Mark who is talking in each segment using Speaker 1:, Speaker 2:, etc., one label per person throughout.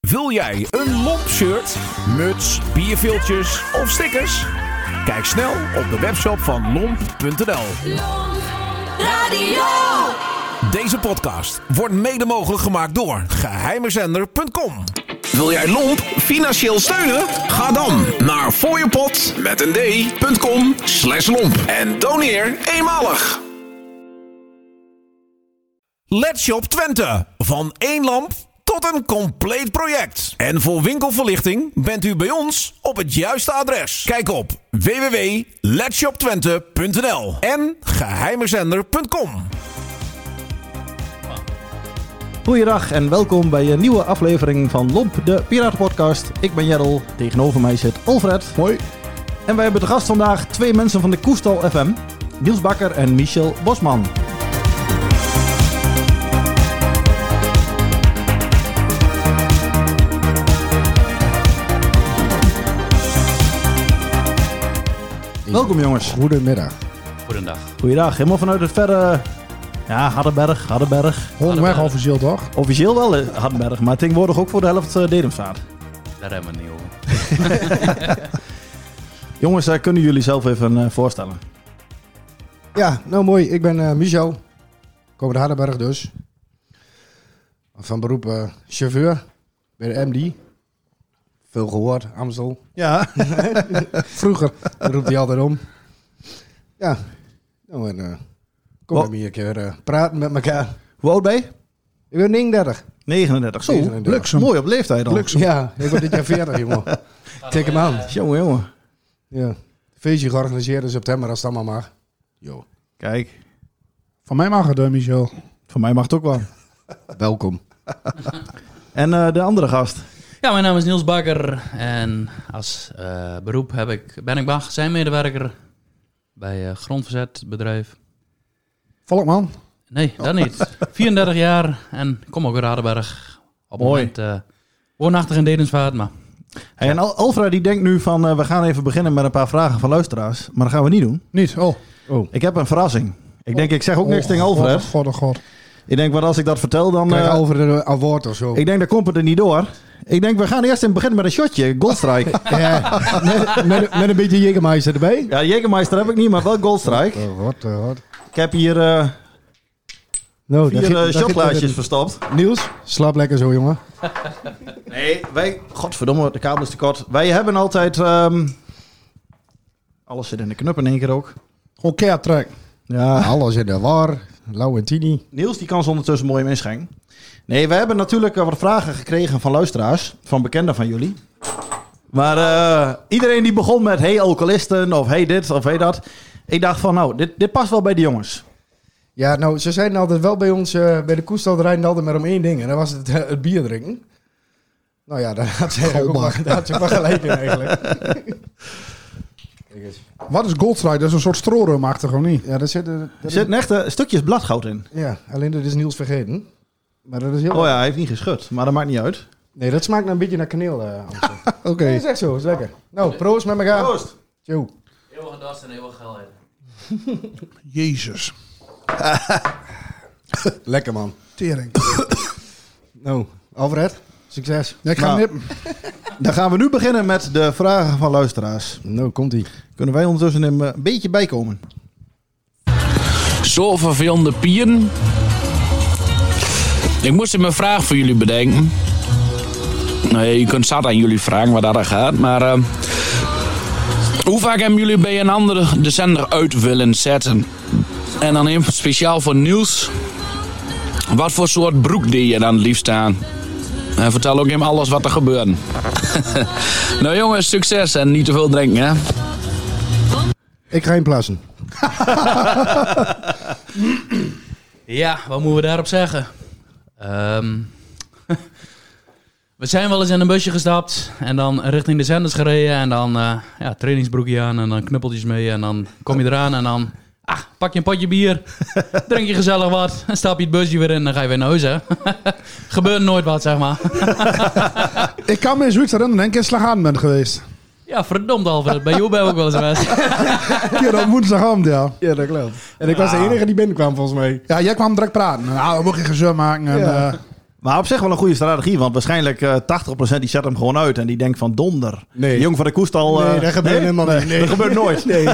Speaker 1: Wil jij een lomp shirt, muts, bierviltjes of stickers? Kijk snel op de webshop van lomp.nl.
Speaker 2: Radio.
Speaker 1: Deze podcast wordt mede mogelijk gemaakt door geheimezender.com. Wil jij Lomp financieel steunen? Ga dan naar fooiepot met een d.com slash lomp en doneer eenmalig. Let's Shop Twente. Van één lamp tot een compleet project. En voor winkelverlichting bent u bij ons op het juiste adres. Kijk op www.letshoptwente.nl en geheimezender.com.
Speaker 3: Goeiedag en welkom bij een nieuwe aflevering van Lomp, de Piratenpodcast. Ik ben Jerrel, tegenover mij zit Alfred. Mooi. En wij hebben te gast vandaag twee mensen van de Koestal FM. Niels Bakker en Michel Bosman. Welkom jongens.
Speaker 4: Goedemiddag.
Speaker 5: Goedendag.
Speaker 3: Goeiedag, helemaal vanuit het verre... Ja, Hardenberg, Hardenberg.
Speaker 4: Onderweg officieel toch?
Speaker 3: Officieel wel eh, Hardenberg, maar tegenwoordig ook voor de helft eh, Dedemstaat.
Speaker 5: Daar hebben we niet over.
Speaker 3: Jongens, eh, kunnen jullie zelf even eh, voorstellen?
Speaker 4: Ja, nou mooi. Ik ben eh Michel. Kom uit Hardenberg dus. Van beroep eh, chauffeur. Bij de MD. Veel gehoord, Amstel.
Speaker 3: Ja.
Speaker 4: Vroeger roept hij altijd om. Ja. Nou, en, eh, kom
Speaker 3: Wat?
Speaker 4: met me hier een keer eh, praten met elkaar.
Speaker 3: Hoe oud ben je?
Speaker 4: Ik ben 39.
Speaker 3: 39. Zo,
Speaker 4: 39.
Speaker 3: Luxem. mooi op leeftijd al.
Speaker 4: Ja, ik word dit jaar 40, jongen. Tik hem aan.
Speaker 3: Jongen, jongen.
Speaker 4: Ja. Feestje georganiseerd in september, als het allemaal mag. Jo.
Speaker 3: Kijk,
Speaker 6: Van mij mag het, eh, Michel.
Speaker 3: voor mij mag het ook wel.
Speaker 4: Welkom.
Speaker 3: En eh, de andere gast.
Speaker 5: Ja, mijn naam is Niels Bakker en als eh, beroep heb ik, ben ik magazijnmedewerker bij eh, grondverzetbedrijf.
Speaker 6: Volkman.
Speaker 5: Nee, dat niet. 34 jaar en ik kom ook uit Hardenberg. Op het
Speaker 3: Mooi.
Speaker 5: moment eh, woonachtig in Dedensvaart, maar
Speaker 3: Hey, en Al- Alfred die denkt nu van, eh, we gaan even beginnen met een paar vragen van luisteraars. Maar dat gaan we niet doen.
Speaker 6: Niet. Oh.
Speaker 3: Ik heb een verrassing. Ik denk, ik zeg ook
Speaker 6: Oh,
Speaker 3: niks tegen
Speaker 6: God,
Speaker 3: Alfred.
Speaker 6: oh, God, oh, God.
Speaker 3: Ik denk, want als ik dat vertel, dan...
Speaker 4: Krijg
Speaker 3: eh,
Speaker 4: over de award of zo.
Speaker 3: Oh. ik denk, dan komt het er niet door. Ik denk, we gaan eerst in het begin met een shotje. Goldstrike.
Speaker 4: Ja, met, met, met een beetje Jägermeister erbij.
Speaker 3: ja, Jägermeister heb ik niet, maar wel Goldstrike.
Speaker 4: Oh, wat, eh, wat.
Speaker 3: Ik heb hier eh
Speaker 4: Nou, daar
Speaker 3: vier eh,
Speaker 4: ging- daar ging-
Speaker 3: shotglaasjes verstopt.
Speaker 4: Niels, slaap lekker zo, jongen.
Speaker 3: Nee, wij... Godverdomme, de kabel is te kort. Wij hebben altijd... ehm, alles zit in de knup in één keer ook.
Speaker 6: Gewoon keer trek.
Speaker 3: Ja.
Speaker 4: Alles in de war. Lauwentini.
Speaker 3: Niels die kan ze ondertussen mooi inschenken. Nee, we hebben natuurlijk eh, wat vragen gekregen van luisteraars. Van bekenden van jullie. Maar eh, iedereen die begon met... Hey alcoholisten, of hey dit, of hey dat. Ik dacht van, nou, dit, dit past wel bij de jongens.
Speaker 4: Ja, nou, ze zijn altijd wel bij ons, eh, bij de koestal rijden altijd maar om één ding. En dat was het, eh, het bier drinken. Nou ja, daar had ze eigenlijk ook wel, daar had ze ook wel gelijk in eigenlijk. Kijk eens.
Speaker 6: Wat is Goldstrike? Dat is een soort stroorumachtig, of niet?
Speaker 4: Ja, daar zit, er-
Speaker 3: Er
Speaker 4: daar
Speaker 3: zitten echt eh, stukjes bladgoud in.
Speaker 4: is- ja, alleen dat is Niels vergeten. Maar dat is heel...
Speaker 3: Oh ja, hij heeft niet geschud. Maar dat maakt niet uit.
Speaker 4: Nee, dat smaakt nou een beetje naar kaneel, eh Amstel.
Speaker 6: Oké.
Speaker 4: Nee, dat is echt zo, dat is lekker. Nou, proost met elkaar.
Speaker 3: Proost.
Speaker 4: Tjoe.
Speaker 5: eeuwige dorst en eeuwige geilheid.
Speaker 6: Jezus.
Speaker 4: Lekker man.
Speaker 6: Tering.
Speaker 4: Nou, Alfred, succes.
Speaker 6: Ja, ik ga
Speaker 3: Nou.
Speaker 6: nippen.
Speaker 3: Dan gaan we nu beginnen met de vragen van luisteraars.
Speaker 4: Nou, komt ie.
Speaker 3: Kunnen wij ondertussen hem eh, een beetje bijkomen?
Speaker 7: Zo vervelende pieren. Ik moest even een vraag voor jullie bedenken. Nee, je kunt zat aan jullie vragen waar dat aan gaat, maar... eh, hoe vaak hebben jullie bij een andere de zender uit willen zetten? En dan even speciaal voor Niels. Wat voor soort broek deed je dan het liefst aan? En vertel ook hem alles wat er gebeurt. nou jongens, succes en niet te veel drinken, hè?
Speaker 4: Ik ga in plassen.
Speaker 5: Ja, wat moeten we daarop zeggen? Ehm, we zijn wel eens in een busje gestapt en dan richting de zenders gereden. En dan eh, ja, trainingsbroekje aan en dan knuppeltjes mee. En dan kom je eraan en dan ah, pak je een potje bier, drink je gezellig wat. En stap je het busje weer in en dan ga je weer naar huis. Hè? Gebeurt nooit wat, zeg maar.
Speaker 6: Ik kan me zoiets herinneren. Een keer slagavond bent geweest.
Speaker 5: Ja, verdomd Alfred, bij jou ben ik ook wel eens geweest.
Speaker 6: Een keer op woensdagavond, ja.
Speaker 4: Ja, dat
Speaker 3: Nou.
Speaker 4: klopt. En ik was de enige die binnenkwam volgens mij.
Speaker 6: Ja, jij kwam direct praten. Nou, we moeten geen gezeur maken. En,
Speaker 4: Ja.
Speaker 6: eh,
Speaker 3: Maar op zich wel een goede strategie, want waarschijnlijk eh 80% die zet hem gewoon uit en die denkt van donder.
Speaker 4: Nee.
Speaker 3: Die jong van de koestal.
Speaker 4: Nee,
Speaker 3: eh,
Speaker 4: dat gebeurt helemaal niet. Nee.
Speaker 3: Dat gebeurt nooit.
Speaker 4: Nee.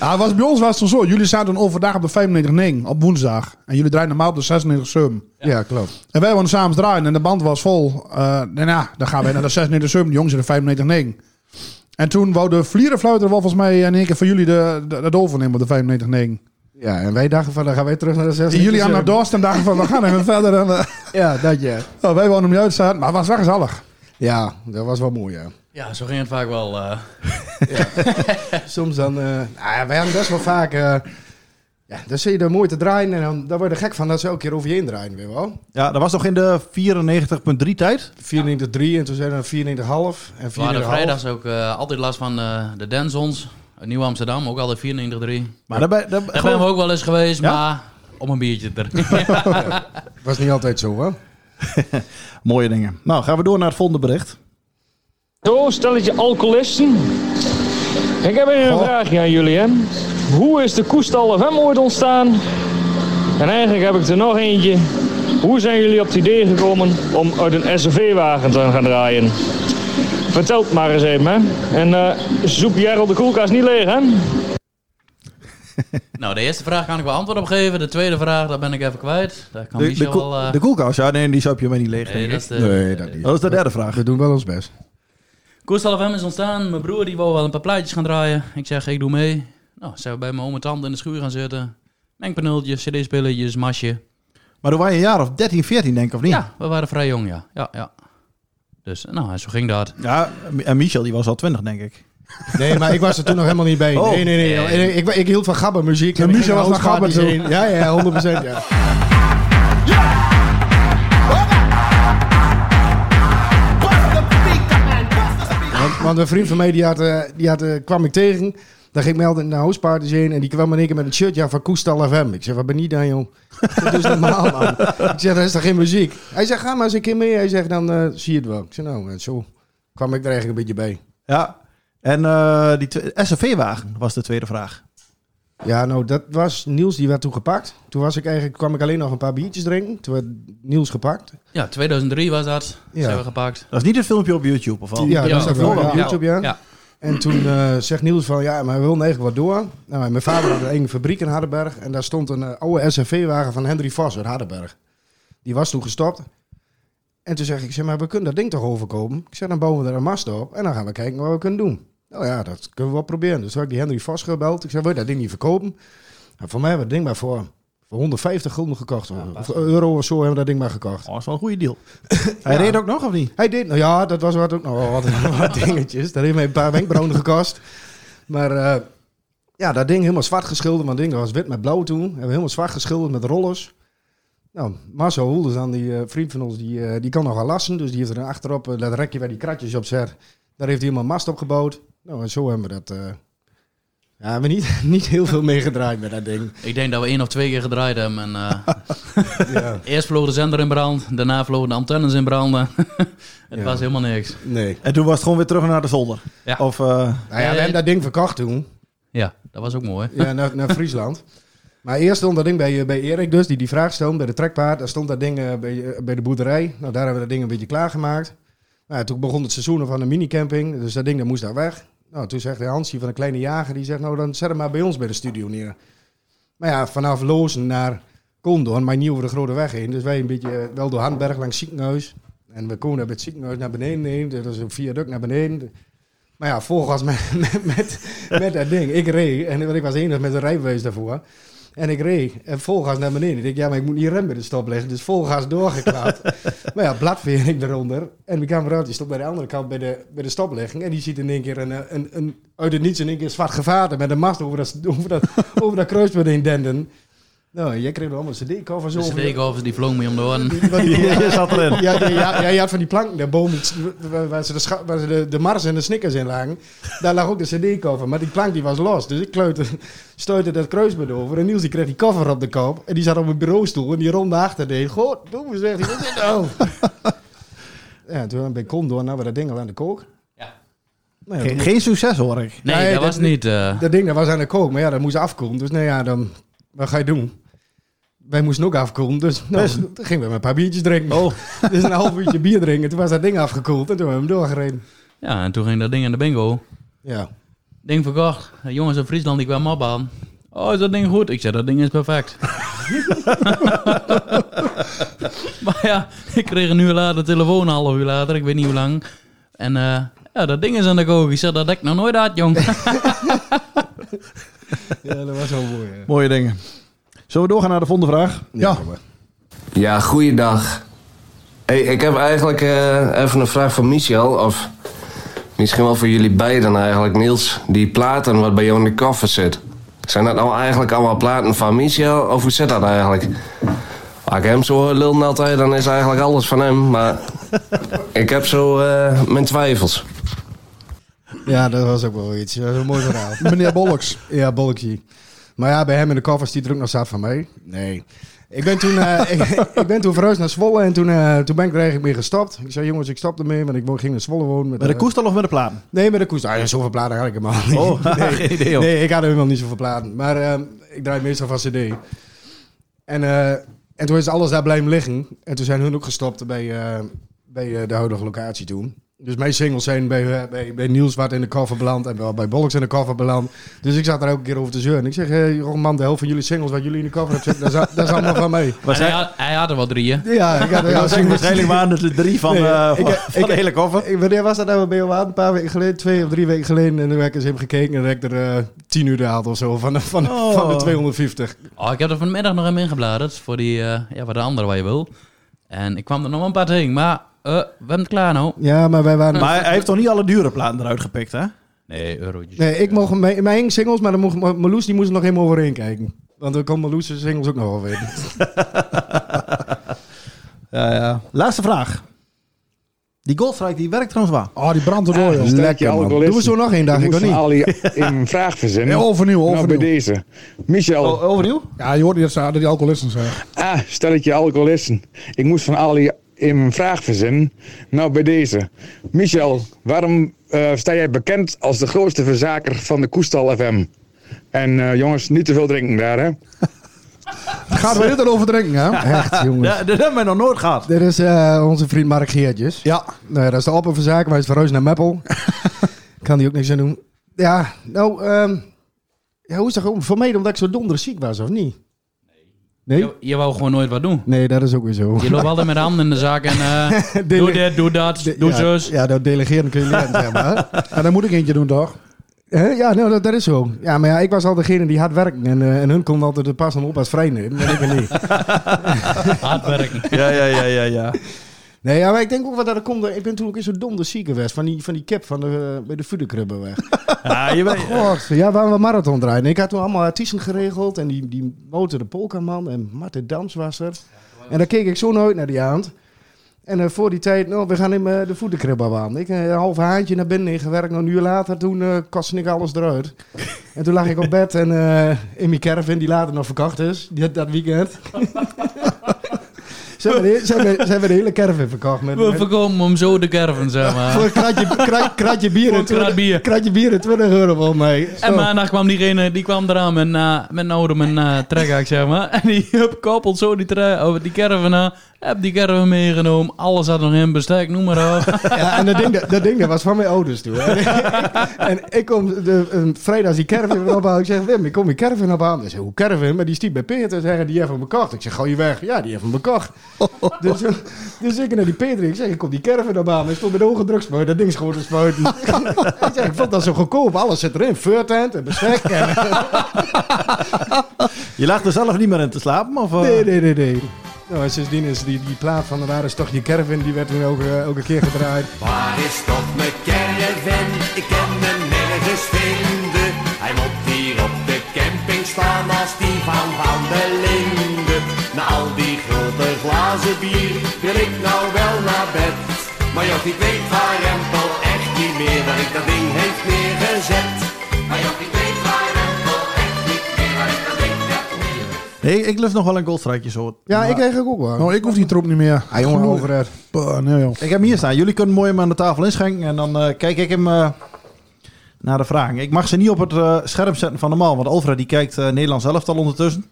Speaker 6: Ja, was, bij ons was het zo. Jullie zaten overdag op de 95-9 op woensdag. En jullie draaiden normaal op de 96-7.
Speaker 4: Ja, klopt.
Speaker 6: En wij wouden s'avonds draaien en de band was vol. Eh en ja, dan gaan wij naar de 96 7, de jongens in de 95 9. En toen wou de vlierenfluiter wel volgens mij eh, in één keer van jullie de, de, het overnemen op de 95 9.
Speaker 4: Ja, en wij dachten van, dan gaan wij terug naar de 6.
Speaker 6: En jullie aan de dorst en dachten van, we gaan even verder. En, eh,
Speaker 4: Ja, dat ja.
Speaker 6: nou, wij wouden hem niet uitstaan, maar het was wel gezellig.
Speaker 4: Ja, dat was wel mooi, ja.
Speaker 5: Ja, zo ging het vaak wel. eh.
Speaker 4: Soms dan... eh, nou ja, wij hebben best wel vaak... eh, ja, dan zit je er mooi te draaien en dan, dan word je er gek van dat ze elke keer over je heen draaien, weet je wel.
Speaker 3: Ja, dat was nog in de 94.3 tijd.
Speaker 4: 94,3 en toen zijn we 94,5 en 4,5.
Speaker 5: we hadden vrijdags ook eh, altijd last van eh, de Denzons. Uit Nieuw Amsterdam, ook altijd 94
Speaker 3: Maar daarbij, daar,
Speaker 5: Daar zijn we ook wel eens geweest,
Speaker 3: Ja?
Speaker 5: maar om een biertje te drinken.
Speaker 4: Was niet altijd zo, hè?
Speaker 3: mooie dingen. Nou, gaan we door naar het volgende bericht.
Speaker 8: Zo, stelletje alcoholisten. Ik heb even een vraagje aan jullie, hè. Hoe is de Koestal FM ooit ontstaan? En eigenlijk heb ik er nog eentje. Hoe zijn jullie op het idee gekomen om uit een SUV-wagen te gaan draaien? Vertel het maar eens even, hè. En eh zoep Jarl de koelkast niet leeg, hè.
Speaker 5: nou, de eerste vraag kan ik wel antwoord op geven. De tweede vraag, daar ben ik even kwijt. Daar kan
Speaker 3: De, de,
Speaker 5: Michel
Speaker 3: koel-
Speaker 5: wel... eh,
Speaker 3: de koelkast, ja, nee, die zou je mij niet leeg.
Speaker 5: nee,
Speaker 3: denken.
Speaker 5: dat eh, is de-
Speaker 4: dat niet.
Speaker 3: dat is de derde vraag.
Speaker 4: We doen wel ons best.
Speaker 5: Koestal FM is ontstaan. Mijn broer die wou wel een paar plaatjes gaan draaien. Ik zeg, ik doe mee. Nou, zijn we bij mijn oom en tante in de schuur gaan zitten. Mengpaneeltjes, cd-spilletjes, masje.
Speaker 3: Maar toen waren je een jaar of 13, 14 denk ik, of niet?
Speaker 5: Ja, we waren vrij jong, ja. Ja, ja. Dus, nou, zo ging dat.
Speaker 3: Ja, en Michel die was al 20 denk ik.
Speaker 4: Nee, maar ik was er toen nog helemaal niet bij.
Speaker 3: Oh.
Speaker 4: Nee, nee, nee. Ik, ik, ik hield van gabbermuziek.
Speaker 6: En
Speaker 4: ik
Speaker 6: Michel
Speaker 4: ging
Speaker 6: was naar
Speaker 4: houtparties
Speaker 6: gabber
Speaker 4: heen. Ja, ja, 100 ja. Want, want een vriend van mij, die, had, eh, die had, eh, kwam ik tegen. Daar ging ik mij altijd naar houseparties heen. En die kwam in één keer met een shirtje aan van Koestal FM. Ik zeg, wat ben je dan, joh? Dat is normaal, man. Ik zeg, dat is toch geen muziek? Hij zegt, ga maar eens een keer mee. Hij zegt, dan eh, zie je het wel. Ik zeg, nou, en zo kwam ik er eigenlijk een beetje bij.
Speaker 3: Ja. En eh die twe- SFV-wagen was de tweede vraag.
Speaker 4: Ja, nou, dat was Niels, die werd toen gepakt. Toen was ik eigenlijk, kwam ik alleen nog een paar biertjes drinken. Toen werd Niels gepakt.
Speaker 5: Ja, 2003 was dat.
Speaker 4: Ja.
Speaker 5: Zijn we gepakt.
Speaker 3: Dat is niet het filmpje op YouTube of wel?
Speaker 4: Ja,
Speaker 5: Ja,
Speaker 4: dat staat
Speaker 5: dat
Speaker 4: wel
Speaker 3: wel,
Speaker 4: op
Speaker 3: ja.
Speaker 4: YouTube, ja.
Speaker 5: Ja.
Speaker 4: En toen eh, zegt Niels van, ja, maar we willen eigenlijk wat door. Nou, en mijn vader had een fabriek in Hardenberg. En daar stond een eh, oude SFV-wagen van Henry Vos uit Hardenberg. Die was toen gestopt. En toen zeg ik, ik zeg maar, we kunnen dat ding toch overkomen? Ik zeg, dan bouwen we er een mast op. En dan gaan we kijken wat we kunnen doen. Nou ja, dat kunnen we wel proberen. Dus toen heb ik die Henry Vos gebeld. Ik zeg, wil je dat ding niet verkopen? En Nou, voor mij hebben we het ding maar voor, voor 150 gulden gekocht. of euro of zo hebben we dat ding maar gekocht.
Speaker 3: Oh, dat is wel een goede deal. Hij reed ook nog of niet?
Speaker 4: Hij deed, nou ja, dat was wat ook nog wel wat, wat dingetjes. Daar heeft mij een paar wenkbrauwen gekost. Maar eh, ja, dat ding helemaal zwart geschilderd. Want het ding was wit met blauw toen. Hebben we helemaal zwart geschilderd met rollers. Nou, Marcel Hoelders dan, die eh, vriend van ons, die, eh, die kan nogal lassen. Dus die heeft er achterop eh, dat rekje waar die kratjes op zet. Daar heeft hij helemaal mast op gebouwd. Nou, en zo hebben we dat... eh ja, hebben we niet, niet heel veel meegedraaid met dat ding.
Speaker 5: Ik denk dat we één of twee keer gedraaid hebben. En, eh,
Speaker 4: Ja,
Speaker 5: eerst vloog de zender in brand. Daarna vlogen de antennes in branden. het
Speaker 4: Ja.
Speaker 5: was helemaal niks.
Speaker 4: nee.
Speaker 3: En toen was het gewoon weer terug naar de zolder.
Speaker 5: Ja.
Speaker 3: Of, eh,
Speaker 4: Nou ja, we hebben dat ding verkocht toen.
Speaker 5: Ja, dat was ook mooi.
Speaker 4: Ja, naar, naar Friesland. Maar eerst stond dat ding bij, eh, bij Erik dus, die die vraag stelde bij de trekpaard. Daar stond dat ding eh, bij, eh, bij de boerderij. Nou, daar hebben we dat ding een beetje klaargemaakt. Nou, ja, toen begon het seizoen van de minicamping, dus dat ding dat moest daar weg. Nou, toen zegt Hansje van een kleine jager, die zegt, nou dan zet hem maar bij ons bij de studio neer. Maar ja, vanaf Lozen naar Condor, maar niet over de grote weg heen. Dus wij een beetje, eh, wel door Handberg langs ziekenhuis. En we komen daar bij het ziekenhuis naar beneden heen. Dat is een viaduct naar beneden. Maar ja, volgas met, met, met, met dat ding. Ik reed, en want ik was enig met een rijbewijs daarvoor. En ik reed, en volgas naar beneden. Ik denk, ja, maar ik moet niet rem bij de stop leggen. Dus volgas doorgeklapt. maar ja, bladveer ik eronder. En mijn kameraad die stond bij de andere kant bij de, bij de stoplichting. En die ziet in één keer een, eh, een, een, uit het niets in één keer zwart gevaarte met een mast over dat, over dat, over dat kruispunt heen denden. Nou, jij kreeg er allemaal cd-covers
Speaker 5: De
Speaker 4: over.
Speaker 5: steekovers die vloog me om de oren.
Speaker 4: Want die-
Speaker 3: je zat erin.
Speaker 4: ja, ja, ja, ja, je had van die planken, de boom, waar- waar ze, de, scha- waar ze de, de Mars en de Snickers in lagen. Daar lag ook de CD-cover, maar die plank die was los. Dus ik kleuter, stuitte dat kruisbed over. En Niels die kreeg die cover op de kop. En die zat op een bureaustoel en die ronde achter deed. Goh, doe me zeg, wat is dit nou? ja, toen ben ik kom door, nou we dat ding al aan de kook.
Speaker 5: Ja.
Speaker 4: Nou ja,
Speaker 3: geen, geen succes hoor ik.
Speaker 5: Nee,
Speaker 4: Nee,
Speaker 5: dat
Speaker 4: dat
Speaker 5: was niet. eh,
Speaker 4: dat ding dat was aan de kook, maar ja, dat moest afkomen. Dus nou ja, dan, wat ga je doen? wij moesten ook afkoelen. Dus nou, toen gingen we met een paar biertjes drinken. Dus een half uurtje bier drinken. Toen was dat ding afgekoeld en toen hebben we hem doorgereden.
Speaker 5: Ja, en toen ging dat ding in de bingo.
Speaker 4: Ja.
Speaker 5: Ding verkocht. De jongens in Friesland die kwamen opbaan. Oh, is dat ding goed? Ik zei, dat ding is perfect. maar ja, ik kreeg een uur later telefoon, een half uur later, ik weet niet hoe lang. En eh, ja, dat ding is aan de kook. Ik zei, dat heb ik nog nooit had, jong.
Speaker 4: ja, dat was wel mooi. hè.
Speaker 3: Mooie dingen. Zullen we doorgaan naar de volgende vraag?
Speaker 6: Ja.
Speaker 9: Ja, goeiedag. Hey, ik heb eigenlijk eh, even een vraag voor Michel. Of misschien wel voor jullie beiden eigenlijk, Niels. Die platen wat bij jou in de koffer zit. Zijn dat nou eigenlijk allemaal platen van Michel? Of hoe zit dat eigenlijk? Als ik hem zo hoor lullen altijd, dan is eigenlijk alles van hem. Maar ik heb zo eh, mijn twijfels.
Speaker 4: Ja, dat was ook wel iets. Dat was een mooi verhaal.
Speaker 6: Meneer Bollocks.
Speaker 4: Ja, bolletje. Maar ja, bij hem in de koffers die er ook nog zat van mij. Nee. Ik ben toen, eh, ik, ik ben toen verhuisd naar Zwolle en toen, eh, toen ben ik er eigenlijk mee gestopt. Ik zei, jongens, ik stop ermee, want ik wo- ging naar Zwolle wonen. Met,
Speaker 3: Bij de
Speaker 4: eh,
Speaker 3: koestal of met de platen?
Speaker 4: Nee, met de koest. Ah, ja, zoveel platen had ik helemaal niet. nee.
Speaker 3: Oh, geen idee hoor.
Speaker 4: nee, ik had helemaal niet zoveel platen. Maar ehm, ik draai meestal van cd. En, eh, en toen is alles daar blijven liggen. En toen zijn hun ook gestopt bij, eh, bij eh, de huidige locatie toen. Dus mijn singles zijn bij, eh, bij, bij Niels wat in de koffer beland en bij, bij Bollocks in de koffer beland. Dus ik zat daar ook een keer over te zeuren. Ik zeg, hey, joh, man, de helft van jullie singles wat jullie in de koffer hebben zitten, dat, is- dat is allemaal van mij.
Speaker 5: En hij, had, hij had er wel drie, hè?
Speaker 4: Ja, ik had
Speaker 3: Ja,
Speaker 4: ja,
Speaker 3: dat zijn
Speaker 4: singles.
Speaker 3: waarschijnlijk waren het er drie van,
Speaker 4: Nee,
Speaker 3: eh,
Speaker 4: ik-
Speaker 3: van,
Speaker 4: ik-
Speaker 3: van de hele koffer.
Speaker 4: Ik- Wanneer was dat nou bij jou aan? Een paar weken geleden, twee of drie weken geleden. En toen heb ik eens even gekeken en dan heb ik er eh, tien uur gehaald of zo van de, van, de-
Speaker 3: Oh.
Speaker 4: van de 250.
Speaker 5: Oh, ik heb er vanmiddag nog hem ingebladerd voor, die, eh, ja, voor de andere waar je wil. En ik kwam er nog wel een paar tegen, maar eh, we hebben het klaar nou.
Speaker 4: Ja, maar wij waren...
Speaker 3: Maar hij heeft toch niet alle dure platen eruit gepikt, hè?
Speaker 5: Nee, eurotjes.
Speaker 4: Nee, ik mocht mijn, mijn singles, maar dan mocht, Marloes die moest er nog helemaal overheen kijken. Want dan kon Marloes zijn singles ook nog wel weten.
Speaker 3: Ja, ja. Laatste vraag. Die golfstrike die werkt trouwens wel.
Speaker 6: Oh, die brandt erdoor, joh.
Speaker 4: Lekker, man. Doen we zo nog één dag, ik kan niet.
Speaker 10: Ali in een vraag verzinnen.
Speaker 6: Ja, overnieuw,
Speaker 10: Nou, bij
Speaker 6: overnieuw.
Speaker 10: deze. Michel,
Speaker 6: Oh,
Speaker 3: O- overnieuw?
Speaker 6: Ja, je hoort niet dat ze- dat die alcoholisten zijn.
Speaker 10: ah, stelletje alcoholisten. Ik moest van Ali in een vraag verzinnen. Nou, bij deze. Michel, waarom eh, sta jij bekend als de grootste verzaker van de Koestal FM? En eh, jongens, niet te veel drinken daar, hè?
Speaker 6: Gaat we dit dan over drinken, hè?
Speaker 4: Echt, jongens.
Speaker 3: Ja, dat hebben we nog nooit gehad.
Speaker 4: Dit is eh, onze vriend Mark Geertjes.
Speaker 6: Ja.
Speaker 4: Nou ja, dat is de opperverzaker, maar hij is verhuisd naar Meppel. kan die ook niks aan doen. Ja, nou, ehm, ja, hoe is dat gewoon? Voor mij omdat ik zo donderig ziek was, of niet? Nee?
Speaker 5: Je, je wou gewoon nooit wat doen.
Speaker 4: Nee, dat is ook weer zo.
Speaker 5: Je loopt altijd met de handen in de zak en eh,
Speaker 4: Dele-
Speaker 5: doe dit, doe dat,
Speaker 4: de-
Speaker 5: doe
Speaker 4: ja,
Speaker 5: zus.
Speaker 4: Ja, dat delegeren kun je leren, zeg maar.
Speaker 6: En dan moet ik eentje doen, toch?
Speaker 4: Hè? Ja, nou, dat, dat is zo. Ja, maar ja, ik was al degene die hard werkte. En, eh, en hun kon altijd de pas en op als vrij nemen. En ik weer niet.
Speaker 5: Hard werken.
Speaker 3: Ja, ja, ja, ja, ja.
Speaker 4: Nee, ja, maar ik denk ook wat dat komt. eh, Ik ben toen ook in zo'n donder ziek geweest. Van die, van die kip van de, eh, bij de Fudekrubben weg.
Speaker 3: ja je bent-
Speaker 4: God, ja, waar we marathon draaien. Ik had toen allemaal artiesten geregeld. En die, die motor de Polkaman en Martin Dams was er. En daar keek ik zo nooit naar die avond. En eh, voor die tijd, nou, we gaan in eh, de voetenkribben aan. Ik eh, een half haantje naar binnen ingewerkt. Nou, een uur later, toen eh kostte ik alles eruit. En toen lag ik op bed en eh, in mijn caravan, die later nog verkocht is, die, dat weekend. ze, hebben de, ze, hebben, ze hebben de hele caravan verkocht. Met,
Speaker 5: We
Speaker 4: met-
Speaker 5: verkopen hem zo de kerven, zeg maar.
Speaker 4: voor een kratje, kra- kratje bier.
Speaker 5: Voor
Speaker 4: en
Speaker 5: een krat
Speaker 4: 20
Speaker 5: bier.
Speaker 4: Kratje bier en 20 euro volgens mij.
Speaker 5: En maandag kwam diegene, die kwam eraan met, eh met een oude met een eh, trekhaak, zeg maar. En die hup, koppelt zo die, tre- of die caravan aan. Heb die caravan meegenomen. Alles had nog in, bestek, noem maar op.
Speaker 4: Ja, en dat ding, dat, dat ding dat was van mijn ouders toen. En, en ik kom de, een vrijdag die caravan weer ophalen. Ik zeg, Wim, ik kom die caravan ophalen. Hij zegt, hoe caravan? Maar die stiep bij Peter. Zeggen, die heeft hem bekocht. Ik zeg, gooi je weg. Ja, die heeft hem bekocht. Dus, dus ik naar die Peter. Ik zeg, ik kom die caravan ophalen. Hij stond met ogen drugspuit. Dat ding is gewoon te spuiten. ik zeg, ik vond dat zo goedkoop. Alles zit erin. Furtent en bestek. En,
Speaker 3: Je lag er zelf niet meer in te slapen? Of, eh?
Speaker 4: nee, nee, nee, nee. Nou, en sindsdien is die, die plaat van de ware is toch die caravan. Die werd nu ook, eh, elke keer gedraaid.
Speaker 11: Waar is toch mijn caravan? Ik kan hem nergens vinden. Hij moet hier op de camping staan als die van Van der Linde. Na al die grote glazen bier wil ik nou wel naar bed. Maar joh, ik weet waar Rempel echt niet meer waar ik dat ding heeft neergezet. Maar joh, ik weet waar Rempel echt niet meer waar ik dat ding heb neergezet.
Speaker 3: Nee, ik lust nog wel een golfstrike zo.
Speaker 4: Ja, ik kreeg ook wel.
Speaker 6: Nou, ik hoef die troep niet meer.
Speaker 4: Ah, jongen,
Speaker 6: Genoeg.
Speaker 4: over het.
Speaker 6: Bah, nee, joh.
Speaker 3: Ik heb hem hier staan. Jullie kunnen mooi hem aan de tafel inschenken. En dan eh, kijk ik hem eh, naar de vragen. Ik mag ze niet op het eh, scherm zetten van normaal. Want Alfred die kijkt eh Nederlands elftal ondertussen.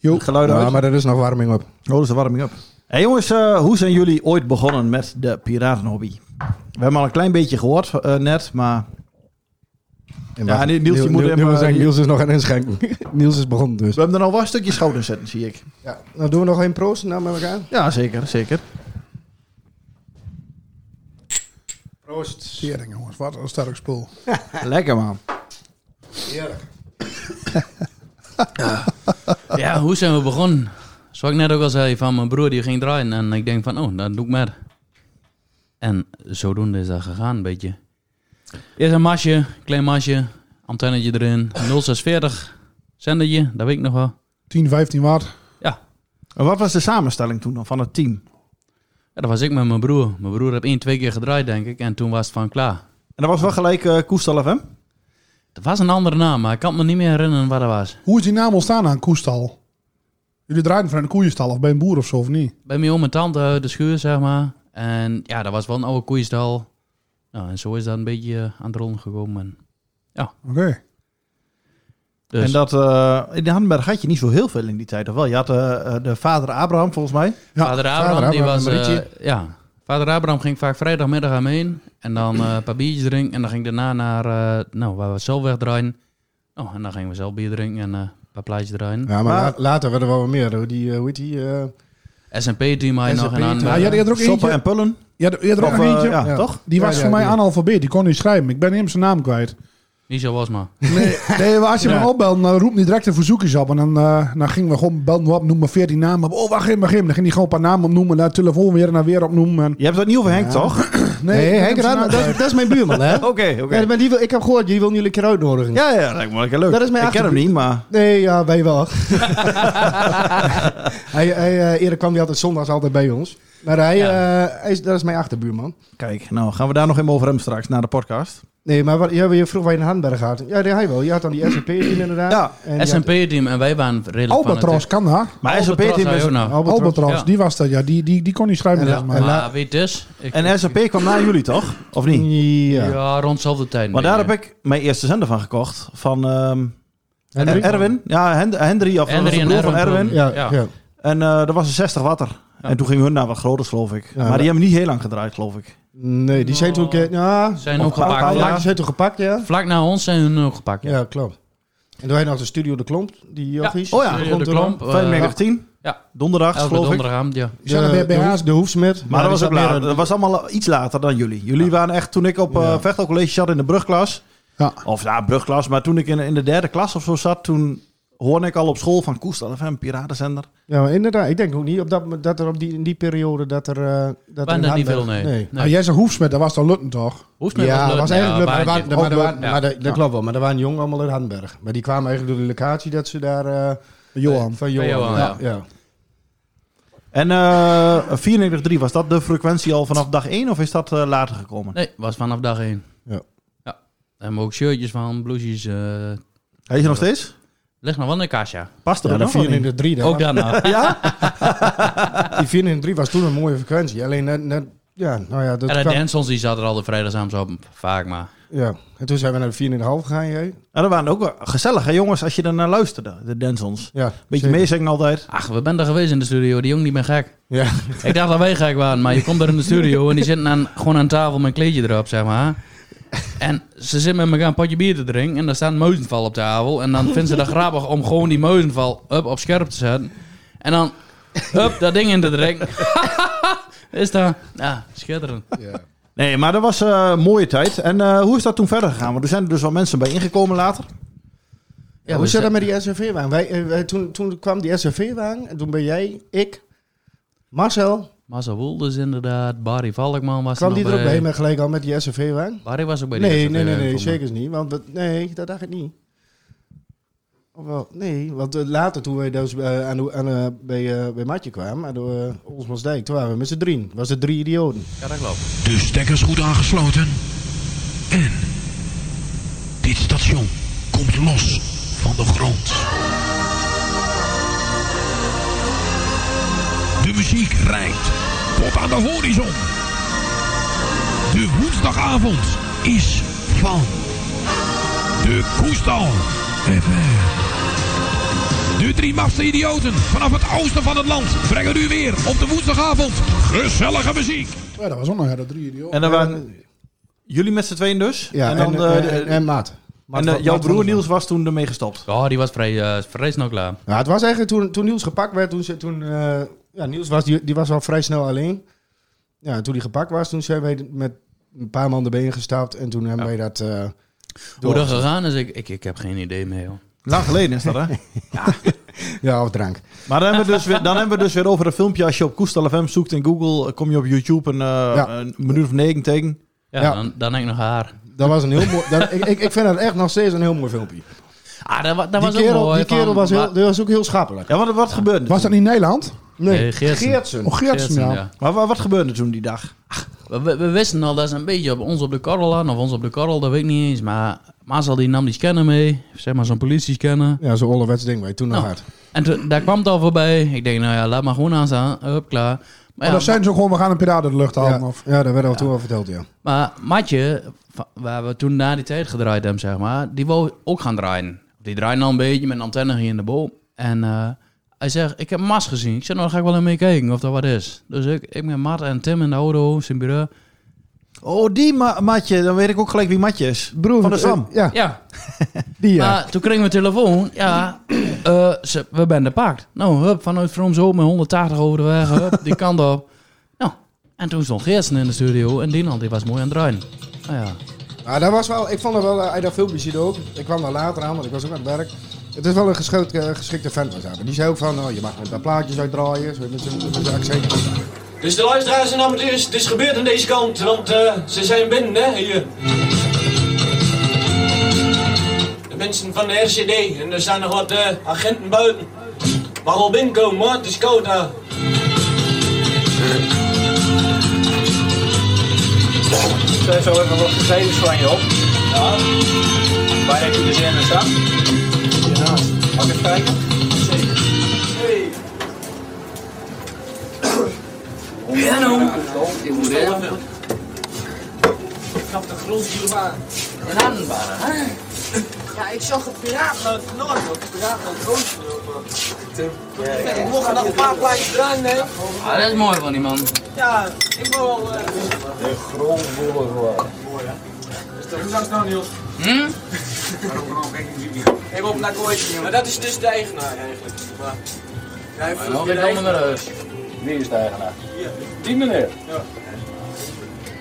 Speaker 3: geluid
Speaker 4: Ja,
Speaker 3: uit.
Speaker 4: maar er is nog warming op.
Speaker 3: Oh, dat is de warming up. hey jongens, eh, hoe zijn jullie ooit begonnen met de piratenhobby? We hebben al een klein beetje gehoord eh, net, maar... Ja, Niels, die moet
Speaker 4: Niels,
Speaker 3: hem, eh, die-
Speaker 4: Niels is nog aan het inschenken. Niels is begonnen dus.
Speaker 3: We hebben er nog wel een stukje schouders zetten, zie ik.
Speaker 4: Ja, dan doen we nog één proost nou met elkaar.
Speaker 3: Ja, zeker, zeker.
Speaker 6: Proost. Sering, jongens. Wat een sterk spul.
Speaker 3: Lekker, man.
Speaker 4: Heerlijk.
Speaker 5: Ja, hoe zijn we begonnen? Zoals ik net ook al zei, van mijn broer die ging draaien. En ik denk van, oh, dat doe ik maar. En zodoende is dat gegaan, een beetje. Eerst een masje, klein masje, antennetje erin, 0640, zendertje, dat weet ik nog wel.
Speaker 6: 10, 15 watt.
Speaker 3: En wat was de samenstelling toen dan van het team?
Speaker 5: Ja, dat was ik met mijn broer. Mijn broer heb één, twee keer gedraaid, denk ik. En toen was het van klaar.
Speaker 3: En dat was wel gelijk eh Koestal FM?
Speaker 5: Er was een andere naam, maar ik kan me niet meer herinneren wat dat was.
Speaker 6: Hoe is die naam ontstaan aan koestal? Jullie draaiden van een koeienstal of bij een boer of zo, of niet?
Speaker 5: Bij mijn oom en tante uit de schuur, zeg maar. En ja, dat was wel een oude koeistal. Nou, en zo is dat een beetje eh, aan de rollen gekomen. En,
Speaker 6: Oké.
Speaker 5: dus,
Speaker 3: En dat, eh, in de Handenberg had je niet zo heel veel in die tijd, of wel? Je had eh, eh, de vader Abraham, volgens mij.
Speaker 6: Ja,
Speaker 5: vader Abraham, die
Speaker 6: Abraham
Speaker 5: was...
Speaker 6: en Marietje.
Speaker 5: eh, ja, vader Abraham ging vaak vrijdagmiddag aan me heen. En dan eh, een paar biertjes drinken. En dan ging ik daarna naar, eh, nou, waar we zelf wegdraaien. Oh, en dan gingen we zelf bier drinken en eh, een paar plaatjes draaien.
Speaker 4: Ja, maar,
Speaker 3: Maar-
Speaker 4: la- later werden we wel meer. hoor. Die, eh, hoe heet die? eh,
Speaker 5: S&P-team had je nog
Speaker 4: S&P
Speaker 5: een aan.
Speaker 6: Ja, je had eerder ook
Speaker 3: Soppen
Speaker 6: eentje.
Speaker 3: en Pullen.
Speaker 6: Je had eerder ook
Speaker 3: Of,
Speaker 6: een
Speaker 3: eh,
Speaker 6: eentje.
Speaker 3: ja, toch?
Speaker 6: Die
Speaker 4: Ja,
Speaker 6: was
Speaker 4: ja,
Speaker 6: voor mij
Speaker 4: die.
Speaker 6: analfabeet. Die kon niet schrijven. Ik ben hem zijn naam kwijt.
Speaker 5: Michel Wasma.
Speaker 6: Nee, nee maar als je me opbelt, dan roep niet direct de verzoekjes op. En dan, eh, dan gingen we gewoon bellen we op, noem maar 14 namen op. Oh, wacht even, wacht even. Dan ging hij gewoon een paar namen opnoemen. Daar telefoon weer en dan weer opnoemen. En,
Speaker 3: Je hebt dat niet over Henk, toch?
Speaker 4: Nee,
Speaker 6: ik ben hem zijn
Speaker 4: Henk Radema,
Speaker 6: naam
Speaker 4: dat, is- dat is mijn buurman, hè?
Speaker 3: Oké,
Speaker 4: Ja,
Speaker 3: oké.
Speaker 4: maar die wil, ik heb gehoord, die wil jullie een keer uitnodigen.
Speaker 3: Ja, ja, lijkt me lekker leuk.
Speaker 4: Dat is mijn
Speaker 3: ik ken hem
Speaker 4: achterbuurt.
Speaker 3: niet, maar...
Speaker 4: Nee, ja, wij wel. hij, hij, eh, eerder kwam hij altijd zondags altijd bij ons. Maar hij, eh, hij is, dat is mijn achterbuurman.
Speaker 3: Kijk, nou gaan we daar nog even over hebben straks, na de podcast.
Speaker 4: Nee, maar wat, ja, je vroeg waar je in Handberg had. Ja, die hij wel. Je had dan die SNP-team inderdaad.
Speaker 3: Ja,
Speaker 4: En die had-
Speaker 5: S&P-team en wij waren redelijk
Speaker 6: Albatros, kan dat?
Speaker 3: Maar
Speaker 5: Albatros
Speaker 3: SAP-team
Speaker 5: had je
Speaker 3: is...
Speaker 5: ook nog.
Speaker 4: Albatros.
Speaker 6: Albatros,
Speaker 5: ja.
Speaker 6: die was dat. Ja, die, die, die kon niet schrijven.
Speaker 3: eh,
Speaker 4: En la-
Speaker 6: volgens mij.
Speaker 4: en la-
Speaker 5: Maar weet dus. ik-
Speaker 3: En SAP kwam na jullie, toch? Of niet?
Speaker 4: Ja.
Speaker 5: Ja, rond dezelfde tijd.
Speaker 3: Maar
Speaker 5: denk
Speaker 3: daar heb ik mijn eerste zender van gekocht. Van ehm,
Speaker 4: Henry?
Speaker 3: Erwin. Ja, Hen- Henry. Of dat was
Speaker 5: Henry
Speaker 3: de
Speaker 5: en
Speaker 3: broer van
Speaker 5: Erwin
Speaker 3: Erwin.
Speaker 4: Ja, ja.
Speaker 5: Ja.
Speaker 3: En eh dat was een 60 watter. En toen gingen hun naar wat groters, geloof ik. maar die hebben niet heel lang gedraaid, geloof ik.
Speaker 4: Nee, die zijn toen... een keer- Ja,
Speaker 5: Zijn
Speaker 3: Of
Speaker 5: ook
Speaker 3: Paul
Speaker 5: gepakt.
Speaker 3: Paul-
Speaker 5: Vlak,
Speaker 4: die zijn toen gepakt, ja.
Speaker 5: vlak na ons zijn hun ook gepakt.
Speaker 4: Ja, klopt. En toen had je nog de Studio De Klomp, die eh, jochies.
Speaker 3: Oh ja,
Speaker 5: Studio de
Speaker 4: toen dan.
Speaker 5: klomp. eh,
Speaker 3: 510.
Speaker 5: ja.
Speaker 3: Donderdag,
Speaker 5: Elke
Speaker 3: geloof ik.
Speaker 5: donderdagavond, ja.
Speaker 4: Die zaten bij- bij
Speaker 6: de
Speaker 4: Haas, de Hoefsmet.
Speaker 3: Maar dat was, ook
Speaker 4: die zat Nou,
Speaker 3: later.
Speaker 4: meer
Speaker 3: dat was allemaal iets later dan jullie. Jullie waren echt, toen ik op eh vechtelcollege zat in de brugklas.
Speaker 6: Ja.
Speaker 3: Of ja, brugklas. Maar toen ik in, in de derde klas of zo zat, toen hoorde ik al op school van Koestal FM, piratenzender.
Speaker 4: in- Ja, maar inderdaad. Ik denk ook niet op dat, dat er op die, in die periode dat er... eh, dat
Speaker 5: Waren
Speaker 4: in
Speaker 5: er niet veel,
Speaker 4: Hardenberg-
Speaker 5: nee.
Speaker 6: Ah, jij zei Hoefsmet, dat was dan Lutten toch?
Speaker 5: Hoeft niet,
Speaker 4: Ja,
Speaker 5: leuk.
Speaker 4: dat was
Speaker 5: Ja,
Speaker 4: eigenlijk leuk. Maar,
Speaker 5: baantje. Oh,
Speaker 4: er waren- maar, er waren-
Speaker 5: Ook leuk.
Speaker 4: maar er- dat klopt wel. Maar er waren jongen allemaal uit Handberg. Maar die kwamen eigenlijk door de locatie dat ze daar... eh,
Speaker 6: Johan.
Speaker 4: Van Johan,
Speaker 5: Johan,
Speaker 4: ja.
Speaker 5: ja.
Speaker 4: ja.
Speaker 3: En eh 94.3, was dat de frequentie al vanaf dag 1 of is dat eh, later gekomen?
Speaker 5: Nee, was vanaf dag één.
Speaker 4: Ja.
Speaker 5: ja. Daar hebben we ook shirtjes van, blouses. eh
Speaker 3: Heet je nog steeds?
Speaker 5: ligt nog wel in de kasja.
Speaker 3: Past er
Speaker 4: Ja,
Speaker 3: ook
Speaker 4: de
Speaker 3: nog wel
Speaker 4: 4 in
Speaker 3: in?
Speaker 4: de 3.
Speaker 5: Ook nou. daarna.
Speaker 3: Ja?
Speaker 4: Die 4 in de 3 was toen een mooie frequentie. Alleen net... net- ja, nou ja, dat
Speaker 5: en de
Speaker 4: kwam-
Speaker 5: Dansons die zat er al de vrijdagavond op, vaak maar.
Speaker 4: ja. En toen zijn we naar de 4 in de half gegaan, jij.
Speaker 3: Nou, dat waren ook wel gezellig, hè jongens, als je daarnaar luisterde, de Densons.
Speaker 4: Ja.
Speaker 3: Beetje
Speaker 4: zeker.
Speaker 3: meezingen altijd.
Speaker 5: Ach, we zijn er geweest in de studio. Die jongen die ben gek.
Speaker 4: Ja.
Speaker 5: Ik dacht dat wij gek waren, maar je komt daar in de studio en die zitten aan, gewoon aan tafel met een kleedje erop, zeg maar. En ze zitten met elkaar een potje bier te drinken en daar staat een muizenval op tafel. En dan vinden ze dat grappig om gewoon die muizenval up op scherp te zetten. En dan up dat ding in te drinken. Is dat... Ja, schitterend.
Speaker 3: Nee, maar dat was eh, een mooie tijd. En eh, hoe is dat toen verder gegaan? Want er zijn er dus wel mensen bij ingekomen later.
Speaker 4: Ja, hoe zit dat met die SUV-wagen? Wij, eh, wij- toen, toen kwam die SUV-wagen en toen ben jij, ik, Marcel,
Speaker 5: Marcel Woelders inderdaad, Barry Valkman was
Speaker 4: kwam
Speaker 5: er
Speaker 4: die
Speaker 5: nog
Speaker 4: er ook bij
Speaker 5: bij.
Speaker 4: met gelijk al met die SUV-wagen?
Speaker 5: Barry was ook bij die
Speaker 4: Nee,
Speaker 5: SRV
Speaker 4: nee, nee, nee,
Speaker 5: volgens mij.
Speaker 4: zeker niet. Want dat- nee, dat dacht ik niet. Of wel, nee, want eh, later toen wij dus, eh, aan, de- aan, eh, bij, eh, bij Matje kwamen, aan de eh, Olsmansdijk, toen waren we met z'n drieën. was de drie idioten.
Speaker 5: Ja, dat klopt.
Speaker 12: De stekkers goed aangesloten. En dit station komt los van de grond. De muziek reikt tot aan de horizon. De woensdagavond is van de Koestal FM.
Speaker 1: De drie mafste idioten vanaf het oosten van het land brengen u weer op de woensdagavond gezellige muziek.
Speaker 6: Ja, dat was ook nog, ja, dat drie idioten.
Speaker 3: En dan waren jullie met z'n tweeën dus?
Speaker 4: Ja,
Speaker 3: dan,
Speaker 4: en,
Speaker 3: eh,
Speaker 4: en-
Speaker 3: de-
Speaker 4: en- en Maat. Maat
Speaker 3: En eh,
Speaker 4: van-
Speaker 3: jouw
Speaker 4: Maat van
Speaker 3: broer
Speaker 4: der
Speaker 3: Niels was toen ermee gestopt.
Speaker 5: Oh, die was vrij, eh, vrij snel klaar.
Speaker 4: Ja, Nou, het was eigenlijk toen, toen Niels gepakt werd, toen, ze- toen eh, ja, Niels was, die, die was al vrij snel alleen. Ja, en toen hij gepakt was, toen zijn wij met een paar man de benen gestapt en toen hebben wij dat... eh,
Speaker 5: Hoe dat
Speaker 4: doorgezet.
Speaker 5: gegaan is, ik, ik, ik heb geen idee meer, joh.
Speaker 3: Lang geleden is dat, hè?
Speaker 4: Ja, of drank.
Speaker 3: Maar dan hebben, we dus weer, dan hebben we dus weer over een filmpje. Als je op Koestal FM zoekt in Google, eh, kom je op YouTube een, eh, een minuut of negen tegen.
Speaker 5: Ja,
Speaker 4: Ja.
Speaker 5: Dan, dan heb ik nog haar.
Speaker 4: Dat was een heel mooi... dat- ik, ik, ik vind dat echt nog steeds een heel mooi filmpje.
Speaker 5: Ah, dat, wa- dat
Speaker 4: die
Speaker 5: was
Speaker 4: kerel,
Speaker 5: ook mooi.
Speaker 4: die kerel
Speaker 5: van-
Speaker 4: was, heel,
Speaker 5: maar-
Speaker 4: die was ook heel schappelijk.
Speaker 3: Ja, wat, wat gebeurde
Speaker 6: Was dat niet Nederland?
Speaker 4: Nee,
Speaker 5: Nee, Geertsen.
Speaker 4: Geertsen.
Speaker 6: Oh, Geertsen, ja.
Speaker 3: Maar wa- wat gebeurde toen die dag?
Speaker 5: We, we- we wisten al dat ze een beetje op ons op de korrel hadden, of ons op de korrel, dat weet ik niet eens. Maar Mazel die nam die scanner mee, zeg maar zo'n politiescanner.
Speaker 4: Ja, zo'n onderwets ding, wij toen nog
Speaker 5: Nou,
Speaker 4: hard.
Speaker 5: En toen- daar kwam het al voorbij. Ik denk, nou ja, laat maar gewoon aanstaan. Hup, klaar. Maar,
Speaker 6: Maar
Speaker 5: ja,
Speaker 6: dan zijn ze gewoon, we gaan een piraat uit de lucht halen.
Speaker 4: Ja,
Speaker 6: Of...
Speaker 4: ja, dat werd al toen al verteld, ja.
Speaker 5: maar Matje, va- waar we toen na die tijd gedraaid hebben, zeg maar, die wou ook gaan draaien. Die draaide al een beetje met een antenne hier in de boom. En eh, hij zegt, ik heb Mas gezien. Ik zeg, nou, dan ga ik wel even mee kijken of dat wat is. Dus ik, ik met Mart en Tim in de auto, zijn bureau.
Speaker 3: Oh, die ma- Matje. Dan weet ik ook gelijk wie Matje is.
Speaker 4: Broer,
Speaker 3: Van de Sam.
Speaker 4: eh, ja,
Speaker 5: Ja,
Speaker 4: die ja.
Speaker 5: Maar toen kregen we een telefoon. Ja, eh, ze- we zijn de paard. Nou, hup, vanuit Vroom zo met 180 over de weg. Hup, die kant op. Nou, en toen stond Geertsen in de studio. En Dinald, die was mooi aan het draaien. Nou ja.
Speaker 4: Ja, dat was wel, ik vond het wel, eh, hij dat filmpje ziet ook. Ik kwam daar later aan, want ik was ook aan het werk. Het is wel een geschikt, eh, geschikte vent was hij. Maar Die zei ook van, oh, je mag met daar plaatjes uitdraaien, zo met zijn met zijn accent.
Speaker 13: Dus de luisteraars en amateurs, het is gebeurd aan deze kant, want eh, ze zijn binnen, hè, hier. De mensen van de RCD, en er staan nog wat eh, agenten buiten. Mag wel binnenkomen, hoor, het is koud daar.
Speaker 14: Zet zo even wat gegevens van je op. Ja. Waar heb je de zender staan? Ja. Mag ik even kijken? Zeker. Hey.
Speaker 13: Hallo.
Speaker 14: Ik moet even.
Speaker 5: Ah,
Speaker 13: Ik heb de grond hier maar. Landbare, hè? Ja, ik zag een piraat uit het noorden, een piraat uit het oosten.
Speaker 14: ja.
Speaker 13: Ik mocht nog een paar plaatjes draaien, hè?
Speaker 5: Ah, dat is mooi van die man.
Speaker 13: Ja, ik wil wel... eh,
Speaker 14: De grond voelen gewoon.
Speaker 13: Hoe dat nou, Niels?
Speaker 14: Hm?
Speaker 13: Ik wil op naar Kooitje, maar dat is dus de eigenaar eigenlijk. Maar, ja, hij de
Speaker 14: nog niet
Speaker 13: eigenaar.
Speaker 14: allemaal naar huis. Wie is de eigenaar? Die meneer.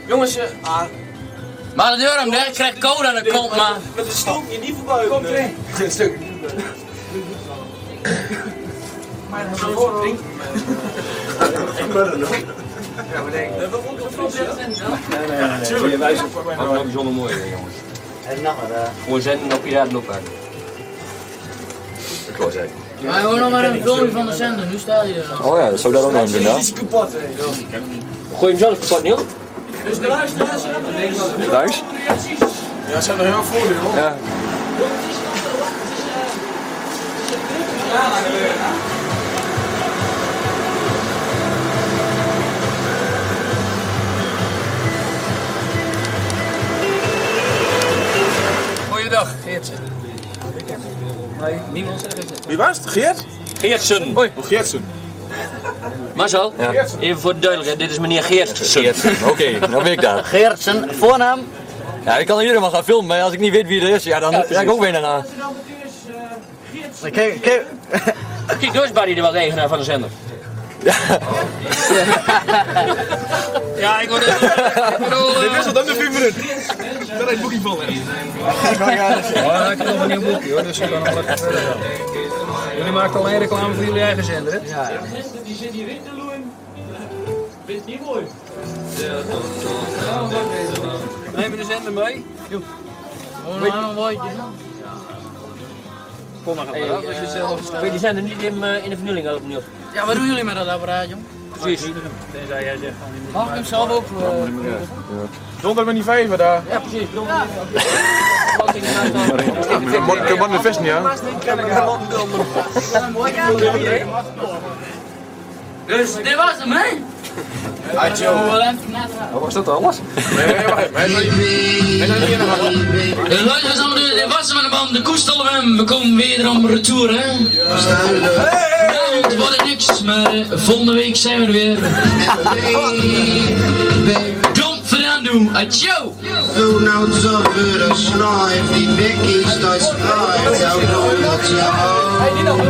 Speaker 13: Jongens, eh, ah.
Speaker 14: Maar de deur hem dicht, krijgt code aan de kont, man.
Speaker 13: Met een stoomje niet voorbij. Kom erin. Een stuk niet voorbij. Maar dat is een woord, denk ik. Ik ben er nog. Ja, we denken. We moeten op ons zetten,
Speaker 14: Nee, nee, nee.
Speaker 13: Tuurlijk.
Speaker 14: Je wijst op mij. Dat is bijzonder mooi, hè, jongens. En nog maar. Gewoon zenden op piraten oppakken. Ik wou zeggen.
Speaker 5: Maar hoor nog maar een filmpje van de zender. Nu sta je er.
Speaker 14: Oh ja, dat zou dat ook nog doen, hè?
Speaker 13: is kapot, hè.
Speaker 14: Gooi hem zelf kapot, Niel.
Speaker 13: Dus de luisteraars hebben er
Speaker 14: Thuis?
Speaker 13: Ja, ze zijn er heel voor, joh.
Speaker 14: Ja.
Speaker 13: Goeiedag, Geertsen.
Speaker 14: Wie was het? Geert? Geertsen. Hoi. Geertsen.
Speaker 15: Marcel, even voor de duidelijkheid, dit is meneer Geertsen. Oké,
Speaker 14: dan ben ik daar.
Speaker 15: Geertsen, voornaam?
Speaker 14: Ja, ik kan iedereen maar gaan filmen, maar als ik niet weet wie er is, ja, dan
Speaker 15: Ja,
Speaker 14: ga ik ook weer eh, naar.
Speaker 15: Kijk, kijk. Kijk, dus Barry, die was eigenaar van de zender.
Speaker 14: Ja, ik word er. Dit
Speaker 15: eh,
Speaker 14: is al dan de vier minuten. Dat is boekie vallen. Ja,
Speaker 15: ik heb een nieuw boekje hoor, dus ik kan wel even verder gaan. Jullie maken alleen reclame voor jullie eigen zender, hè? Ja, ja.
Speaker 13: Die zit hier in te loeien. Vindt niet mooi.
Speaker 15: Neem je de zender mee?
Speaker 5: een woordje.
Speaker 15: Kom maar,
Speaker 5: Hey,
Speaker 15: als je
Speaker 5: eh,
Speaker 15: zelf
Speaker 5: eh,
Speaker 15: staat. Die zender niet in, eh, in de vernieling al opnieuw.
Speaker 5: Ja, wat doen jullie met dat apparaat, jong?
Speaker 15: Precies. Tenzij jij zegt van die
Speaker 5: Mag ik hem zelf ook? eh,
Speaker 14: Donder met die vijver daar.
Speaker 15: Ja, precies.
Speaker 14: Kun man de vest niet aan?
Speaker 13: Dus,
Speaker 15: Dus, dit was hem, hè?
Speaker 13: Adjo. Oh, was dat alles? Nee, wacht. Wij zijn hier nog
Speaker 5: Eh,
Speaker 14: De luiders aan de, de wassen van de band, de koestal hem. We komen weer om retour, hè? Vanavond wordt Nou, het niks, maar eh, volgende week zijn we er weer. Dom vandaan doen, adjo! Doe nou zo voor een snuif, die Becky staat schuif. Jou doen wat je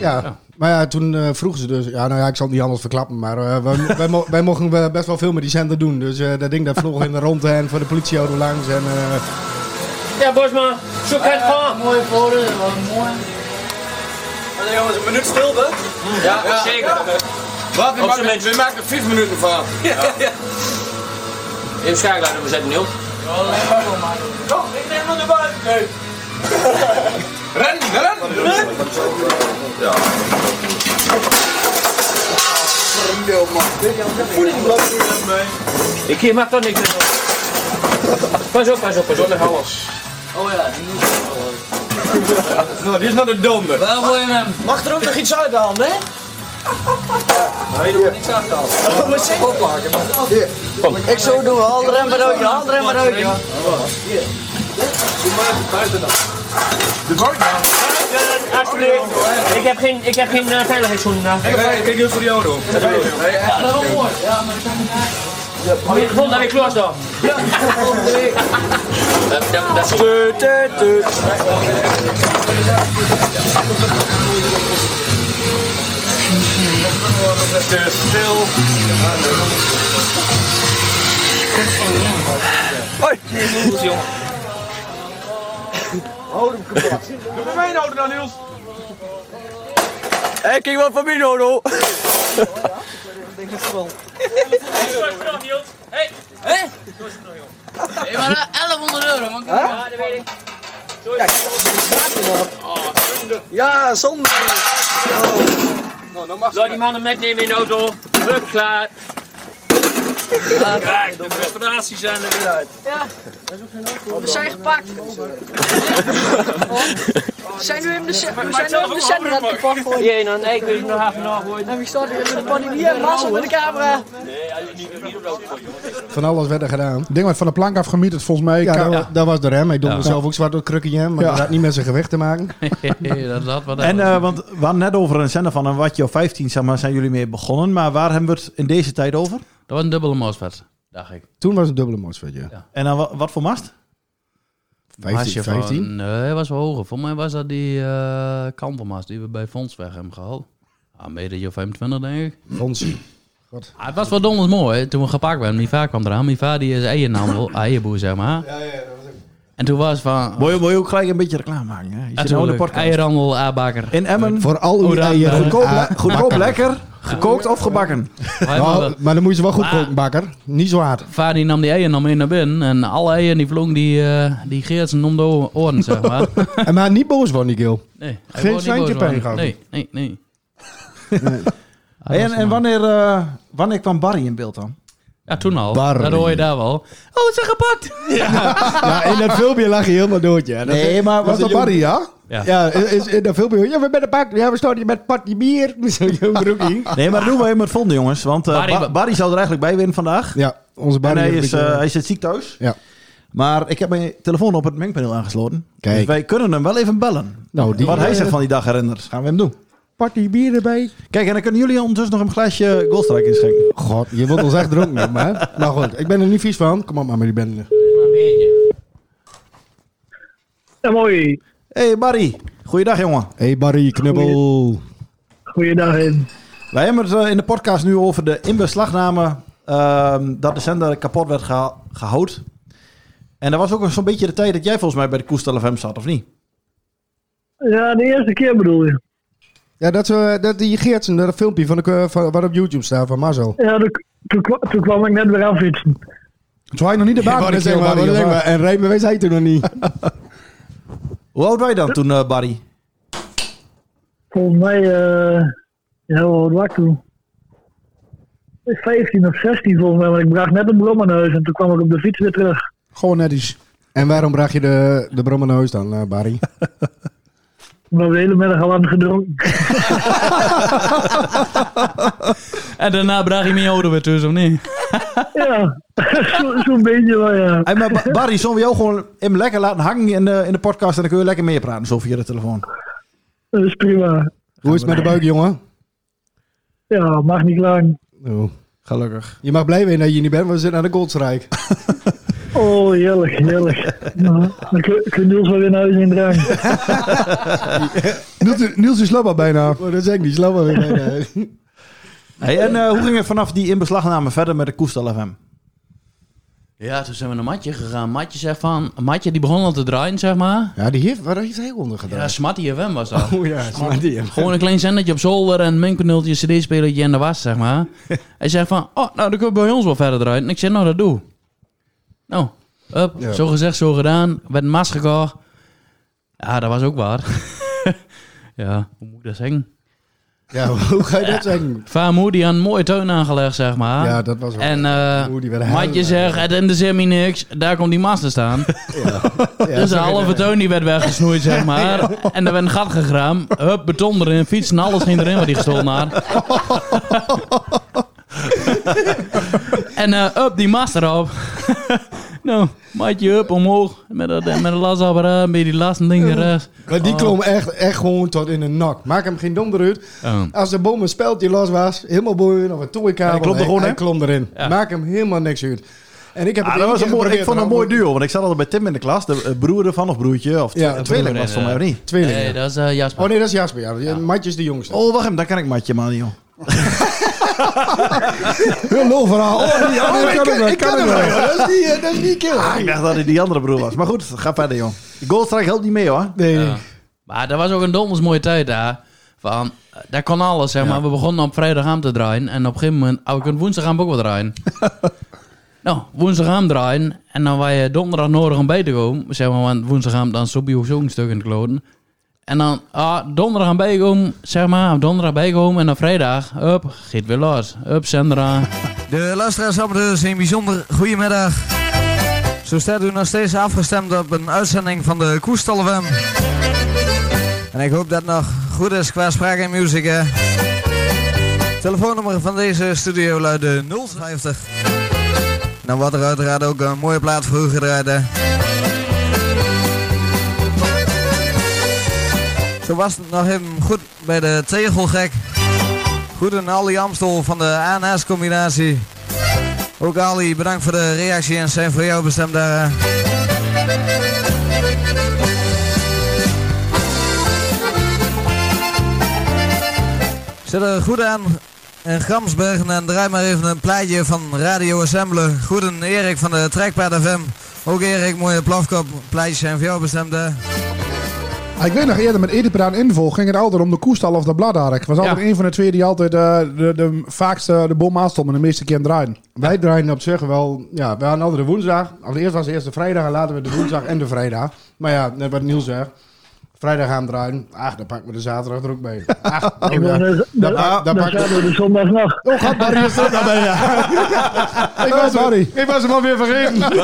Speaker 4: Ja. Maar ja, toen eh, vroegen ze dus... Ja, nou ja, ik zal het niet anders verklappen, maar eh, wij, wij, mo- wij mochten eh, best wel veel met die zender doen. Dus eh, dat ding dat vloog in de rondte en voor de politie houden langs. En, eh,
Speaker 14: Ja, Bosma, zoek het gewoon. Mooi voor wat mooi.
Speaker 13: Allee jongens, een minuut stilte.
Speaker 14: Ja, zeker.
Speaker 13: Wat? We
Speaker 14: Op
Speaker 13: maken,
Speaker 14: zijn minst.
Speaker 13: we maken vijf minuten van. Ja.
Speaker 14: Even schakelen we zetten, joh.
Speaker 13: Kom, ik neem hem erbij. Nee. Ren, ren, ren. Ja.
Speaker 14: Ik hier mag toch niks meer. Pas op, pas op, pas op. Zonder alles. Oh ja, die moet
Speaker 13: Nou, dit is nou de donder.
Speaker 14: Wel voor je hem.
Speaker 13: Mag er ook nog iets uit de hand, hè? Nee, doe niks aan de hand.
Speaker 14: Oh,
Speaker 13: Wat zeg je?
Speaker 14: Ik zo doen, haal er maar uit, haal er maar uit.
Speaker 13: Hier. Doe maar even buiten dan. De bank dan.
Speaker 14: Alsjeblieft. Ik heb geen, ik heb geen eh, veiligheidszoen. eh.
Speaker 13: Kijk eens voor jou, doen.
Speaker 14: Ja, dat is mooi. Ja, maar ik kan niet uit. Ik vond dat ik kloos dan. Ja, dat dat- dat is goed.
Speaker 13: Stil. Hoi. jongen. Houd hem kapot. Doe maar mijn houden dan, Niels. Hé, kijk wat van mij, Nodo.
Speaker 14: denk het wel. Hé, hé! Hé, maar eh, 1100 euro, man. Ja, dat weet ik. Oh,
Speaker 13: Ja, zonder.
Speaker 14: Laat die mannen metnemen in de auto. Hup, klaar. Kijk, de prestaties zijn er weer uit.
Speaker 8: Oh,
Speaker 14: Ja,
Speaker 8: We zijn gepakt. We zijn nu in de cel- we zijn nu in de cel aan het gepakt worden.
Speaker 14: Jee, dan ik wil nog even nagooien.
Speaker 8: En wie staat hier met de pandemie en massa met de camera?
Speaker 4: van alles werd er gedaan.
Speaker 6: Het ding werd van de plank afgemieterd volgens mij.
Speaker 4: Ja,
Speaker 6: Ka-
Speaker 4: dat, dat was de rem. Ik doe
Speaker 6: Ja.
Speaker 4: mezelf ook zwart door het krukje, maar
Speaker 6: Ja.
Speaker 4: dat had niet met zijn gewicht te maken.
Speaker 5: dat had wat
Speaker 3: En eh, want we hadden net over een zender van een watje of 15, zeg maar, zijn jullie mee begonnen. Maar waar hebben we het in deze tijd over?
Speaker 5: Dat was een dubbele mosfet, dacht ik.
Speaker 4: Toen was het dubbele mosfet, ja.
Speaker 3: En dan wa- wat voor mast?
Speaker 4: 15,
Speaker 5: Maasje van-
Speaker 4: 15?
Speaker 5: nee, het was wel hoger. Voor mij was dat die eh kantelmaas die we bij Fondsweg hebben gehaald. Ah, mede of 25, denk ik.
Speaker 4: Fonsie.
Speaker 5: Ah, het was wel donders mooi hè, toen we gepakt werden. Miva kwam eraan. Miva die is eierhandel, eierboer zeg maar. Ja, ja, dat was En toen was van...
Speaker 3: Mooi, mooi ook gelijk een beetje reclame maken. Hè? Je zit nou in de
Speaker 5: Natuurlijk,
Speaker 3: podcast.
Speaker 5: eierhandel, aanbaker.
Speaker 3: In Emmen. Voor al
Speaker 5: uw eieren.
Speaker 3: Goedkoop, le-
Speaker 5: Ah,
Speaker 3: eh, goedkoop
Speaker 5: bakken.
Speaker 3: lekker. Gekookt of gebakken.
Speaker 4: Nou, maar dan moet je ze wel goed koken, bakker. Niet zo hard.
Speaker 5: Vader die nam die eieren nam mee naar binnen. En alle eieren die vlongen die, eh die Geertsen om de o- oren, zeg maar.
Speaker 4: En maar niet boos worden, die keel.
Speaker 5: Nee, hij
Speaker 4: Geen
Speaker 5: wou niet boos
Speaker 4: centje
Speaker 5: worden.
Speaker 4: pijn gehad.
Speaker 5: Nee, nee, nee.
Speaker 3: en en wanneer, eh, wanneer kwam Barry in beeld dan?
Speaker 5: Ja, toen al.
Speaker 3: Barry.
Speaker 5: Dat hoor je daar wel. Oh, ze gepakt!
Speaker 4: Ja, in dat filmpje lag je helemaal dood, ja. Dat-
Speaker 3: Nee, maar
Speaker 4: was
Speaker 3: was
Speaker 4: dat
Speaker 3: het
Speaker 4: Barry, ja?
Speaker 3: jong-
Speaker 4: Ja,
Speaker 3: Ja.
Speaker 4: is, in dat filmpje. Ja, we zijn een pak. Ja, we staan hier met potje bier. Zo'n jong broekie.
Speaker 3: Nee, maar doen we even het volgende, jongens. Want eh, Ba-
Speaker 4: Barry-
Speaker 3: Barry, zou er eigenlijk bij winnen vandaag.
Speaker 4: Ja, onze Barry
Speaker 3: En hij,
Speaker 4: heeft
Speaker 3: is,
Speaker 4: een beetje-
Speaker 3: eh, hij zit ziek thuis.
Speaker 4: Ja.
Speaker 3: Maar ik heb mijn telefoon op het mengpaneel aangesloten.
Speaker 4: Kijk.
Speaker 3: Dus wij kunnen hem wel even bellen.
Speaker 4: Nou, die-
Speaker 3: Wat hij
Speaker 4: eh,
Speaker 3: zegt van die dag herinnert. Gaan we hem doen.
Speaker 4: Potje bier erbij.
Speaker 3: Kijk, en dan kunnen jullie ondertussen nog een glaasje Goldstrike inschenken.
Speaker 4: God, je wordt ons echt dronken, hebben, hè? Maar goed, ik ben er niet vies van. Kom op maar met die bende.
Speaker 15: Ja, mooi.
Speaker 3: Hey Barry. Goeiedag, jongen.
Speaker 4: Hey Barry, knubbel.
Speaker 15: Goeiedag, Hen.
Speaker 3: Wij hebben het eh, in de podcast nu over de inbeslagname ehm, dat de zender kapot werd geha- gehouden. En dat was ook zo'n beetje de tijd dat jij volgens mij bij de Koestel FM zat, of niet?
Speaker 15: Ja, de eerste keer bedoel je.
Speaker 4: Ja, dat, ze dat die Geertsen, dat filmpje van de, eh, van, wat op YouTube staat van Marcel.
Speaker 15: Ja, toen, toen, kwa- toen kwam ik net weer affietsen.
Speaker 4: Toen was nog niet de
Speaker 15: Ja,
Speaker 4: baan.
Speaker 15: maar
Speaker 4: zeg
Speaker 15: dat
Speaker 4: maar,
Speaker 15: is helemaal
Speaker 4: zeg
Speaker 15: niet
Speaker 4: maar. En rijbewijs hij toen nog niet.
Speaker 3: Hoe oud wij dan toen, eh, Barry?
Speaker 15: Volgens mij, eh ja, hoe oud was ik toen? 15 of 16 volgens mij, want ik bracht net een brommerneus Dus, en toen kwam ik op de fiets weer terug.
Speaker 4: Gewoon net iets. En waarom bracht je de, de brommer naar huis dan, eh, Barry?
Speaker 15: We hebben de hele middag al aan gedronken.
Speaker 5: En daarna bracht je mijn ouder weer tussen, of niet?
Speaker 15: Ja, zo'n beetje wel, ja.
Speaker 3: Hey, maar Ba- Barry, zullen we jou gewoon hem lekker laten hangen in de, in de podcast... en dan kun je lekker meer praten, zo via de telefoon.
Speaker 15: Dat is prima.
Speaker 3: Hoe is het met de buik, jongen?
Speaker 15: Ja, mag niet lang.
Speaker 4: Oh,
Speaker 3: gelukkig.
Speaker 4: Je mag blij zijn dat je hier niet bent, want we zitten aan de Goldsrijk.
Speaker 15: Oh, heerlijk, heerlijk. Nou, dan kun kun Niels wel weer naar huis in drang.
Speaker 6: Niels, Niels is slapper bijna.
Speaker 4: Oh, dat is ik niet slapper weer bijna.
Speaker 3: Hey, en eh, hoe ging het vanaf die inbeslagname verder met de Koestal FM?
Speaker 5: Ja, toen zijn we naar Matje gegaan. Matje zegt van... Matje die begon al te draaien, zeg maar.
Speaker 4: Ja, die heeft, waar heeft hij onder
Speaker 5: Ja,
Speaker 4: gedaan?
Speaker 5: Smarty FM was dat.
Speaker 4: Oh ja, Smarty FM.
Speaker 5: Gewoon een klein zendertje op zolder en een mengpaneeltje, een cd-spelertje en de was, zeg maar. Hij zegt van, oh, nou, dan kunnen we bij ons wel verder eruit. En ik zeg, nou, dat doe. Nou, up,
Speaker 13: Ja.
Speaker 5: zo gezegd, zo gedaan. Werd een mas gekocht. Ja, dat was ook waar. ja, hoe moet ik dat zeggen?
Speaker 4: Ja, hoe ga je dat zeggen?
Speaker 5: Vaarmoe die had een mooie tuin aangelegd, zeg maar.
Speaker 4: Ja, dat was wel-
Speaker 5: En eh,
Speaker 4: Moe, die werd
Speaker 5: Matje
Speaker 4: helemaal-
Speaker 5: zegt, het interesseert me niks. Daar komt die mas te staan.
Speaker 4: Ja,
Speaker 5: dus de
Speaker 4: zo
Speaker 5: halve
Speaker 4: inderdaad.
Speaker 5: tuin die werd weggesnoeid, zeg maar. En er werd een gat gegraamd. Hup, beton erin, fietsen, alles ging erin wat die gestolen had. en eh up, die mast erop. nou, maatje, up, omhoog. Met, dat, eh, met een lasapparaat, een beetje las en ding eruit.
Speaker 4: Maar die
Speaker 5: Oh.
Speaker 4: klom echt, echt gewoon tot in de nak. Maak hem geen donder uit.
Speaker 5: Oh.
Speaker 4: Als de boom een speldje los was, helemaal boeien of een toeikabel.
Speaker 3: Hij klopt er gewoon, hè?
Speaker 4: klom erin.
Speaker 3: Ja.
Speaker 4: Maak hem helemaal niks uit. En ik heb
Speaker 3: Ah,
Speaker 4: het
Speaker 3: dat
Speaker 4: één
Speaker 3: was
Speaker 4: keer
Speaker 3: een mooi, ik vond
Speaker 4: geprobeerd,
Speaker 3: het een mooi duo, want ik zat altijd bij Tim in de klas. De eh, broer ervan, of broertje, of
Speaker 4: Ja,
Speaker 3: ja, tweeling was het voor mij, of niet?
Speaker 4: Tweeling. ja.
Speaker 5: dat is eh, Jasper.
Speaker 4: Oh nee, dat is Jasper. Ja. Matje is de jongste.
Speaker 3: Oh, wacht hem, daar kan ik Matje, man, joh.
Speaker 4: Heel low verhaal.
Speaker 3: Oh, die andere
Speaker 4: ik
Speaker 3: kan
Speaker 4: ken-
Speaker 3: hem wel,
Speaker 4: ik
Speaker 3: kan
Speaker 4: ken
Speaker 3: hem
Speaker 4: hem
Speaker 3: wel.
Speaker 4: wel. Dat is die, eh, dat is die kill.
Speaker 3: Ah, ik dacht dat hij die andere broer was. Maar goed, ga verder, joh. Die Goldstrike helpt niet mee, hoor.
Speaker 4: Nee.
Speaker 5: Ja. Maar dat was ook een donders mooie tijd daar. Van, eh, daar kon alles, zeg maar. We begonnen op vrijdagavond te draaien. En op een gegeven moment... Oh, we kunnen woensdagavond ook wel draaien. nou, woensdagavond draaien. En dan wij je donderdag nodig om bij te komen. Zeg maar, want woensdagavond dan stop je ook zo'n stuk in de kloten. En dan ah, donderdag aan bijkomen, zeg maar. Op donderdag bijkomen. En dan vrijdag, up, giet weer los. Up, zender aan.
Speaker 16: De luisteraars hebben dus een bijzonder goedemiddag. Zo staat u nog steeds afgestemd op een uitzending van de Koestalwem. En ik hoop dat het nog goed is qua spraak en muziek. Hè. Telefoonnummer van deze studio luidt de 050. Dan wordt Nou, er uiteraard ook een mooie plaat voor u gedraaid. Hè. Zo was het nog even goed bij de tegelgek. Goed en Ali Amstel van de ANS-combinatie. Ook Ali, bedankt voor de reactie en zijn voor jou bestemd daar. eh. Zet er goed aan in Gramsbergen en draai maar even een plaatje van Radio Assemble. Goeden Erik van de Trekpaard FM. Ook Erik, mooie plafkop. Plaatjes zijn voor jou bestemd daar.
Speaker 6: Ah, Ik weet nog eerder met Edipedaan Invo ging het altijd om de koestal of de bladark. Was altijd
Speaker 16: Ja.
Speaker 6: een van de twee die altijd eh, de, de, vaakste de boom aanstond en de meeste keer draaien.
Speaker 4: Wij draaien op zich wel... Ja, we hadden altijd de woensdag. Allereerst was het eerst de vrijdag en later weer de woensdag en de vrijdag. Maar ja, net wat Niels zegt. Vrijdag gaan draaien. Ach, dan pak ik me de zaterdag er ook bij. Ach, oh
Speaker 15: Ik
Speaker 4: ja.
Speaker 15: ben, eh,
Speaker 4: Dan
Speaker 15: dan-
Speaker 4: pak- dan
Speaker 15: dan
Speaker 4: pak-
Speaker 15: zijn we de zondag nog.
Speaker 4: Oh, gaat Barry is er daarbij, ja. ik, was hem, ik was hem alweer vergeten.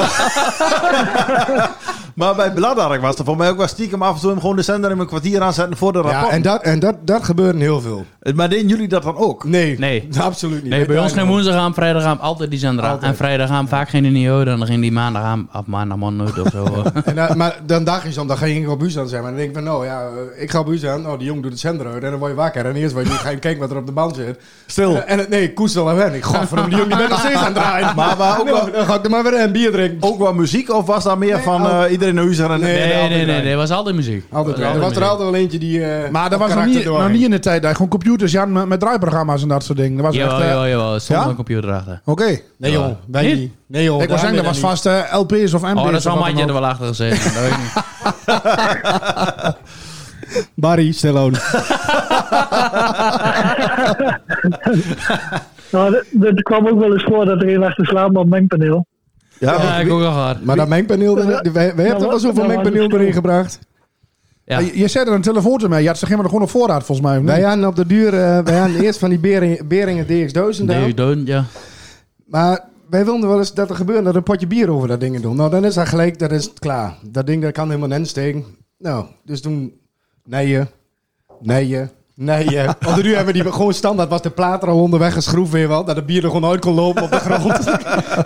Speaker 3: Maar bij Bladark was er voor mij ook wel stiekem af en toe hem gewoon de zender in mijn kwartier aanzetten voor de
Speaker 4: Ja,
Speaker 3: rapport. Eh,
Speaker 4: en dat, en dat, dat gebeurde heel veel.
Speaker 3: Maar deden jullie dat dan ook?
Speaker 4: Nee,
Speaker 5: Nee.
Speaker 4: absoluut niet.
Speaker 5: Nee, bij
Speaker 4: Wij
Speaker 5: ons geen
Speaker 4: draaien
Speaker 5: woensdag aan, vrijdag aan, altijd die zender aan. En vrijdag aan, vaak geen NIO, dan ging die maandag aan, of maandag man nooit of zo.
Speaker 4: En dan- maar dan dacht je soms, dan ging ik op Busan zijn. Maar dan denk ik van, nou ja, eh, ik ga op Busan. Nou, die jong doet het zender uit. En dan word je wakker. En eerst word je, ga je kijken wat er op de band zit. Eh,
Speaker 3: Stil.
Speaker 4: En, en het- nee, koestel en wen. Ik godverdomme, die jong die bent nog steeds aan het draaien.
Speaker 3: Maar, maar ook
Speaker 4: Nou,
Speaker 3: wel-
Speaker 4: dan ga ik er maar weer een bier drinken. oh.
Speaker 3: Ook wel muziek of was daar meer van eh, iedereen naar huis gaan? en-
Speaker 5: Nee, nee, nee, nee, dat was altijd muziek.
Speaker 4: Altijd wel. Er was er altijd wel eentje die... eh,
Speaker 6: Maar dat was
Speaker 4: op
Speaker 6: nog
Speaker 4: karakter
Speaker 6: niet, nog
Speaker 4: doorging.
Speaker 6: niet in de tijd dat je gewoon computers Jan met, met draaiprogramma's en dat soort dingen. Dat was
Speaker 5: Jawel,
Speaker 6: echt, eh,
Speaker 5: jawel, jawel. Er stond
Speaker 6: Ja?
Speaker 5: een computer achter.
Speaker 6: Oké.
Speaker 4: Nee joh, wij
Speaker 6: Niet?
Speaker 4: niet. Nee joh,
Speaker 6: Ik
Speaker 4: daar
Speaker 6: was zeggen, dat
Speaker 4: ben
Speaker 6: was
Speaker 4: ik
Speaker 6: vast eh, LP's of MP's.
Speaker 5: Oh, dat
Speaker 6: of
Speaker 5: zou
Speaker 6: wat dan
Speaker 5: Maatje
Speaker 6: ook.
Speaker 5: er wel achter gezeten. dat weet ik niet.
Speaker 4: Barry, stel aan.
Speaker 15: Nou, dat- dat kwam ook wel eens voor dat er een lag te slapen op mijn paneel.
Speaker 5: Ja, ik ook al gehad.
Speaker 4: Maar dat mengpaneel, wij, wij
Speaker 15: Nou,
Speaker 4: hebben er wel
Speaker 15: wat-
Speaker 4: zoveel
Speaker 15: nou,
Speaker 4: mengpaneel
Speaker 15: wat-
Speaker 4: erin gebracht.
Speaker 5: Ja.
Speaker 6: Je, je zette er een telefoontje mee. Je had ze helemaal gewoon op voorraad volgens mij. of niet?
Speaker 4: Wij hadden op de duur, eh, wij hadden eerst van die Beringen, Beringen DX1000
Speaker 5: Nee,
Speaker 4: daar.
Speaker 5: u don't, ja.
Speaker 4: Maar wij wilden wel eens dat er gebeurde dat er een potje bier over dat ding doen. Nou, dan is dat gelijk, dat is het klaar. Dat ding dat kan helemaal net steken. Nou, dus toen, nee, Nee, je. Nee, je. Want nu hebben we die gewoon standaard. Was de plaat er al onderweg geschroefd weer wel. Dat de bier er gewoon uit kon lopen op de grond.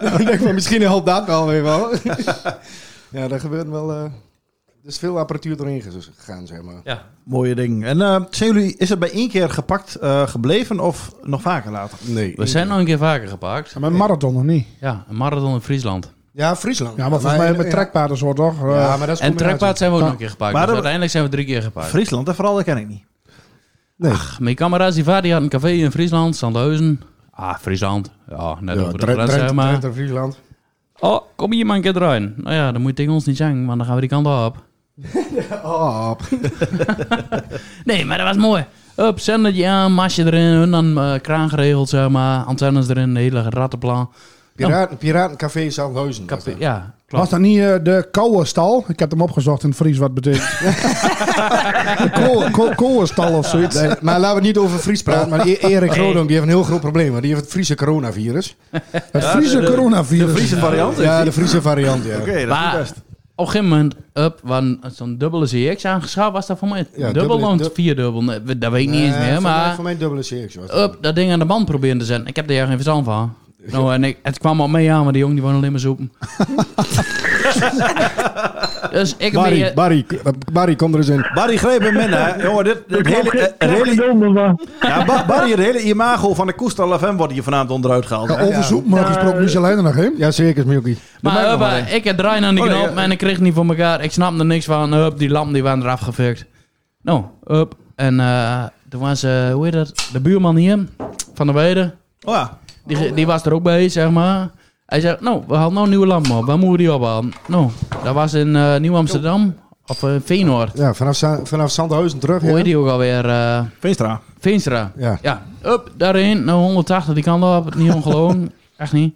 Speaker 4: ik denk maar misschien helpt dat wel weer wel. ja, daar gebeurt wel... eh, er is veel apparatuur doorheen gegaan, zeg maar.
Speaker 5: Ja.
Speaker 3: Mooie ding. En eh, zijn jullie, is het bij één keer gepakt eh, gebleven of nog vaker later?
Speaker 4: Nee.
Speaker 5: We zijn nog een keer vaker gepakt.
Speaker 6: Maar een marathon nog niet.
Speaker 5: Ja, een marathon in Friesland.
Speaker 4: Ja, Friesland.
Speaker 6: Ja, maar volgens mij met trekpaarden zo toch? Eh,
Speaker 5: en trekpaard zijn we ook nog een keer gepakt.
Speaker 6: Maar
Speaker 5: dus
Speaker 6: dat-
Speaker 5: uiteindelijk zijn we drie keer gepakt.
Speaker 3: Friesland, dat vooral dat ken ik niet.
Speaker 4: Nee.
Speaker 5: Ach, mijn kameraad die vader die had een café in Friesland, Sandhuizen. Ah, Friesland. Ja, net
Speaker 4: Ja,
Speaker 5: over de
Speaker 4: Dren-
Speaker 5: grens,
Speaker 4: Drenthe-
Speaker 5: zeg maar.
Speaker 6: Eh,
Speaker 4: Drenthe, Friesland.
Speaker 5: Oh, kom hier maar een keer erin. Nou ja, dan moet je tegen ons niet zeggen, want dan gaan we die kant op.
Speaker 4: Oh,
Speaker 5: nee, maar dat was mooi. Up, zendertje aan, masje erin, hun dan eh, kraan geregeld, zeg maar. Antennes erin, een hele rattenplan.
Speaker 4: Piraten, Piratencafé Zandhuizen. Café,
Speaker 5: ja,
Speaker 6: Was dat niet eh, de koude stal? Ik heb hem opgezocht in het Fries wat het betekent.
Speaker 4: Kool,
Speaker 6: koolenstal of zoiets.
Speaker 4: Nee, maar laten we niet over Fries praten. Maar E- Erik
Speaker 6: Nee.
Speaker 4: Rodom die heeft een heel groot probleem. Want die heeft het Friese coronavirus.
Speaker 6: Het Friese de- de- coronavirus. de Friese variant heeft
Speaker 4: Ja,
Speaker 6: die.
Speaker 4: de Friese variant, ja.
Speaker 5: Maar Op een gegeven moment, up, want zo'n dubbele CX aangeschaft was dat voor mij dubbel
Speaker 4: dubbele-
Speaker 5: of vierdubbel? Nee, we- Dat weet ik niet eens
Speaker 4: Nee,
Speaker 5: meer,
Speaker 4: voor
Speaker 5: maar... Eh,
Speaker 4: Mij, voor mij dubbele CX. was het.
Speaker 5: up, dat ding aan de band proberen te zetten. Ik heb daar geen verstand van. Nou, en ik, het kwam al mee aan, maar die jongen die wou alleen maar zoeken. dus ik heb
Speaker 4: Barry,
Speaker 5: meer-
Speaker 4: Barry, eh, Barry, kom er eens in.
Speaker 3: Barry, greep hem in, hè. Jongen, dit, dit hele... eh, het hele ja, Ba- Barry, het hele imago van de Koestal FM wordt hier vanavond onderuit gehaald.
Speaker 6: Ja, over zoekmarkt gesproken, Michel Heijen nog, hè?
Speaker 4: Ja, zeker, Milky.
Speaker 5: Maar
Speaker 3: maakt nog
Speaker 5: huppa,
Speaker 3: wel een.
Speaker 5: ik heb draai aan die
Speaker 3: Oh, nee,
Speaker 5: knop
Speaker 3: ja.
Speaker 5: en ik kreeg het niet voor elkaar. Ik snapte er niks van. Hup, die lamp die waren eraf gefikt. Nou, up. En eh toen was, eh, hoe heet dat, de buurman hier, van de Weide.
Speaker 3: Oh ja.
Speaker 5: Die, die was er ook bij, zeg maar. Hij zei, nou, we halen nou een nieuwe lamp op. Waar moeten we die ophalen? Nou, dat was in eh, Nieuw-Amsterdam. Of eh, Veenoord.
Speaker 4: Ja, vanaf, Za- vanaf Zandhuizen terug.
Speaker 5: Hoe heet die ook alweer? eh
Speaker 3: Veenstra.
Speaker 5: Veenstra.
Speaker 4: Ja.
Speaker 5: Ja, up, daarheen. Nou, 180 die kant op. Niet ongelogen. Echt niet.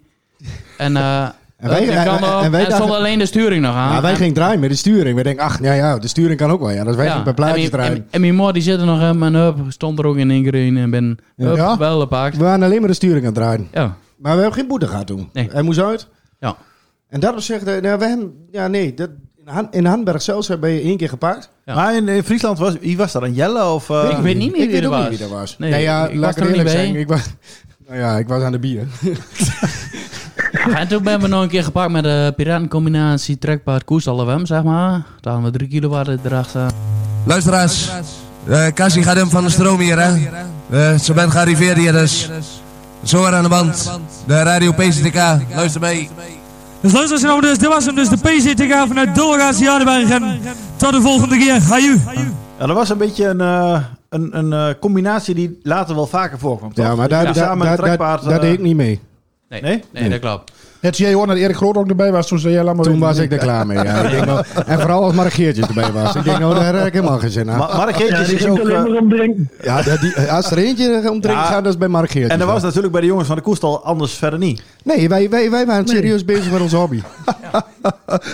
Speaker 5: En, eh
Speaker 4: En wij-
Speaker 5: up die
Speaker 4: en-
Speaker 5: kant
Speaker 4: en-
Speaker 5: op.
Speaker 4: en
Speaker 5: En,
Speaker 4: wij
Speaker 5: stond
Speaker 4: dachten-
Speaker 5: alleen de sturing nog aan.
Speaker 4: Ja, wij
Speaker 5: En-
Speaker 4: gingen draaien met de sturing. We denken, ach, ja, ja, de sturing kan ook wel. Ja, dat wij
Speaker 5: Ja,
Speaker 4: gingen bij plaatjes
Speaker 5: en mijn-
Speaker 4: draaien.
Speaker 5: En, en mijn moeder die zit er nog in. En up, stond er ook in één keer in. En ben up,
Speaker 4: Ja.
Speaker 5: wel gepakt.
Speaker 4: We waren alleen maar de sturing aan het draaien.
Speaker 5: Ja.
Speaker 4: Maar we hebben geen boete gehad toen. Hij moest uit.
Speaker 5: Ja.
Speaker 4: En dat op zich, eh, nou, we hebben, ja nee, dat, in, Han, in Hanberg zelfs ben je één keer gepakt.
Speaker 3: Maar in, in Friesland, was, wie was dat? Een Jelle of... eh?
Speaker 5: Ik weet niet meer
Speaker 4: ik
Speaker 5: wie
Speaker 4: weet
Speaker 5: er
Speaker 4: ook
Speaker 5: was.
Speaker 4: niet wie dat was.
Speaker 5: Nee,
Speaker 4: Nee, ja,
Speaker 5: ik was
Speaker 4: laat ik
Speaker 5: er
Speaker 4: eerlijk
Speaker 5: niet bij.
Speaker 4: zijn. Ik was, nou ja, ik was aan de bier.
Speaker 5: Ja, en toen ben we nog een keer gepakt met de piratencombinatie trekpaard koers LFM, zeg maar. Daar hadden we drie kilowatt erachter.
Speaker 16: Luisteraars, eh Cassie gaat hem van de stroom hier, hè? Eh, ze bent gearriveerd hier, dus. Zo aan de band, de radio PCTK, luister mee.
Speaker 17: Dus luisteraars en dus, dit was hem dus de PCTK vanuit Dolgaas Jarenbergen. Tot de volgende keer, ga je.
Speaker 3: Ja, Nou, dat was een beetje een, eh, een, een eh, combinatie die later wel vaker voorkwam, toch?
Speaker 4: Ja, maar daar,
Speaker 3: Dat je
Speaker 4: daar,
Speaker 3: samen
Speaker 4: daar,
Speaker 3: een
Speaker 4: daar,
Speaker 3: trekpaard,
Speaker 4: daar
Speaker 3: eh,
Speaker 4: deed ik niet mee.
Speaker 5: Nee,
Speaker 3: nee?
Speaker 5: Nee, dat klopt.
Speaker 6: Het jij hoor dat Erik Groot ook erbij was, toen zei jij laat maar
Speaker 4: Toen
Speaker 6: weten.
Speaker 4: was ik er klaar mee. Ja. Ik denk wel, en vooral als Mark Geertjes erbij was. Ik denk, nou, daar heb ik helemaal geen zin aan.
Speaker 3: Maar- Mark Geertjes Ja, die is ging ook, alleen eh, maar
Speaker 4: Ja, dat die, als er eentje om drinken
Speaker 3: Ja.
Speaker 4: gaat, dat is bij Mark Geertjes.
Speaker 3: En dat was natuurlijk bij de jongens van de Koestal anders verder niet.
Speaker 4: Nee, wij, wij, wij waren serieus bezig met ons hobby.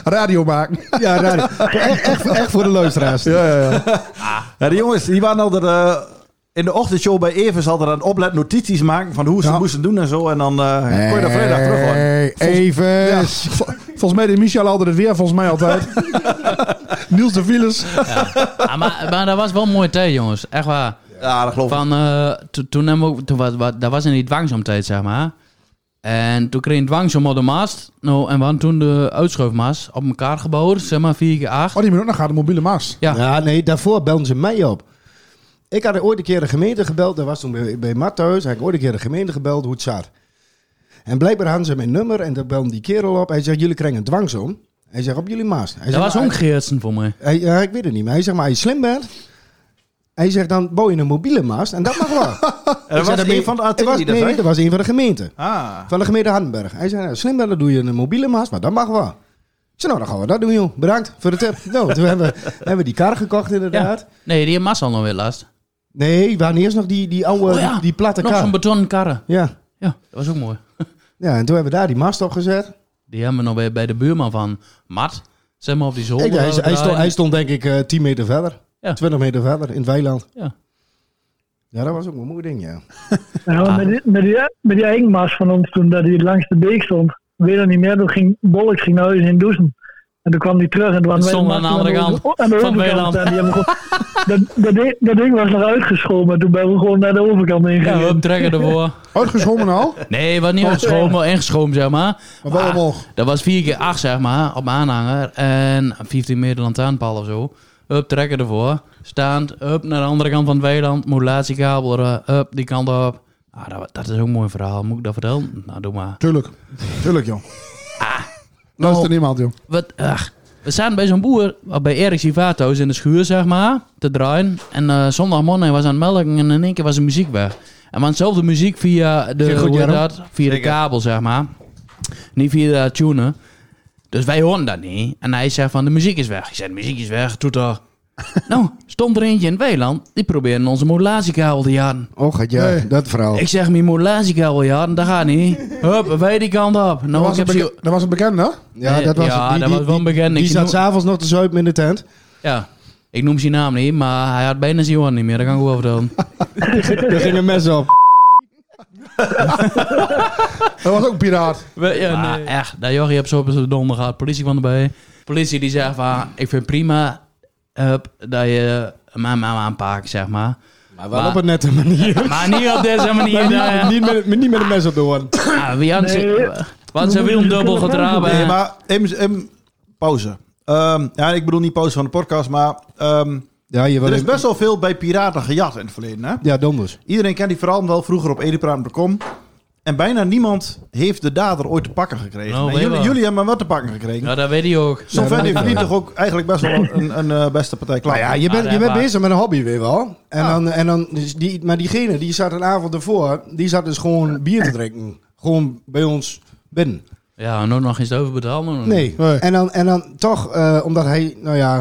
Speaker 6: radio maken.
Speaker 4: Ja, radio. Echt, echt, echt voor de luisteraars. Ja, ja, ja.
Speaker 3: Ja, de jongens, die waren al er, eh, in de ochtendshow bij Evers al er aan het oplet notities maken van hoe ze moesten doen en zo. En dan eh, kon je dat vrijdag terug horen.
Speaker 4: Even.
Speaker 6: volgens mij deed Michel altijd het weer, volgens mij altijd. Niels de Vieles.
Speaker 5: Ah, maar, maar dat was wel een mooie tijd, jongens. Echt waar.
Speaker 3: Ja, dat geloof
Speaker 5: ik. Van, eh, to- toen hebben we ook, toen was, wa- dat was in die dwangsomtijd, zeg maar. En toen kreeg een dwangsom op de mast. Nou, en we hadden toen de uitschuifmast op elkaar gebouwd, zeg maar, 4 keer 8
Speaker 6: Oh, die moet ook nog gaan, de mobiele mast.
Speaker 5: Ja.
Speaker 4: nee, daarvoor belden ze mij op. Ik had ooit een keer de gemeente gebeld. Dat was toen bij, bij Mart thuis. Had ik ooit een keer de gemeente gebeld hoe het zat. En blijkbaar hadden ze mijn nummer. En daar belden die kerel op. Hij zegt, jullie krijgen een dwangsom. Hij zegt, op jullie maas. Hij
Speaker 5: Dat
Speaker 4: zegt,
Speaker 5: was
Speaker 4: "Nou,
Speaker 5: ook Geertsen voor mij.
Speaker 4: Hij, ja, ik weet het niet, maar hij zegt maar als je slim bent. Hij zegt dan bouw je een mobiele mast en dat mag wel.
Speaker 3: En dat
Speaker 4: Ik zei,
Speaker 3: was
Speaker 4: dat
Speaker 3: een
Speaker 4: ben-
Speaker 3: van de
Speaker 4: dat was,
Speaker 3: ateliers,
Speaker 4: Nee,
Speaker 3: hè?
Speaker 4: dat was een van de gemeenten.
Speaker 3: Ah.
Speaker 4: Van de gemeente Hardenberg. Hij zei, nou, slim bent dan doe je een mobiele mast, maar dat mag wel. Ik zei, nou dan gaan we dat doen joh. Bedankt voor de tip. nou, toen hebben we, hebben we die kar gekocht inderdaad.
Speaker 5: Nee, die mast al nog weer last.
Speaker 4: Nee, we hadden eerst nog die, die oude,
Speaker 5: Oh ja,
Speaker 4: die, die platte
Speaker 5: nog
Speaker 4: kar.
Speaker 5: zo'n betonnen karren.
Speaker 4: Ja.
Speaker 5: Ja, dat was ook mooi.
Speaker 4: ja, en toen hebben we daar die mast op gezet.
Speaker 5: Die hebben we nog bij, bij de buurman van Mart. Zeg maar op die zolder.
Speaker 4: Ik, hij, hij, stond,
Speaker 5: draaien.
Speaker 4: hij stond denk ik eh 10 meter verder.
Speaker 5: Ja.
Speaker 4: 20 meter verder in het weiland.
Speaker 5: Ja.
Speaker 4: Ja, dat was ook een mooi ding, ja.
Speaker 15: Ja,
Speaker 5: Ah.
Speaker 15: maar met, die, met, die, met die engmas van ons toen dat hij langs de beek stond, weet dat niet meer, toen ging Bollek ging naar huis in douchen. En toen kwam die terug en toen waren
Speaker 5: Het
Speaker 15: wij
Speaker 5: stond aan de andere kant
Speaker 15: aan de
Speaker 5: van
Speaker 15: overkant.
Speaker 5: Weland.
Speaker 15: En die hebben gewoon, dat, dat, ding, dat ding was nog uitgeschomen. Toen ben we gewoon naar de overkant ingegaan.
Speaker 5: Ja, hup, trekken ervoor.
Speaker 6: Uitgeschomen al?
Speaker 5: Nee, wat niet
Speaker 6: Oh,
Speaker 5: uitgeschomen,
Speaker 6: nee.
Speaker 5: wel ingeschomen zeg maar. Ah,
Speaker 6: Maar wel omhoog.
Speaker 5: Dat was 4 keer 8 zeg maar, op mijn aanhanger. En 15 meter lantaarnpaal of zo. Hup, trekken ervoor. Staand, hup, naar de andere kant van het weiland. Modulatiekabel, eh, hup, die kant op. Ah, dat, dat is ook een mooi verhaal. Moet ik dat vertellen? Nou, doe maar.
Speaker 6: Tuurlijk. Tuurlijk, joh. Luister niemand, joh.
Speaker 5: Nou, Wat, ach. We zaten bij zo'n boer, bij Erik Sivato's in de schuur, zeg maar, te draaien. En eh zondagmorgen hij was aan het melken en in één keer was de muziek weg. En we hadden zelf de muziek via de,
Speaker 6: Ging goed,
Speaker 5: hoe heet
Speaker 6: Jarno?
Speaker 5: dat? via de kabel, zeg maar. Niet via de tuner. Dus wij hoorden dat niet. En hij zei van, de muziek is weg. Ik zei, de muziek is weg, toeter. nou, stond er eentje in het weiland, die probeerde onze modulatiekabel te jagen.
Speaker 4: Oh, gaat ja, dat verhaal.
Speaker 5: Ik zeg, mijn modulatiekabel jagen, dat gaat niet. Hup, wij die kant op.
Speaker 6: dat,
Speaker 5: Nou, ik
Speaker 6: was
Speaker 5: heb
Speaker 6: een
Speaker 5: zo-
Speaker 6: beke- dat was een bekende?
Speaker 4: Ja, dat was,
Speaker 5: Ja,
Speaker 4: die,
Speaker 5: dat
Speaker 4: die-
Speaker 5: was wel
Speaker 4: die-
Speaker 5: bekend.
Speaker 4: Die
Speaker 5: Ik
Speaker 4: zat
Speaker 5: noem-
Speaker 4: s'avonds nog te zuipen in de tent.
Speaker 5: Ja, ik noem zijn naam niet, maar hij had bijna zijn Johan niet meer. Dat kan ik wel vertellen.
Speaker 4: Er ging een mes op.
Speaker 6: Dat was ook een piraat.
Speaker 5: ja, maar echt, dat jochie heb zo op zijn donder gehad. Politie kwam erbij. Politie die zegt van, ik vind prima hup, dat je mijn mama aanpakt, zeg maar. Maar
Speaker 4: Wel op een nette manier.
Speaker 5: Maar niet op deze manier.
Speaker 4: Maar niet, niet, met, niet met een mes op de hoorn.
Speaker 5: Ja, Ah, wie had ze... Want ze wil dubbel getrapen.
Speaker 3: Nee, maar even, even pauze. Ehm, ja, ik bedoel niet pauze van de podcast, maar ehm,
Speaker 4: Ja, je wil
Speaker 3: er is
Speaker 4: even-
Speaker 3: best wel veel bij piraten gejat in het verleden. Hè?
Speaker 4: Ja, donders.
Speaker 3: Iedereen kent die verhaal wel vroeger op edepraat.com. En bijna niemand heeft de dader ooit te pakken gekregen.
Speaker 5: Nou,
Speaker 3: En
Speaker 5: wij
Speaker 3: jullie,
Speaker 5: wel.
Speaker 3: jullie hebben hem wel te pakken gekregen.
Speaker 5: Ja, dat weet hij ook.
Speaker 3: Zo'n vent heeft niet toch ook eigenlijk best wel een, een eh, beste partij klaar.
Speaker 4: Nou Ja, je bent, je bent bezig met een hobby, weet je wel. En dan, en dan, dus die, maar diegene die zat een avond ervoor, die zat dus gewoon bier te drinken. Gewoon bij ons binnen.
Speaker 5: Ja, nooit nog eens
Speaker 3: Hmm.
Speaker 5: overbetalen.
Speaker 4: Nee. En, dan, en dan toch, eh, omdat hij, nou ja,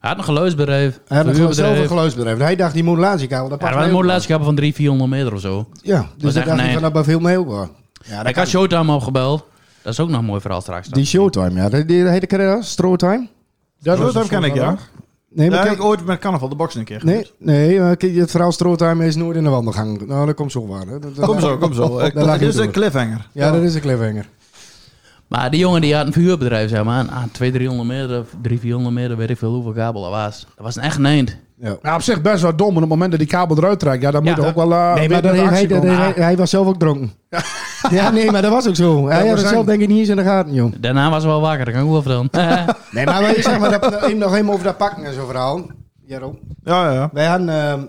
Speaker 5: Hij had een geluidsbedrijf.
Speaker 4: hij had een gelu- zelf een
Speaker 5: verhuurbedrijf.
Speaker 4: geluidsbedrijf. Hij dacht, die modulatiekabel, dat
Speaker 5: Ja,
Speaker 4: past
Speaker 5: er waren
Speaker 4: mij ook
Speaker 5: modulatiekappen van 300, 400 meter of zo.
Speaker 4: wel. Ja, dus
Speaker 5: Was
Speaker 4: dat
Speaker 5: echt
Speaker 4: dacht
Speaker 5: nee.
Speaker 4: ik, van, dat bij veel mee ook wel.
Speaker 5: ik had Showtime opgebeld. Dat is ook nog een mooi verhaal straks.
Speaker 4: Die Showtime, ja. Die, die heette Carrera, Strowtime.
Speaker 3: Ja, dat ken ik, ja.
Speaker 4: Nee, maar
Speaker 3: Daar heb
Speaker 4: kijk-
Speaker 3: ik ooit met Carnaval de Boxen een keer
Speaker 4: Nee, nee maar kijk, het verhaal Strowtime is nooit in de wandelgang. Nou, dat komt zo waar. Hè. Dat- dat-
Speaker 3: Kom zo, kom zo.
Speaker 4: Daar
Speaker 3: Ik-
Speaker 4: lag
Speaker 3: Dit
Speaker 4: je
Speaker 3: is een
Speaker 4: door.
Speaker 3: cliffhanger.
Speaker 4: Ja, dat is een cliffhanger.
Speaker 5: Maar die jongen die had een verhuurbedrijf, zeg maar. Aan 200, 300 meter, 300, 400 meter, weet ik veel hoeveel kabel dat was. Dat was een echt neend.
Speaker 4: Ja.
Speaker 6: Nou, op zich best wel dom. En op het moment dat die kabel eruit trekt, ja, dan moet er ook wel eh,
Speaker 4: nee,
Speaker 6: weer
Speaker 4: maar dat
Speaker 6: een
Speaker 4: heeft-
Speaker 6: actie
Speaker 4: hij, dat
Speaker 6: komen.
Speaker 4: heeft- hij was zelf ook dronken. ja, nee, maar dat was ook zo. Hij had het
Speaker 6: waarschijnlijk.
Speaker 4: zelf denk ik niet eens in de gaten, joh.
Speaker 5: Daarna was hij wel wakker, dat kan ik wel vertellen.
Speaker 4: Nee, maar wij, zeg maar, dat, dat- even nog even over dat pakken en zo'n verhaal. Jero.
Speaker 3: Ja, ja.
Speaker 4: Wij hadden, ehm,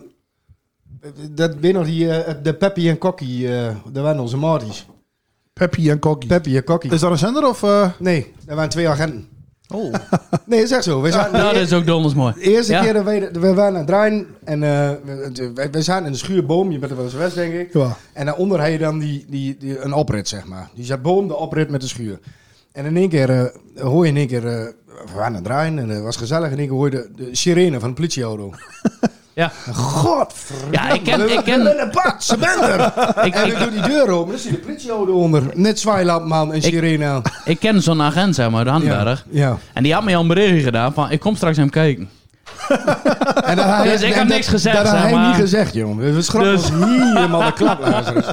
Speaker 4: dat weet nog, die, eh, de Peppy en Kokkie, eh dat waren onze Marties.
Speaker 6: Peppy en Kokkie.
Speaker 4: Peppy en Kokkie.
Speaker 3: Is dat een zender of... eh?
Speaker 4: Nee, dat waren twee agenten.
Speaker 3: Oh.
Speaker 4: Nee, is echt zo. We zaten,
Speaker 5: nou, dat is ook donders mooi.
Speaker 4: De eerste
Speaker 5: Ja.
Speaker 4: keer dat wij, we waren aan het draaien en eh, we, we- we zaten in de schuurboom, je bent er wel eens geweest denk ik.
Speaker 6: Ja.
Speaker 4: En daaronder had je dan die, die, die, een oprit, zeg maar. Dus je had boom, de oprit met de schuur. En in één keer eh, hoor je in één keer, eh, we waren aan het draaien en het was gezellig. In één keer hoor je de, de sirene van de politieauto.
Speaker 5: Ja.
Speaker 4: Godverdomme.
Speaker 5: Ja, ik ken-
Speaker 4: we-
Speaker 5: ik ken-
Speaker 4: we willen Bart, ze bent er.
Speaker 5: Ik-
Speaker 4: en
Speaker 5: ik-
Speaker 4: ik doe die deur open, dan zie je de politieauto onder. Net zwaailamp, man, en sirene aan.
Speaker 5: Ik ken zo'n agent, zeg maar, uit Handberg.
Speaker 4: Ja.
Speaker 5: En die had mij al een berichtje gedaan van, ik kom straks hem kijken.
Speaker 4: En dat
Speaker 5: Dus ik
Speaker 4: en dat-
Speaker 5: heb niks gezegd,
Speaker 4: Dat had
Speaker 5: zeg
Speaker 4: hij
Speaker 5: maar.
Speaker 4: niet gezegd, jongen. We schrokken
Speaker 5: Dus-
Speaker 4: ons helemaal de klap, luisteraars.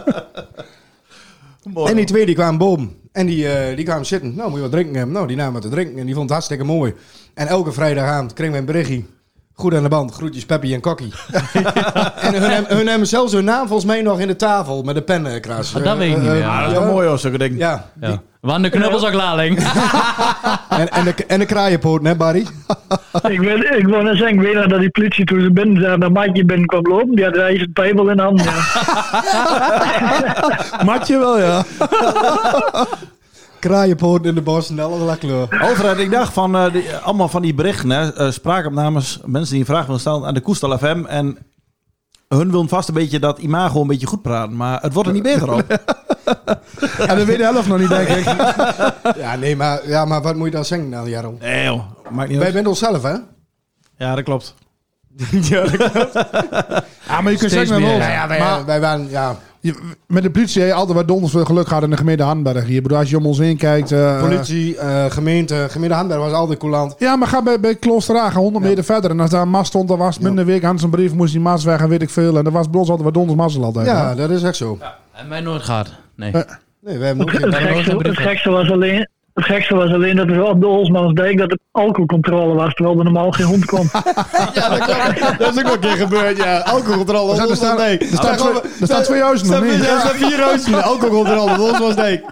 Speaker 4: En die twee die kwamen boven. En die, eh, die kwamen zitten. Nou, moet je wat drinken hebben? Nou, die namen wat te drinken. En die vond het hartstikke mooi. En elke vrijdagavond kregen we een berichtje. Goed aan de band. Groetjes Peppy en Kokkie. en hun, hebben- hun hebben zelfs hun naam volgens mij nog in de tafel met de pennenkras.
Speaker 5: Ah, dat weet ik niet
Speaker 4: Eh, eh,
Speaker 5: meer. Ah, dat
Speaker 3: is wel mooi als zulke dingen.
Speaker 4: Ja.
Speaker 5: Ja. Want de knuppels ook laling.
Speaker 4: En, en, de, en de kraaienpoot, hè Barry?
Speaker 15: Ik, weet, ik wou net zeggen, ik weet nog dat die politie toen ze binnen zaten, dat maatje binnen kwam lopen, die had een ijzeren pijbel in de hand. Ja.
Speaker 3: Matje wel, ja.
Speaker 4: Kraaienpoot in de bos en allerlei kleur.
Speaker 3: Overigens, ik dacht van eh, die- allemaal van die berichten, hè, eh, spraakopnames, mensen die een vraag willen stellen aan de Koestal FM. En hun willen vast een beetje dat imago een beetje goed praten, maar het wordt er niet beter op.
Speaker 6: En dat weet de helft nog niet, denk ik.
Speaker 4: Ja, nee, maar, ja, maar wat moet je dan zeggen, nou, Jaron?
Speaker 3: Nee joh, maakt niet
Speaker 4: Wij
Speaker 3: uit.
Speaker 4: bent onszelf, hè?
Speaker 3: Ja, dat klopt.
Speaker 6: Ja, maar je kunt
Speaker 5: Steeds
Speaker 6: zeggen wel.
Speaker 5: meer,
Speaker 6: wat.
Speaker 5: ja.
Speaker 4: Ja, wij,
Speaker 6: Maar-
Speaker 4: wij waren, ja.
Speaker 6: Je- met de politie heb je altijd wat donders veel geluk gehad in de gemeente Handberg. Hier. Ik bedoel, als je om ons heen kijkt... eh,
Speaker 4: Politie, eh, gemeente, gemeente Handberg was altijd coulant.
Speaker 6: Ja, maar ga bij, bij Kloosterhagen 100 meter verder. En als daar een mast stond, dan was binnen een week aan zijn brief, moest die mast weg en weet ik veel. En dat was bij ons altijd wat donders mazzel altijd.
Speaker 4: Ja,
Speaker 6: hè.
Speaker 4: dat is echt zo.
Speaker 5: En mij nooit gehad. Nee.
Speaker 6: Eh,
Speaker 4: Nee, wij hebben ook
Speaker 15: Het
Speaker 4: geen-
Speaker 5: nooit
Speaker 15: gekste,
Speaker 5: een brief
Speaker 15: het
Speaker 5: gehad.
Speaker 15: gekste was alleen, Het gekste was alleen dat het wel op de Olsmansdijk dat er alcoholcontrole was, terwijl er normaal geen hond kwam.
Speaker 3: Dat is ook wel een keer gebeurd, ja. Alcoholcontrole.
Speaker 6: Er staan-
Speaker 3: Olsmansdijk.
Speaker 6: er staan twee-
Speaker 3: komen-
Speaker 6: er staan twee huizen nog
Speaker 3: Er staan-
Speaker 6: niet.
Speaker 3: Er staan vier huizen. Alcoholcontrole. Olsmansdijk.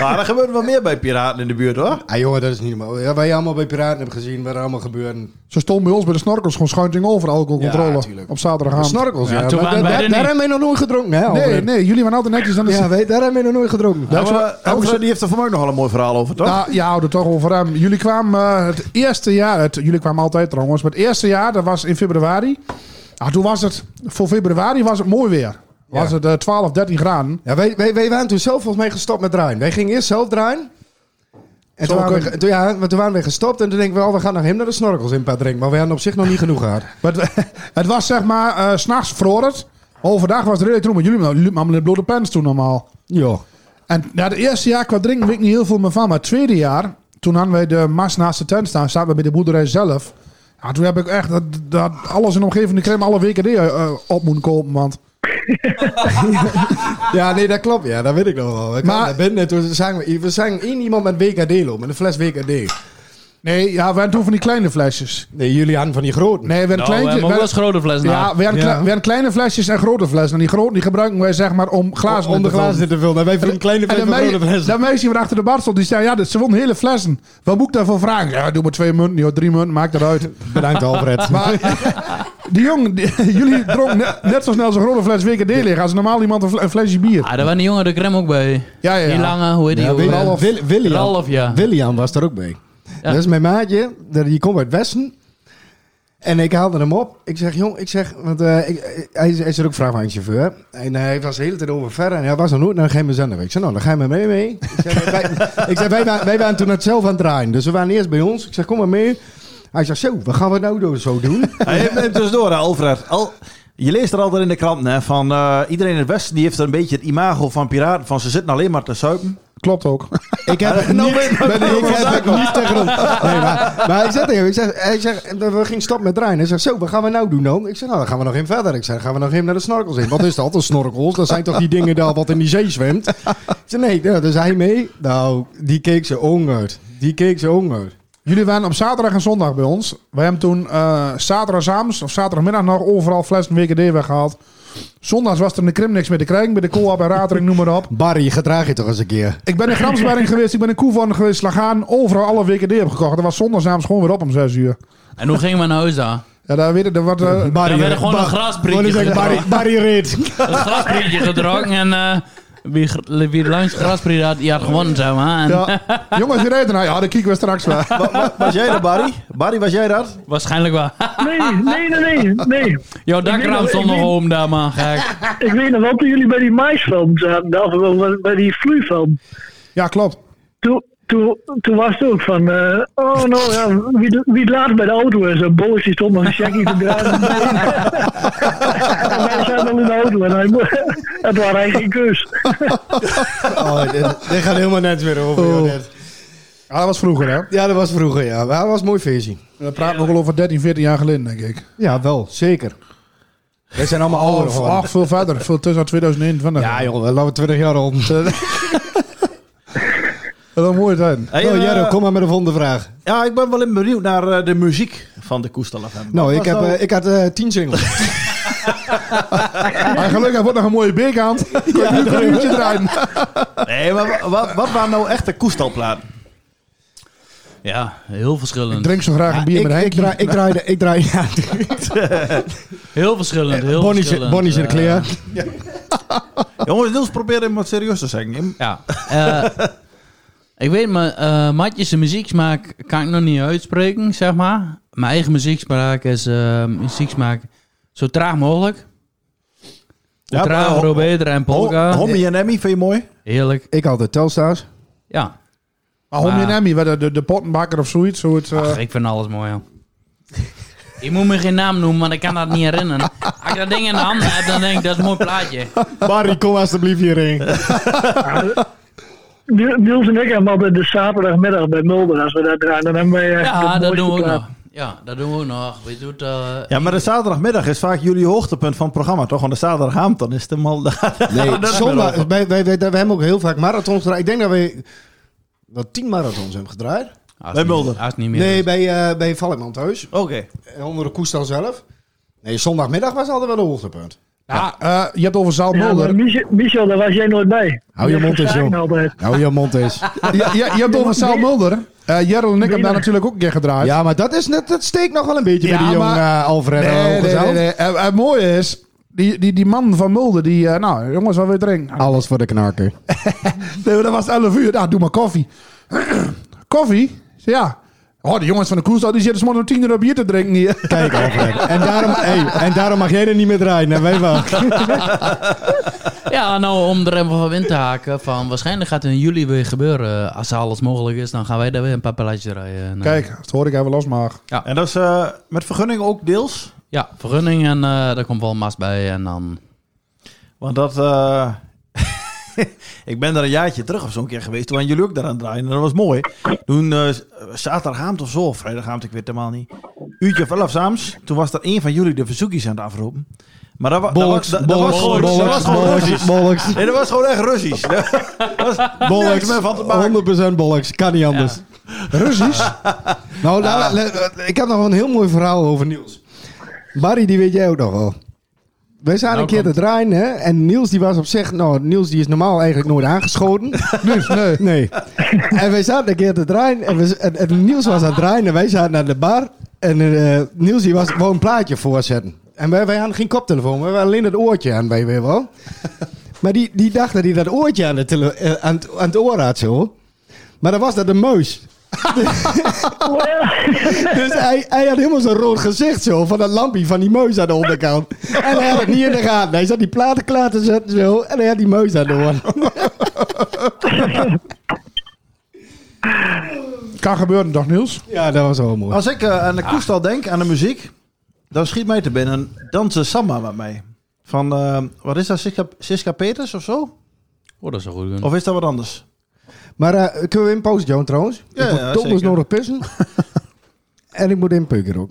Speaker 3: Maar er gebeurt wel meer bij piraten in de buurt, hoor.
Speaker 4: Ah jongen, dat is niet normaal. Ja, wij allemaal bij Piraten hebben gezien wat er allemaal gebeurde.
Speaker 6: Ze stond bij ons bij de snorkels gewoon schuinting over
Speaker 4: Ja,
Speaker 6: alcoholcontrole.
Speaker 4: tuurlijk.
Speaker 6: op zaterdagavond.
Speaker 4: Snorkels, ja.
Speaker 6: maar
Speaker 4: Maar da-
Speaker 6: da-
Speaker 4: da-
Speaker 6: da-
Speaker 4: daar hebben we nog nooit gedronken, hè?
Speaker 6: Nee,
Speaker 4: Albert?
Speaker 6: nee, jullie waren altijd netjes aan de
Speaker 4: Ja, wij, daar hebben we nog nooit gedronken.
Speaker 3: Nou, maar
Speaker 4: Elke-
Speaker 3: Elke, die heeft er voor mij ook nogal een mooi verhaal over, toch?
Speaker 6: Nou, je houdt het toch over hem. Jullie kwamen eh, het eerste jaar, het, jullie kwamen altijd trouwens, maar het eerste jaar, dat was in februari. Ah, toen was het, voor februari was het mooi weer. Was het eh, 12, 13 graden.
Speaker 4: Ja, wij, wij, wij waren toen zelf volgens mij gestopt met draaien. Wij gingen eerst zelf draaien. En
Speaker 6: Zo
Speaker 4: toen waren, we,
Speaker 6: kunnen.
Speaker 4: ge- toen, ja, maar toen waren we gestopt en toen denken we, oh, we gaan naar hem naar de snorkels in Pat drinken. Maar we hadden op zich nog niet genoeg gehad.
Speaker 6: Maar het, het was zeg maar, eh, 's s'nachts vroor het. Overdag was het redelijk troebel. Jullie liepen allemaal met blote pens toen normaal.
Speaker 4: Ja.
Speaker 6: En na het eerste jaar qua drinken weet ik niet heel veel meer van. Maar het tweede jaar, toen hadden wij de mas naast de tent staan, zaten we bij de boerderij zelf. Ja, toen heb ik echt dat, dat alles in de omgeving, ik kreeg alle weken eh, op moeten kopen. Want
Speaker 4: Ja, nee, dat klopt. Ja, dat weet ik nog wel. Ik
Speaker 6: Maar-
Speaker 4: maar, naar binnen en toen zijn we, we zijn één iemand met WKD lopen, met een fles WKD.
Speaker 6: Nee, ja, we hadden toen van die kleine flesjes.
Speaker 4: Nee, jullie hadden van die grote.
Speaker 6: Nee, we hadden
Speaker 5: Nou,
Speaker 6: kleintjes-
Speaker 5: we hebben ook
Speaker 6: we
Speaker 5: wel eens
Speaker 6: hadden-
Speaker 5: grote nou? flessen
Speaker 6: Ja,
Speaker 5: gehad.
Speaker 6: we hadden,
Speaker 5: Ja.
Speaker 6: kle- we hadden kleine flesjes en grote flessen. En die grote die gebruiken wij zeg maar om glazen
Speaker 4: Om de
Speaker 6: vullen.
Speaker 4: glazen te vullen. En wij van die kleine
Speaker 6: En
Speaker 4: fles
Speaker 6: de
Speaker 4: met
Speaker 6: mei-
Speaker 4: grote flessen.
Speaker 6: dat meisje van achter de bar stond, die zei, ja, dit- ze won hele flessen. Wat moet ik daarvoor vragen? Ja, doe maar twee munten, joh, drie munten, maakt dat uit.
Speaker 4: Bedankt, Alfred.
Speaker 6: Maar die jongen, die- jullie dronken net, net zo snel als een grote fles WKD liggen. Als normaal iemand een, fle- een flesje bier.
Speaker 5: Ah, daar waren die jongen de crème ook bij.
Speaker 6: Ja, ja, ja.
Speaker 5: Die lange, hoe heet die?
Speaker 4: Ja,
Speaker 5: ook
Speaker 4: Wil-
Speaker 5: weer?
Speaker 4: Ralf- Wil- William.
Speaker 5: Ralf, ja.
Speaker 4: William was er ook bij. Dat is mijn maatje, dat- die komt uit Westen. En ik haalde hem op. Ik zeg, jong, ik zeg, want eh, ik, eh, hij, is- hij is er ook vrachtwagenchauffeur. En eh, hij was de hele tijd over verder. En hij was nog nooit naar een geheime Ik zei, nou, dan ga je maar mee mee. Ik zeg, wij, ik zeg, wij, wa- wij waren toen het zelf aan het draaien. Dus we waren eerst bij ons. Ik zeg, kom maar mee. Hij zegt, zo, wat gaan we nou do- zo doen?
Speaker 3: Hij heeft hem tussendoor, hè, Alfred. Al, je leest er altijd in de krant hè, van eh, iedereen in het Westen die heeft een beetje het imago van piraten. Van ze zitten alleen maar te suipen.
Speaker 6: Klopt ook.
Speaker 4: Ik heb het
Speaker 3: Nou,
Speaker 4: niet,
Speaker 3: ben-
Speaker 4: ben-
Speaker 3: nou, ben-
Speaker 4: ik heb het
Speaker 3: nou,
Speaker 4: niet tegen ons. Nee, maar, maar ik zeg tegen hem, ik zeg, hij zegt, we gingen stoppen met draaien. Hij zegt, zo, wat gaan we nou doen dan? Ik zeg, nou, dan gaan we nog even verder. Ik zeg, dan gaan we nog even naar de snorkels in. Wat is dat, een snorkels? Dat zijn toch die dingen daar wat in die zee zwemt? Ik zeg, nee, nou, daar is hij mee. Nou, die keek ze uit. Die keek ze uit.
Speaker 6: Jullie waren op zaterdag en zondag bij ons. Wij hebben toen eh zaterdagavond of zaterdagmiddag nog overal flessen WKD weggehaald. Zondags was er in de Krim niks meer te krijgen. Bij de Koolhap en Ratering, noem maar op.
Speaker 4: Barry, gedraag je toch eens een keer.
Speaker 6: Ik ben in Gramsbergen geweest, ik ben in Koevan geweest, Slagaan. Overal alle WKD heb gekocht. Dat was zondagsavond gewoon weer op om 6 uur.
Speaker 5: En hoe gingen we naar huis daar?
Speaker 6: Ja, daar weet ik, dat wat, eh,
Speaker 5: Daar werd gewoon een grasprietje gedronken.
Speaker 4: Barry Reed.
Speaker 5: Een grasprietje gedronken en eh, wie, gr- wie langs het grasprietje had, die had gewonnen, zeg maar. En
Speaker 6: ja. Jongens, je rijdt ernaar. Ja, dat kieken we straks wel.
Speaker 3: Was jij dat, Barry? Barry, was jij dat?
Speaker 5: Waarschijnlijk wel.
Speaker 15: Nee, nee, nee, nee. nee.
Speaker 5: Jouw
Speaker 15: Ik weet
Speaker 5: dakraam
Speaker 15: nog-
Speaker 5: stond
Speaker 15: ik
Speaker 5: nog
Speaker 15: weet-
Speaker 5: open daar, man. Gek.
Speaker 15: Ik weet nog wel toen jullie bij die maisfilm zaten, daar, of wel bij die vloeifilm.
Speaker 6: Ja, klopt.
Speaker 15: Toen, toen, toen was het ook van, eh, oh nou ja, wie, de- wie het laatst bij de auto is, een bolletje stond nog een checkie te draaien. En wij zaten al in de auto en hij, mo- het was eigenlijk geen keus.
Speaker 4: Oh, dit, dit gaat helemaal net weer over. joh, dit.
Speaker 6: Ja, dat was vroeger, hè?
Speaker 4: Oh. Ja, dat was vroeger, ja. Maar dat was een mooi feestje.
Speaker 6: We praten nog wel over 13, 14 jaar geleden, denk ik.
Speaker 4: Ja, wel, zeker. Oh, Wij zijn allemaal ouder
Speaker 6: Of,
Speaker 4: geworden.
Speaker 6: ach, veel verder. Veel tussen 2021.
Speaker 4: Ja, joh, laten we 20 jaar om.
Speaker 6: Dat was mooi zijn.
Speaker 3: Hey,
Speaker 4: oh,
Speaker 3: eh,
Speaker 4: Jero, kom maar met een volgende vraag.
Speaker 3: Ja, ik ben wel even benieuwd naar eh, de muziek van de Koestal FM. Wat
Speaker 4: Nou, ik,
Speaker 3: was
Speaker 4: heb,
Speaker 3: nou-
Speaker 4: eh, ik had eh tien singles.
Speaker 6: En gelukkig wordt nog een mooie beek aan. Kun je nu een uurtje draaien.
Speaker 3: Nee, maar wa- wa- wat waren nou echt de Koestalplaten?
Speaker 5: Ja, heel verschillend.
Speaker 6: Drink zo graag een bier
Speaker 4: ik,
Speaker 6: met Henk.
Speaker 4: ik, draai, ik draai... de- Ik draai ja,
Speaker 5: Heel verschillend, heel
Speaker 4: Bonnie's,
Speaker 5: verschillend. eh,
Speaker 4: Bonnie's in de kleren.
Speaker 3: Jongens, Niels, probeer hem wat serieus te zeggen.
Speaker 5: Ja. eh, ik weet, mijn eh Matjes' muzieksmaak kan ik nog niet uitspreken, zeg maar. Mijn eigen muzieksmaak is eh, muzieksmaak zo traag mogelijk. Hoe
Speaker 3: Ja, maar-
Speaker 5: trager, hoe beter. En polka.
Speaker 3: Ho- Homie en Emmy, vind je mooi?
Speaker 5: Heerlijk.
Speaker 4: Ik had de Telsta's.
Speaker 5: Ja.
Speaker 6: Maar Homie en
Speaker 5: Maar-
Speaker 6: Emmy, werden de, de pottenbakker of zoiets. Zo het, eh,
Speaker 5: Ah. Ach, ik vind alles mooi, joh. Je moet me geen naam noemen, want ik kan dat niet herinneren. Als ik dat ding in de handen heb, dan denk ik, dat is een mooi plaatje.
Speaker 4: Barry, kom alsjeblieft hierheen.
Speaker 15: Niel- Niels en ik hebben altijd de zaterdagmiddag bij Mulder, als we daar draaien, dan hebben wij eh, de
Speaker 5: Ja, dat
Speaker 15: mooiste
Speaker 5: doen we ook
Speaker 15: plaat.
Speaker 5: nog. Ja, dat doen we ook nog. We doen het, eh,
Speaker 3: Ja, maar de zaterdagmiddag is vaak jullie hoogtepunt van het programma, toch? Want de zaterdagavond dan is het helemaal...
Speaker 4: Nee, zondag... Wij, wij, wij, wij hebben ook heel vaak marathons gedraaid. Ik denk dat we... wel tien marathons hebben gedraaid.
Speaker 5: Bij niet- Mulder? haast Ah, niet meer
Speaker 4: Nee,
Speaker 5: dus.
Speaker 4: bij, eh bij Valleman thuis.
Speaker 16: Oké.
Speaker 4: En onder de koestal zelf. Nee, zondagmiddag was altijd wel een hoogtepunt.
Speaker 6: Ja, eh, je hebt over Zaal
Speaker 4: Ja,
Speaker 6: Mulder.
Speaker 4: maar
Speaker 15: Michel, daar was jij nooit bij.
Speaker 4: Hou je mond eens, joh. Hou je mond eens.
Speaker 6: Ja, ja, je hebt het over Saal Mulder. Eh Jarl en ik hebben daar natuurlijk ook een keer gedraaid.
Speaker 4: Ja, maar dat, is net, dat steekt nog wel een beetje bij die jongen
Speaker 6: maar-
Speaker 4: eh, Alfred.
Speaker 6: Nee,
Speaker 4: eh,
Speaker 6: nee, nee,
Speaker 4: Hogezaal.
Speaker 6: nee. En- en Het mooie is, die, die, die man van Mulder, die... eh, nou, jongens, wat wil je drinken?
Speaker 4: Alles voor de knakker.
Speaker 6: Nee, maar dat was 11 uur. Nou, doe maar koffie. koffie? Ik zei, Ja. Oh, de jongens van de koerstal, die zitten morgen om tien uur op bier te drinken hier.
Speaker 18: Kijk, Alfred. En daarom, hey, en daarom mag jij er niet meer draaien. En wij wel.
Speaker 5: Ja, nou, om er even van in te haken. Van, waarschijnlijk gaat het in juli weer gebeuren. Als alles mogelijk is, dan gaan wij daar weer een paar palletjes rijden. En, eh,
Speaker 6: Kijk, dat hoor ik even los, maar...
Speaker 5: Ja.
Speaker 3: En dat is eh, met vergunning ook deels?
Speaker 5: Ja, vergunning en eh, daar komt wel een mast bij. En dan...
Speaker 3: Want dat... eh, ik ben daar een jaartje terug of zo'n keer geweest. Toen waren jullie ook daar aan het draaien. En dat was mooi. Toen eh zaterdagavond of zo, of vrijdagavond, ik weet het helemaal niet. Uurtje of elf s'avonds. Toen was er een van jullie de verzoekjes aan het afroepen. Maar dat, wa- dat,
Speaker 18: Bollocks,
Speaker 3: was- dat, dat
Speaker 18: bollocks,
Speaker 3: was gewoon, dat
Speaker 18: bollocks,
Speaker 3: was gewoon
Speaker 18: bollocks,
Speaker 3: Russisch.
Speaker 18: bollocks.
Speaker 3: Nee, dat was gewoon echt Russisch. Dat was niks meer van te maken.
Speaker 18: Bollocks. 100% bollocks. Kan niet anders.
Speaker 4: Russisch? Nou, daar- le- ik heb nog wel een heel mooi verhaal over Niels. Barry, die weet jij ook nog wel. Wij zaten een keer te draaien hè, en Niels die was op zich... Nou, Niels die is normaal eigenlijk nooit aangeschoten. Dus nee. nee. En wij zaten een keer te draaien en, we, en, en Niels was aan het draaien en wij zaten aan de bar. En eh, Niels die was gewoon een plaatje voorzetten. En wij, wij hadden geen koptelefoon, we hadden alleen het oortje aan, wij weer wel. Maar die, die dacht dat hij dat oortje aan, de tele- eh, aan, het, aan het oor had zo. Maar dan was dat een muis. dus hij, hij had helemaal zo'n rood gezicht zo van dat lampje van die meus aan de onderkant. En hij had het niet in de gaten. Hij zat die platen klaar te zetten zo en hij had die meus aan de oor.
Speaker 6: Kan gebeuren, toch Niels?
Speaker 4: Ja, dat was wel mooi.
Speaker 3: Als ik eh, aan de koestal denk, aan de muziek, dan schiet mij te binnen dansen samba met mij. Van, eh, wat is dat, Siska, Siska Peters of zo?
Speaker 5: Oh, dat is wel goed. kunnen.
Speaker 3: Of is dat wat anders?
Speaker 4: Maar eh, kunnen we in pauze, Joan, trouwens?
Speaker 3: Ja,
Speaker 4: ik
Speaker 3: ja,
Speaker 4: moet donders
Speaker 3: zeker.
Speaker 4: nodig pissen. en ik moet inpeuken ook.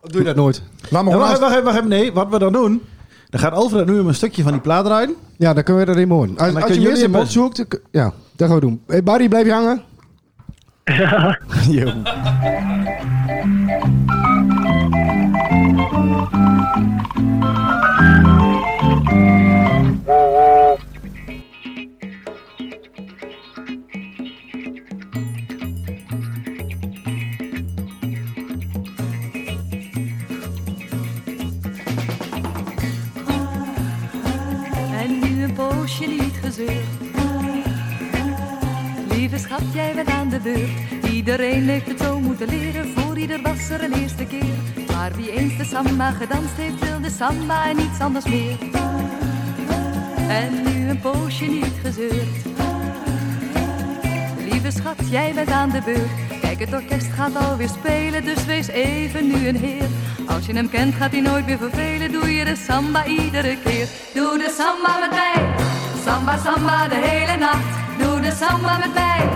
Speaker 4: Of doe je dat nooit? Laat
Speaker 3: Ja, wacht, even, wacht, even, wacht even, nee. Wat we dan doen, dan gaat Alfred nu een stukje van die plaat draaien.
Speaker 4: Ja, dan kunnen we erin horen. Als,
Speaker 3: En dan
Speaker 4: als je
Speaker 3: kunnen
Speaker 4: mensen
Speaker 3: jullie
Speaker 4: op zoekt, dan kun- ja, dat gaan we doen. Hey, Barry, blijf je hangen? Ja.
Speaker 2: En nu een poosje niet gezeurd. Lieve schat, jij bent aan de beurt. Iedereen heeft het zo moeten leren, voor ieder was er een eerste keer. Maar wie eens de samba gedanst heeft, wil de samba en niets anders meer. En nu een poosje niet gezeurd. Lieve schat, jij bent aan de beurt. Kijk, het orkest gaat alweer spelen, dus wees even nu een heer. Als je hem kent, gaat hij nooit meer vervelen. Doe je de samba iedere keer. Doe de samba met mij. Samba, samba, de hele nacht. Doe de samba met mij.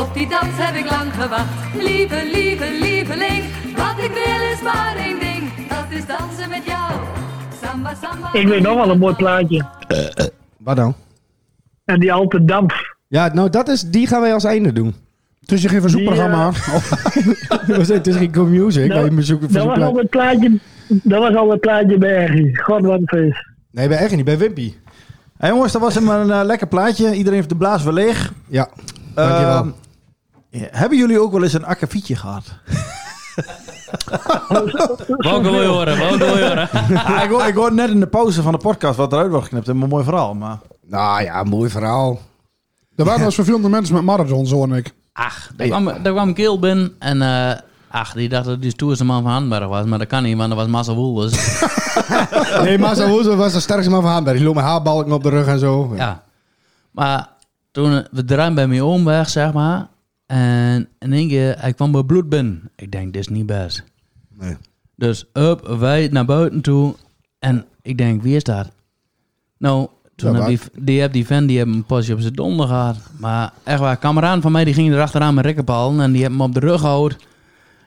Speaker 2: Op die dans heb ik lang gewacht. Lieve, lieve, lieveling. Wat ik wil is maar één ding. Dat is dansen met jou. Samba, samba.
Speaker 15: Ik weet nog wel een mooi plaatje.
Speaker 4: Wat dan?
Speaker 15: En die Alpendamp.
Speaker 4: Ja, nou dat is, die gaan wij als einde doen. Oh.
Speaker 6: Dus je geeft een zoekprogramma aan.
Speaker 4: We zijn tussen geen music, maar je
Speaker 15: Dat,
Speaker 4: bezoek,
Speaker 15: Nou, dat was al
Speaker 4: verzoekplaat.
Speaker 15: het plaatje, dat was al het plaatje bij Ergie. God, wat een feest.
Speaker 4: Nee, bij echt niet, bij Wimpy.
Speaker 3: Hé jongens, dat was hem een eh, lekker plaatje. Iedereen heeft de blaas weer leeg.
Speaker 4: Ja,
Speaker 3: dankjewel. hebben jullie ook wel eens een akkefietje gehad?
Speaker 5: Welke wil je horen? Welke wil je horen?
Speaker 3: Ah, ik, hoor, ik hoor net in de pauze van de podcast wat eruit wordt geknipt. Een mooi verhaal, maar...
Speaker 4: Nou ja, mooi verhaal.
Speaker 6: Er waren wel eens vervelende mensen met marathons, hoor ik.
Speaker 5: Ach, daar kwam, daar kwam Keel binnen en... eh, Ach, die dacht dat die stoerste man van Handberg was, maar dat kan niet, want dat was Massa dus- Woelders.
Speaker 4: Nee, Massa Woezel was de sterkste man van Haanberg. Die loopt met haarbalken op de rug en zo.
Speaker 5: Ja. Maar toen eh, we draaien bij mijn oom weg, zeg maar. En in één keer, hij kwam bij bloed binnen. Ik denk, dit is niet best.
Speaker 4: Nee.
Speaker 5: Dus up, wij naar buiten toe. En ik denk, wie is dat? Nou, toen
Speaker 4: Ja,
Speaker 5: heb die, die, heb die fan die heeft een pasje op zijn donder gehad. Maar echt waar, kameraan van mij die ging er achteraan met rekkenpalen. En die hebben hem op de rug gehouden.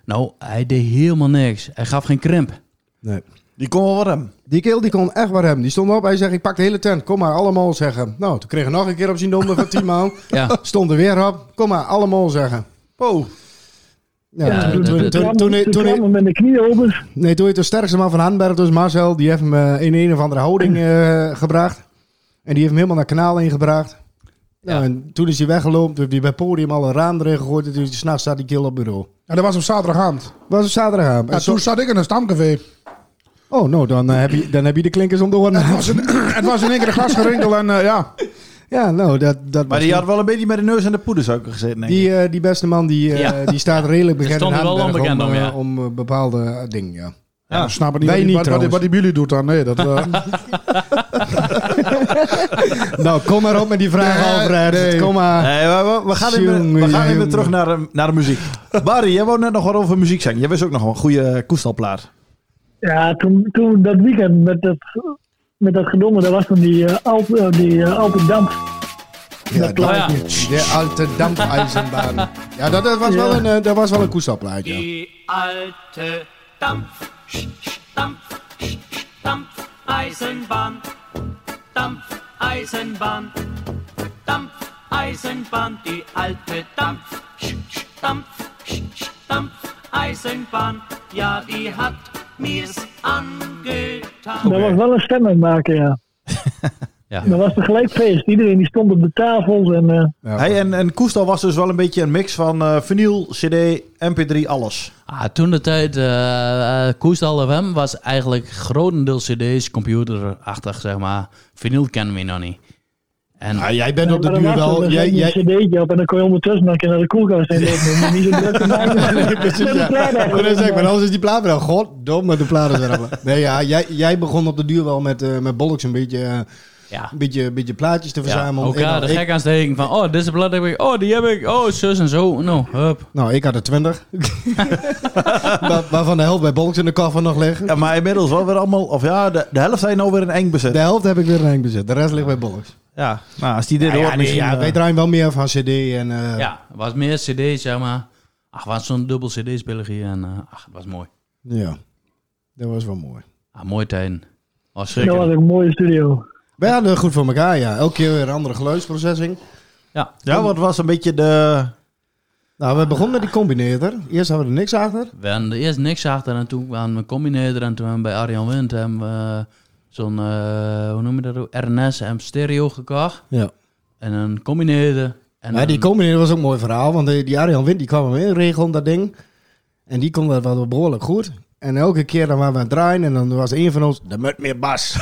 Speaker 5: Nou, hij deed helemaal niks. Hij gaf geen krimp.
Speaker 4: Nee.
Speaker 3: Die kon wel wat hem.
Speaker 4: Die keel die kon echt wat hem. Die stond op, hij zegt, ik pak de hele tent. Kom maar, allemaal zeggen. Nou, toen kreeg hij nog een keer op zijn donder van 10 man.
Speaker 5: Ja.
Speaker 4: Stond er weer op. Kom maar, allemaal zeggen. Po. Ja,
Speaker 15: Ja,
Speaker 4: toen,
Speaker 15: dat-
Speaker 4: toen,
Speaker 15: dat-
Speaker 4: toen, toen, toen, toen,
Speaker 15: met de knie open.
Speaker 4: nee, toen heeft de sterkste man van Hanberg, dus Marcel, die heeft hem eh, in een of andere houding eh, gebracht. En die heeft hem helemaal naar kanaal ingebracht. Nou, en toen is hij weggelopen, toen heeft hij bij het podium al een raam erin gegooid. En toen is hij s'nachts zat die keel op het bureau.
Speaker 6: Ja, dat was op zaterdagavond.
Speaker 4: was op zaterdagavond.
Speaker 6: Ja,
Speaker 4: En zo-
Speaker 6: toen zat ik in een stamcafé.
Speaker 4: Oh, nou, dan, eh, heb je, dan heb je de klinkers om de oren.
Speaker 6: het was in één keer een glasgerinkel en eh, ja.
Speaker 4: Ja, nou, dat, dat
Speaker 3: Maar
Speaker 4: was
Speaker 3: die
Speaker 4: niet-
Speaker 3: had wel een beetje met de neus aan de poedersuiker gezeten, denk ik.
Speaker 4: Die, eh, die beste man die, eh,
Speaker 3: Ja.
Speaker 4: die staat redelijk
Speaker 3: Die
Speaker 4: bekend
Speaker 3: stond
Speaker 4: in
Speaker 3: er wel
Speaker 4: Hardenberg
Speaker 3: onbekend om,
Speaker 4: eh,
Speaker 3: ja.
Speaker 4: om, eh, bepaalde eh, dingen, ja.
Speaker 6: Ja, ik snap het niet,
Speaker 4: Wij
Speaker 6: wat, die-
Speaker 4: niet
Speaker 6: wat, wat, die-
Speaker 4: trouwens.
Speaker 6: wat die bij jullie doet dan. Nee, dat, eh,
Speaker 4: Nou, kom maar op met die vraag, Alfred. Kom maar.
Speaker 3: Oh, Nee, we, we- we gaan even, we gaan even
Speaker 4: Jongen,
Speaker 3: terug naar de, naar de muziek. Barry, jij wou net nog wat over muziek zeggen. Jij wist ook nog wel een goede eh, koestalplaat.
Speaker 15: Ja, toen, toen dat weekend met dat, met dat gedomme, dat was toen die eh Alp, eh, die eh, Alpendamp.
Speaker 4: Ja,
Speaker 15: dat plaatje.
Speaker 4: De alte dampijzenbaan. Ja, dat, dat was
Speaker 15: Ja.
Speaker 4: wel een, eh, dat was wel een koestapplaatje.
Speaker 19: Die alte Dampf, Dampf, Dampf, Eisenbahn, Dampf, Eisenbahn, Dampf, Eisenbahn, die alte Dampf, Dampf, Dampf, Eisenbahn, ja, die hat mir's angetan.
Speaker 4: Nou,
Speaker 15: Dat was wel een stemming maken, ja.
Speaker 5: ja.
Speaker 15: Dat was tegelijk feest. Iedereen die stond op de tafels en... eh,
Speaker 3: Hey, en, en Koestal was dus wel een beetje een mix van eh vinyl, cd, mp3, alles.
Speaker 5: Ah, toen de tijd, eh eh, Koestal FM was eigenlijk grotendeels cd's, computerachtig zeg maar. Vinyl kennen we nog niet. En,
Speaker 4: jij
Speaker 15: Ja, maar dan was er- dan ging je een cd'tje op en dan kon je ondertussen nog een keer naar de koelkast en dat niet zo druk te maken.
Speaker 4: Nee, precies, ja.
Speaker 15: Met een klein
Speaker 4: Ik wou net zeggen, maar
Speaker 15: eigenlijk.
Speaker 4: anders is die plaat weer al. Goddomme, de plaat is weer al. Nee, ja, jij, jij begon op de duur wel met, eh met Bollocks een beetje, eh, een beetje, een beetje plaatjes te verzamelen. Ik
Speaker 5: elkaar
Speaker 4: had-
Speaker 5: de
Speaker 4: ik-
Speaker 5: gek aansteken van, oh, dit is de blad heb ik, oh, die heb ik, oh, zus en zo. Nou, hup.
Speaker 4: Nou, ik had er twintig. waarvan de helft bij Bolks in de koffer nog liggen.
Speaker 3: Ja, maar inmiddels wel weer allemaal... Of ja, de, de helft zijn nou weer een eng bezet.
Speaker 4: De helft heb ik weer een eng bezet. De rest ligt bij Bolks.
Speaker 3: Ja, nou, als die dit
Speaker 4: Ja,
Speaker 3: hoort
Speaker 4: ja, nee,
Speaker 3: misschien...
Speaker 4: ja,
Speaker 3: eh,
Speaker 4: wij draaien wel meer van CD en. eh,
Speaker 5: Ja, het was meer cd's zeg maar. Ach, het was zo'n dubbel cd-speler hier en eh, ach, het was mooi.
Speaker 4: ja. Dat was wel mooi.
Speaker 5: Ah, mooi tijden. Was
Speaker 15: Dat was
Speaker 5: zeker.
Speaker 15: ook een mooie studio.
Speaker 4: Wij hadden het goed voor elkaar, ja. Elke keer weer een andere geluidsprocessing.
Speaker 5: Ja.
Speaker 3: Ja, wat was een beetje de...
Speaker 4: Nou, we begonnen met die combinator. Eerst hadden we er niks achter.
Speaker 5: We hadden er eerst niks achter en toen waren we een combinator en toen hebben we bij Arjan Wind hebben we eh, zo'n, eh, hoe noem je dat ook, RNS en stereo gekocht.
Speaker 4: Ja.
Speaker 5: En een combinator. En
Speaker 4: Maar eh, die
Speaker 5: een-
Speaker 4: combinator was ook een mooi verhaal, want eh, die, die Arjan Wind die kwam hem inregelen, dat ding. En die kon dat wel behoorlijk goed. En elke keer dan waren we aan het draaien en dan was één van ons, er moet meer bas.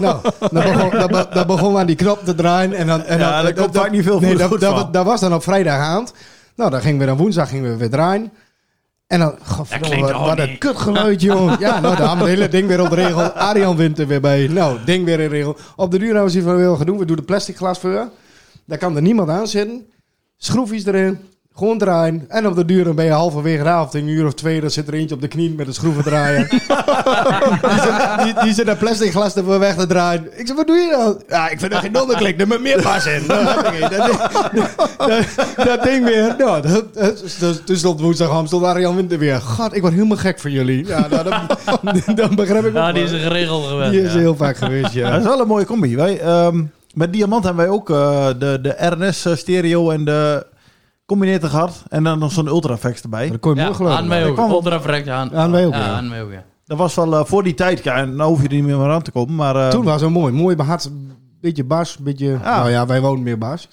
Speaker 4: nou, dan begon, dan, be- dan begon we aan die knop te draaien. En dan, en
Speaker 3: Ja,
Speaker 4: dan,
Speaker 3: daar komt vaak niet veel
Speaker 4: nee,
Speaker 3: goed
Speaker 4: dat,
Speaker 3: van.
Speaker 4: dat, dat was dan op vrijdagavond. Nou, dan gingen we dan woensdag gingen we weer draaien. En dan, godverdomme,
Speaker 3: klinkt
Speaker 4: wat,
Speaker 3: ook
Speaker 4: wat een
Speaker 3: niet.
Speaker 4: kutgeluid, joh. Ja, nou, dan hadden we het hele ding weer op de regel. Arjan wint er weer bij. Nou, ding weer in regel. Op de duur hebben we zoiets van, we willen gaan doen. We doen de plastic glasveur. Daar kan er niemand aan zitten. Schroefjes erin. Gewoon draaien. En op de duur dan ben je halverwege de avond, in een uur of twee, dan zit er eentje op de knie met een schroevendraaier. die, zit, die, die zit een plastic glas ervoor weg te draaien. Ik zeg, wat doe je nou? Ja, ik vind er geen donderklik, er moet meer pas in. Nou, huppakee, dat, ding- dat, dat ding weer. Nou, dat- dat- dus- toen stond woensdag om, stond Arjan Winter weer. God, ik word helemaal gek van jullie. Ja, nou, dan, dan begrijp ik
Speaker 5: Ja,
Speaker 4: ook
Speaker 5: Nou, die
Speaker 4: wel.
Speaker 5: is geregeld gewend.
Speaker 4: Die is
Speaker 5: ja.
Speaker 4: heel vaak geweest, ja.
Speaker 3: Dat is wel een mooie combi. Wij, ehm, met Diamant hebben wij ook eh, de, de RNS stereo en de combinator gehad. En dan nog zo'n Ultraflex erbij. Dat
Speaker 4: kon
Speaker 5: Ja, aan mij ook. Ultra vrekt aan.
Speaker 3: Aan mij ook,
Speaker 5: Ja,
Speaker 3: ja.
Speaker 5: aan mij ook, ja.
Speaker 3: Dat was wel eh, voor die tijd. Ja, en nou hoef je er niet meer aan te komen. Maar, eh,
Speaker 4: Toen was het mooi. Mooi behard. Beetje bas. Beetje...
Speaker 3: Ah.
Speaker 4: Nou ja, wij wonen meer bas.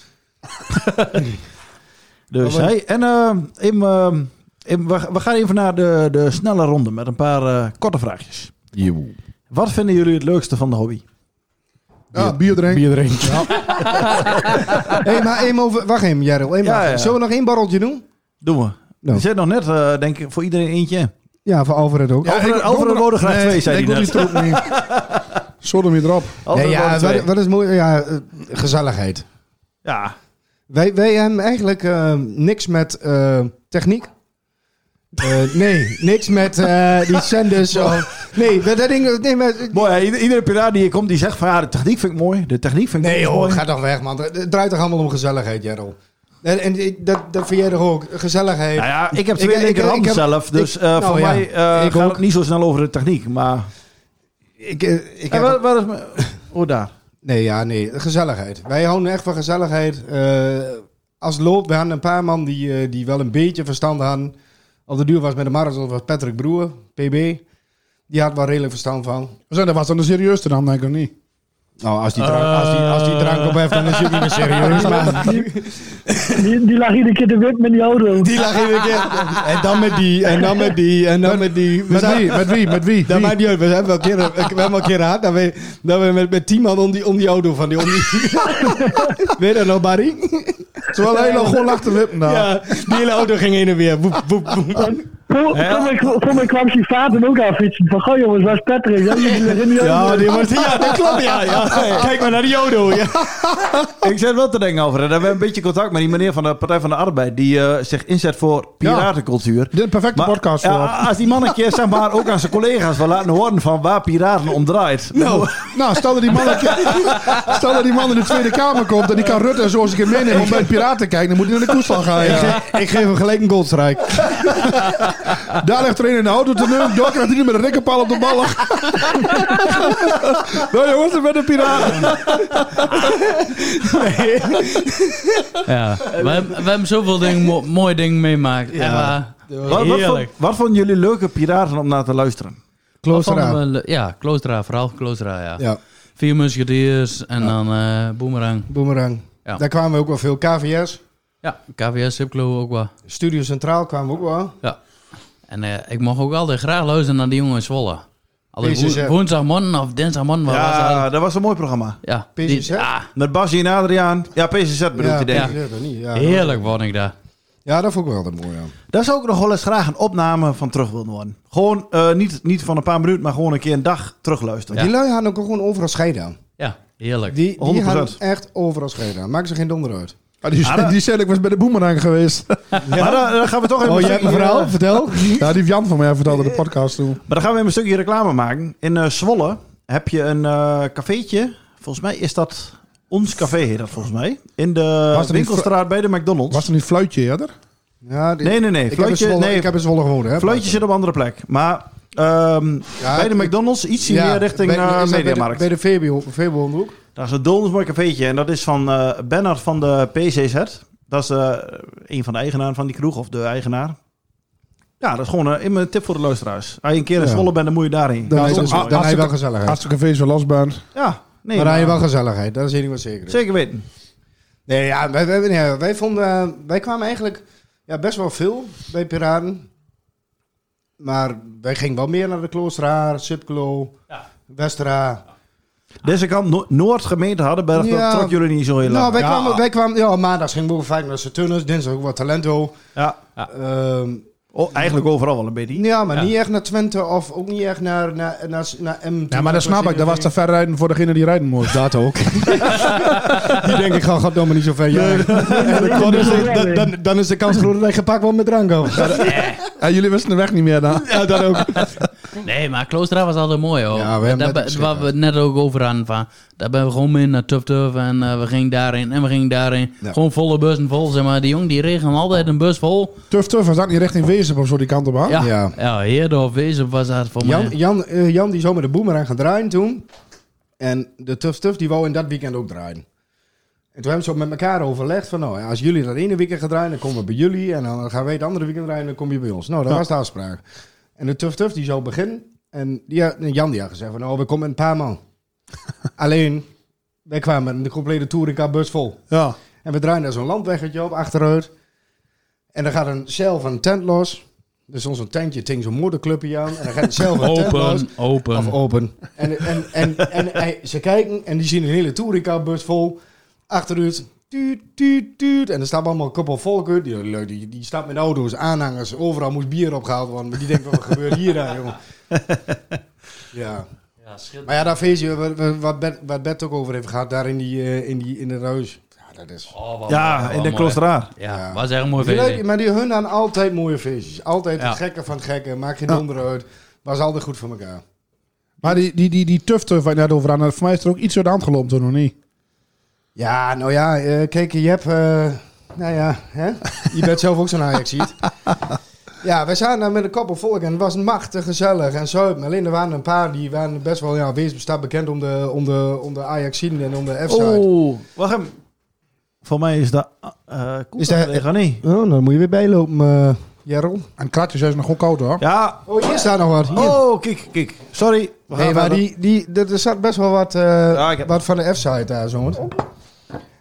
Speaker 3: Dus
Speaker 4: Maar we-
Speaker 3: hey, en ehm, Im, ehm, Im, we, we gaan even naar de, de snelle ronde met een paar eh, korte vraagjes. Wat vinden jullie het leukste van de hobby?
Speaker 6: ja, bier drinken.
Speaker 4: Bier drinken. Hé, maar één over... Wacht even, Jarrel. Één
Speaker 3: Ja,
Speaker 4: maar.
Speaker 3: ja.
Speaker 4: Zullen we nog één borreltje doen?
Speaker 3: Doen we.
Speaker 4: Nou.
Speaker 3: Er zit nog net, eh, denk ik, voor iedereen eentje. in.
Speaker 4: Ja, voor Alfred ook.
Speaker 3: Ja, Alfred- ik- Alfred Donderdag- Wodegraaf Nee, twee, zei ik hij wil net. die troep
Speaker 6: Sodom hier erop.
Speaker 4: Nee, ja, wat,
Speaker 3: Alfred Wodegraaf
Speaker 4: wat is mooi? Ja, eh, gezelligheid.
Speaker 3: Ja.
Speaker 4: Wij, wij hebben eigenlijk eh, niks met eh, techniek. Eh, nee, niks met eh, die zenders. of- nee, dat dat ding... Nee, maar,
Speaker 3: Mooi, hè? Ieder- iedere piraat die hier komt, die zegt van ja, de techniek vind ik mooi. De techniek vind ik
Speaker 4: nee
Speaker 3: ook
Speaker 4: hoor,
Speaker 3: mooi.
Speaker 4: ga toch weg, man. Het draait toch allemaal om gezelligheid, Jarrel? En, en ik- dat, dat vind jij toch ook? Gezelligheid.
Speaker 3: Nou ja, ik heb twee
Speaker 4: ik- ik-
Speaker 3: linkerhanden
Speaker 4: ik heb-
Speaker 3: zelf, dus
Speaker 4: ik-
Speaker 3: eh,
Speaker 4: nou
Speaker 3: voor
Speaker 4: ja,
Speaker 3: mij eh,
Speaker 4: ik
Speaker 3: gaat
Speaker 4: ook.
Speaker 3: het niet zo snel over de techniek. Maar
Speaker 4: Ik, eh, ik
Speaker 3: En
Speaker 4: heb...
Speaker 3: waar- waar is mijn-
Speaker 4: Oh, daar. Nee, ja, nee. Gezelligheid. Wij houden echt van gezelligheid. Eh, als loop, we hadden een paar man die, eh, die wel een beetje verstand hadden. Op de duur was met de marathon was Patrick Broer, PB. Die had wel redelijk verstand van.
Speaker 6: Zo, dat was dan de serieusste dan, denk ik niet.
Speaker 4: Nou, als die drank,
Speaker 3: Eh.
Speaker 4: als die, als die drank op heeft, dan is hij niet meer serieus. Maar
Speaker 15: Die, die lag iedere keer te wit met die auto.
Speaker 18: Die lag iedere keer. En dan met die, en dan met die, en dan met, die.
Speaker 6: met wie? Met wie? Met wie?
Speaker 18: Dat
Speaker 6: Wie?
Speaker 18: maakt niet uit. We hebben wel een keer, we hebben wel een keer gehad dat we, dat we met, met tien man om die, om die auto van die... Om die Weet je dat nog, Barry?
Speaker 6: Terwijl hij nog gewoon lag te wippen daar.
Speaker 18: Ja, die hele auto ging heen en weer. Boep, boep, boep.
Speaker 15: Voor mij- Voor mij kwam die vader ook aan fietsen. Van, goh jongens, waar is Patrick? Ja, die ligt in die
Speaker 18: Ja,
Speaker 15: auto.
Speaker 18: die was, ja, dat klopt, ja,
Speaker 6: Ah,
Speaker 18: ja. Kijk maar naar die Jodo. Ja.
Speaker 3: Ik zit wel te denken over. En we hebben een beetje contact met die meneer van de Partij van de Arbeid. Die eh, zich inzet voor piratencultuur.
Speaker 6: Dit is een perfecte podcast voor.
Speaker 3: Ja, als die man een keer zeg maar, ook aan zijn collega's wil laten horen van waar piraten om draait.
Speaker 6: Nou, nou stel, dat die man, een keer- stel dat die man in de Tweede Kamer komt en die kan Rutte zoals ik hem meenemen om bij de piraten kijken, dan moet hij naar de koestal gaan.
Speaker 18: Ik, ge- ik geef hem gelijk een goldstrijk.
Speaker 6: Daar ligt er een in de auto te neuken, daar krijgt hij nu met een rekkenpaal op de ballen.
Speaker 18: Nou jongens, ik ben een piraat.
Speaker 5: Ja. We, hebben- we hebben zoveel dingen, mo- mooie dingen eh, meemaakt. Ja.
Speaker 3: Wat, wat, vond- wat vonden jullie leuke piraten om naar te luisteren?
Speaker 5: Waarvan we le- Ja, Kloostra, vooral Kloostra, ja.
Speaker 4: Ja.
Speaker 5: Vier musketeers en dan eh Boomerang.
Speaker 4: Boomerang.
Speaker 5: Ja.
Speaker 4: Daar kwamen we ook wel veel. KVS,
Speaker 5: Ja, KVS, Zipclo ook wel.
Speaker 4: Studio Centraal kwamen we ook wel.
Speaker 5: Ja. En eh, ik mocht ook altijd graag luisteren naar die jongen in Zwolle. Altijd
Speaker 3: PCZ.
Speaker 5: wo- woensdagmorgen of dinsdagmorgen. wat was
Speaker 3: Ja,
Speaker 5: dat?
Speaker 3: dat was een mooi programma.
Speaker 5: Ja. ah.
Speaker 3: PCZ? Met Basje en Adriaan. Ja, PCZ bedoelt hij denk ik.
Speaker 5: Heerlijk word ik daar.
Speaker 4: Ja, dat vond ik wel mooi aan.
Speaker 3: Daar zou ik nog wel eens graag een opname van terug willen worden. Gewoon eh, niet, niet van een paar minuten, maar gewoon een keer een dag terugluisteren.
Speaker 4: Die lui hadden ook gewoon overal scheiden aan.
Speaker 5: Ja, heerlijk.
Speaker 4: Die, die
Speaker 3: 100%.
Speaker 4: hadden echt overal scheiden aan. Maak ze geen donder uit.
Speaker 6: Ah,
Speaker 18: Ah,
Speaker 6: die, zei- die zei ik was bij de boemerang geweest.
Speaker 3: Maar daar, daar gaan we toch even...
Speaker 6: Oh, je hebt een verhaal?
Speaker 3: Vertel.
Speaker 6: Ja, die heeft Jan van mij vertelde in de podcast toen.
Speaker 3: Maar dan gaan we even een stukje reclame maken. In eh, Zwolle heb je een eh cafeetje. Volgens mij is dat... Ons café heet dat volgens mij. In de
Speaker 6: Was er niet
Speaker 3: winkelstraat bij de McDonald's.
Speaker 6: Was er niet fluitje eerder?
Speaker 4: Ja,
Speaker 3: Nee, nee, nee.
Speaker 4: Ik heb, in
Speaker 3: Fluitje-
Speaker 4: Zwolle,
Speaker 3: nee.
Speaker 4: ik heb in Zwolle gewoond, hè.
Speaker 3: Fluitje zit op andere plek. Maar ehm, bij de McDonald's iets
Speaker 4: Ja,
Speaker 3: meer richting
Speaker 4: bij- is
Speaker 3: eh
Speaker 4: dat bij de-
Speaker 3: Mediamarkt.
Speaker 4: Bij de VBO Veeboonhoek.
Speaker 3: Dat is een donders cafeetje. En dat is van eh Bernard van de PCZ. Dat is eh, een van de eigenaren van die kroeg. Of de eigenaar. Ja, dat is gewoon eh, in mijn tip voor de luisteraars. Als je een keer in
Speaker 6: Ja.
Speaker 3: Zwolle bent, dan moet je daarheen.
Speaker 6: Dan
Speaker 3: Dat
Speaker 6: is
Speaker 3: is
Speaker 6: het-
Speaker 3: ook mooi.
Speaker 6: dan
Speaker 4: Als
Speaker 6: hij
Speaker 4: je wel
Speaker 6: wel
Speaker 4: gezelligheid.
Speaker 6: Als ik een feest wel los ben.
Speaker 3: Ja, nee.
Speaker 4: maar daar heb je
Speaker 3: maar-
Speaker 4: wel gezelligheid. Dat is één ding wat zeker is.
Speaker 3: Zeker weten.
Speaker 4: Nee, ja, wij, wij, nee, wij, vonden, eh, wij kwamen eigenlijk ja, best wel veel bij Piraten. Maar wij gingen wel meer naar de Kloostra, Sipklo, Westra.
Speaker 3: Deze kant, no Noord-gemeente Hardenberg,
Speaker 4: Ja.
Speaker 3: dat trok jullie niet zo heel lang.
Speaker 4: Nou, wij
Speaker 3: Ja.
Speaker 4: kwamen, wij kwamen ja, maandags gingen we ook vaak naar Saturnus, dinsdag ook wat Talento. Ehm,
Speaker 3: Ja. Oh, eigenlijk overal wel een beetje.
Speaker 4: Ja, maar
Speaker 3: Ja.
Speaker 4: niet echt naar Twente of ook niet echt naar, naar, naar, naar M.
Speaker 6: Ja, maar dat snap ik. Dat was te ver rijden voor degene die rijden moest. Dat ook.
Speaker 18: Die denken, ik ga goddomme niet zo ver. Ja. En dan- dan, is de, dan, dan is de kans groot dat hij gepakt wordt met drank af.
Speaker 6: Ja, jullie wisten de weg niet meer dan.
Speaker 18: Ja, dat ook.
Speaker 5: Nee, maar Kloostra was altijd mooi hoor.
Speaker 4: Ja, we hebben
Speaker 5: Daar
Speaker 4: net
Speaker 5: be-
Speaker 4: iets
Speaker 5: waar we het net ook over hadden. Van, daar ben we gewoon mee naar Tuf Tuf en eh, we gingen daarin en we gingen daarin.
Speaker 4: Ja.
Speaker 5: Gewoon volle bussen vol, zeg maar. Die jongen die regelen altijd een bus vol.
Speaker 6: Tuf tuf, was dat niet richting Wezen of zo die kant op aan?
Speaker 5: Ja,
Speaker 4: Ja.
Speaker 5: ja. Heerdorf, Wezen was dat voor
Speaker 4: Jan,
Speaker 5: mij.
Speaker 4: Jan, eh, Jan die zou met de boemerang gaan draaien toen. En de Tuf Tuf die wou in dat weekend ook draaien. En toen hebben ze ook met elkaar overlegd van nou, ja, als jullie dat ene weekend gaan draaien, dan komen we bij jullie. En dan gaan wij het andere weekend draaien, dan kom je bij ons. Nou, dat
Speaker 6: Ja.
Speaker 4: was de afspraak. En de Tuf Tuf die zou beginnen. En die, had- nee, Jan die had gezegd van nou, we komen met een paar man. Alleen, wij kwamen met de complete Touringcar bus vol.
Speaker 6: Ja.
Speaker 4: En we draaien daar zo'n landweggetje op achteruit. En dan gaat een cel van een tent los. Dus ons een tentje tegen zo'n moederclubje aan. En dan gaat een cel van een tent los.
Speaker 5: Open, open.
Speaker 4: Of open. En, eh, en, en, en, hij- ze kijken en die zien een hele Tourica-bus vol. Achteruit. Tuut, tuut, tuut. En er staat allemaal een koppel volk uit. Die, lui, die, die staat met auto's, aanhangers. Overal moest bier opgehaald worden. Maar die denken, wat gebeurt hier dan, jongen? Ja. Maar ja, dat feestje, wa- wa- wat Bert, wat Bert ook over heeft gehad, daar in, die, eh, in, die, in het huis. Ja, dat is...
Speaker 5: Oh,
Speaker 3: Ja, in de Kloosterhaar.
Speaker 5: Ja, was echt een mooi
Speaker 4: Die
Speaker 5: feestje.
Speaker 4: leuk- maar die hun aan altijd mooie feestjes. Altijd
Speaker 5: Ja.
Speaker 4: het gekke van het gekke. Maak geen donder uit. Was altijd goed voor elkaar.
Speaker 6: Maar die, die, die, die tuf tuf waar je net over aan, voor mij is er ook iets uit de hand gelopen toen, nog niet?
Speaker 4: Ja, nou ja, eh, kijk, je hebt... eh, nou ja, hè? je bent zelf ook zo'n ajax ziet. Ja, we zaten daar met een koppel volk en het was machtig gezellig en zuipen. Alleen er waren een paar die waren best wel, ja, wees bestaat bekend om de, om de, om de Ajaxiden en om de F-side.
Speaker 3: Oeh, wacht hem. Voor mij is dat... eh is dat niet?
Speaker 4: Oh, dan moet je weer bijlopen, eh Jarrel.
Speaker 6: En kratjes is nog goed koud hoor.
Speaker 3: Ja.
Speaker 4: Oh, hier staat nog wat. Hier.
Speaker 3: Oh, kijk, kijk. Sorry. We gaan
Speaker 4: Nee, maar
Speaker 3: verder.
Speaker 4: die, die, er er zat best wel wat, eh,
Speaker 3: ik heb-
Speaker 4: wat van de F-site daar zo.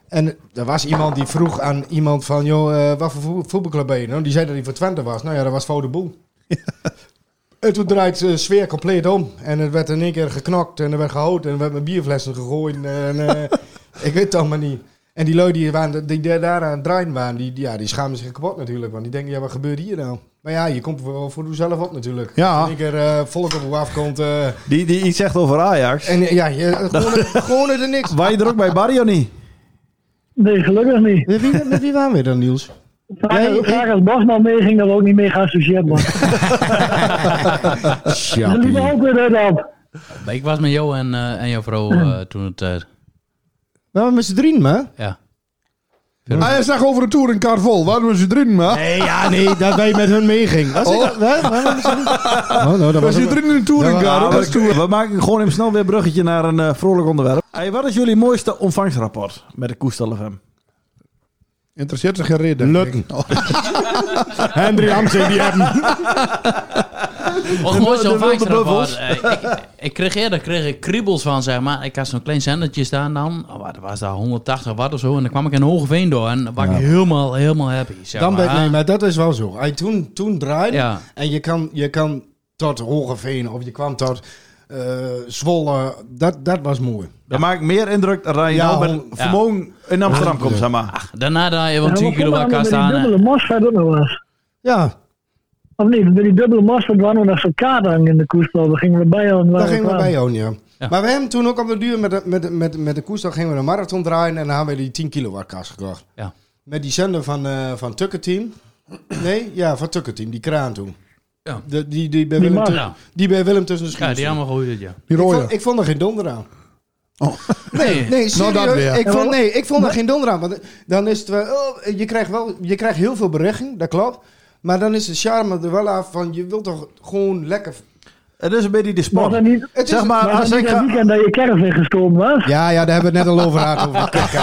Speaker 4: En er was iemand die vroeg aan iemand van, joh, eh, wat voor voe- voetbalclub ben je? Nou, die zei dat hij voor Twente was. Nou ja, dat was voor de boel. en toen draait de sfeer compleet om. En het werd in één keer geknokt en er werd gehouden en er werd met bierflessen gegooid. En, eh, ik weet het allemaal niet. En die lui die, waren, die daar aan het draaien waren, die, die- ja, die schamen zich kapot natuurlijk. Want die denken, ja, wat gebeurt hier nou? Maar ja, je komt wel voor jezelf op natuurlijk.
Speaker 3: Ja.
Speaker 4: Als in één keer eh, volk op je afkomt... eh,
Speaker 3: Die, die iets zegt over Ajax.
Speaker 4: en eh, ja, je, gewoon, gewoon er niks.
Speaker 3: Waar je er ook bij Barry of niet?
Speaker 15: Nee, gelukkig niet.
Speaker 4: Met wie, met wie waren we dan, Niels?
Speaker 15: Vraag, vraag als Bosman meeging, dat we ook niet mee geassocieerd worden.
Speaker 5: Ja.
Speaker 15: Ze liepen ook weer uit op.
Speaker 5: Ik was met jou en, eh, en jouw vrouw eh, toen het... eh,
Speaker 4: Nou, met z'n drieën, hè?
Speaker 5: ja.
Speaker 6: Hij Ah, zag over de touringcar vol. Waarom is je erin, man?
Speaker 4: Nee, ja, nee, dat wij met hun meeging.
Speaker 6: Was
Speaker 4: Was
Speaker 6: ik
Speaker 4: ik
Speaker 6: dat-
Speaker 4: Oh, nou, dat
Speaker 6: We
Speaker 4: was ook-
Speaker 6: zitten in een touringcar.
Speaker 3: Ja,
Speaker 6: ook
Speaker 3: we,
Speaker 6: als tour.
Speaker 3: we maken gewoon even snel weer een bruggetje naar een eh, vrolijk onderwerp. Hey, wat is jullie mooiste ontvangstrapport met de Koestal FM?
Speaker 6: Interesseert zich geen reden. Lutten.
Speaker 4: Henry Amstel, die hebben.
Speaker 5: Oh, mooi
Speaker 3: De bu- de
Speaker 5: zo'n
Speaker 3: wilde
Speaker 5: vangstrapport.
Speaker 3: bubbels.
Speaker 5: Eh, ik, ik kreeg eerder kreeg ik kriebels van, zeg maar. Ik had zo'n klein zendertje staan dan. Oh, wat was dat? 180 watt of zo. En dan kwam ik in Hogeveen door. En dan was ik helemaal, helemaal happy. Zeg
Speaker 4: Dan
Speaker 5: maar.
Speaker 4: ben, nee, maar dat is wel zo. Hij toen, toen draaide
Speaker 5: Ja.
Speaker 4: en je kan, je kan tot Hogeveen of je kwam tot eh, Zwolle. Dat, dat was mooi.
Speaker 3: Dat maakt meer indruk dan je
Speaker 4: Ja,
Speaker 3: nou met
Speaker 4: honderd-
Speaker 3: Vermogen in Amsterdam komt, zeg maar.
Speaker 5: Daarna draai je wel
Speaker 15: Ja,
Speaker 5: 10
Speaker 15: wat vonden we
Speaker 5: kilo
Speaker 15: nou met
Speaker 5: elkaar staan.
Speaker 15: Die
Speaker 5: hè.
Speaker 15: dubbele mosfet ook nog nou was.
Speaker 4: Ja,
Speaker 15: Of niet, met die dubbele mosfet waren we nog zo'n kaart hangen in de koersbal. Daar gingen we bij aan.
Speaker 4: daar gingen we bij jou, ja. Maar we hebben toen ook op de duur met de, met, de- met, met de koers, dan gingen we een marathon draaien en dan hebben we die 10 kilowatt kast gekocht.
Speaker 5: Ja.
Speaker 4: Met die zender van, eh van Tucker Team. Nee, ja, van Tucker Team, die kraan toen.
Speaker 5: Ja.
Speaker 4: De, die, die, bij
Speaker 15: Die
Speaker 4: Willem
Speaker 15: mag.
Speaker 4: tu-
Speaker 5: Ja.
Speaker 4: die bij Willem tussen de
Speaker 5: Ja,
Speaker 4: schuren.
Speaker 5: die allemaal goed, dit, ja.
Speaker 4: ik, vond, ik vond er geen donder aan. Oh. Nee, nee,
Speaker 6: Nou,
Speaker 4: serieus.
Speaker 6: dat weer.
Speaker 4: ik vond, nee, ik vond er geen donder aan. Want dan is het wel, oh, je krijgt wel, je krijgt heel veel berichting, dat klopt. Maar dan is de charme er wel af van, je wilt toch gewoon lekker...
Speaker 3: Het is een beetje de
Speaker 15: Was
Speaker 3: sport.
Speaker 15: dat niet,
Speaker 4: Het
Speaker 3: Zeg
Speaker 4: is-
Speaker 3: maar,
Speaker 15: was
Speaker 3: als
Speaker 15: dat
Speaker 3: ik
Speaker 15: niet dat
Speaker 3: ga...
Speaker 15: weekend dat je caravan gestolen was?
Speaker 4: Ja, ja, daar hebben we het net al over gehad. Over de kerk.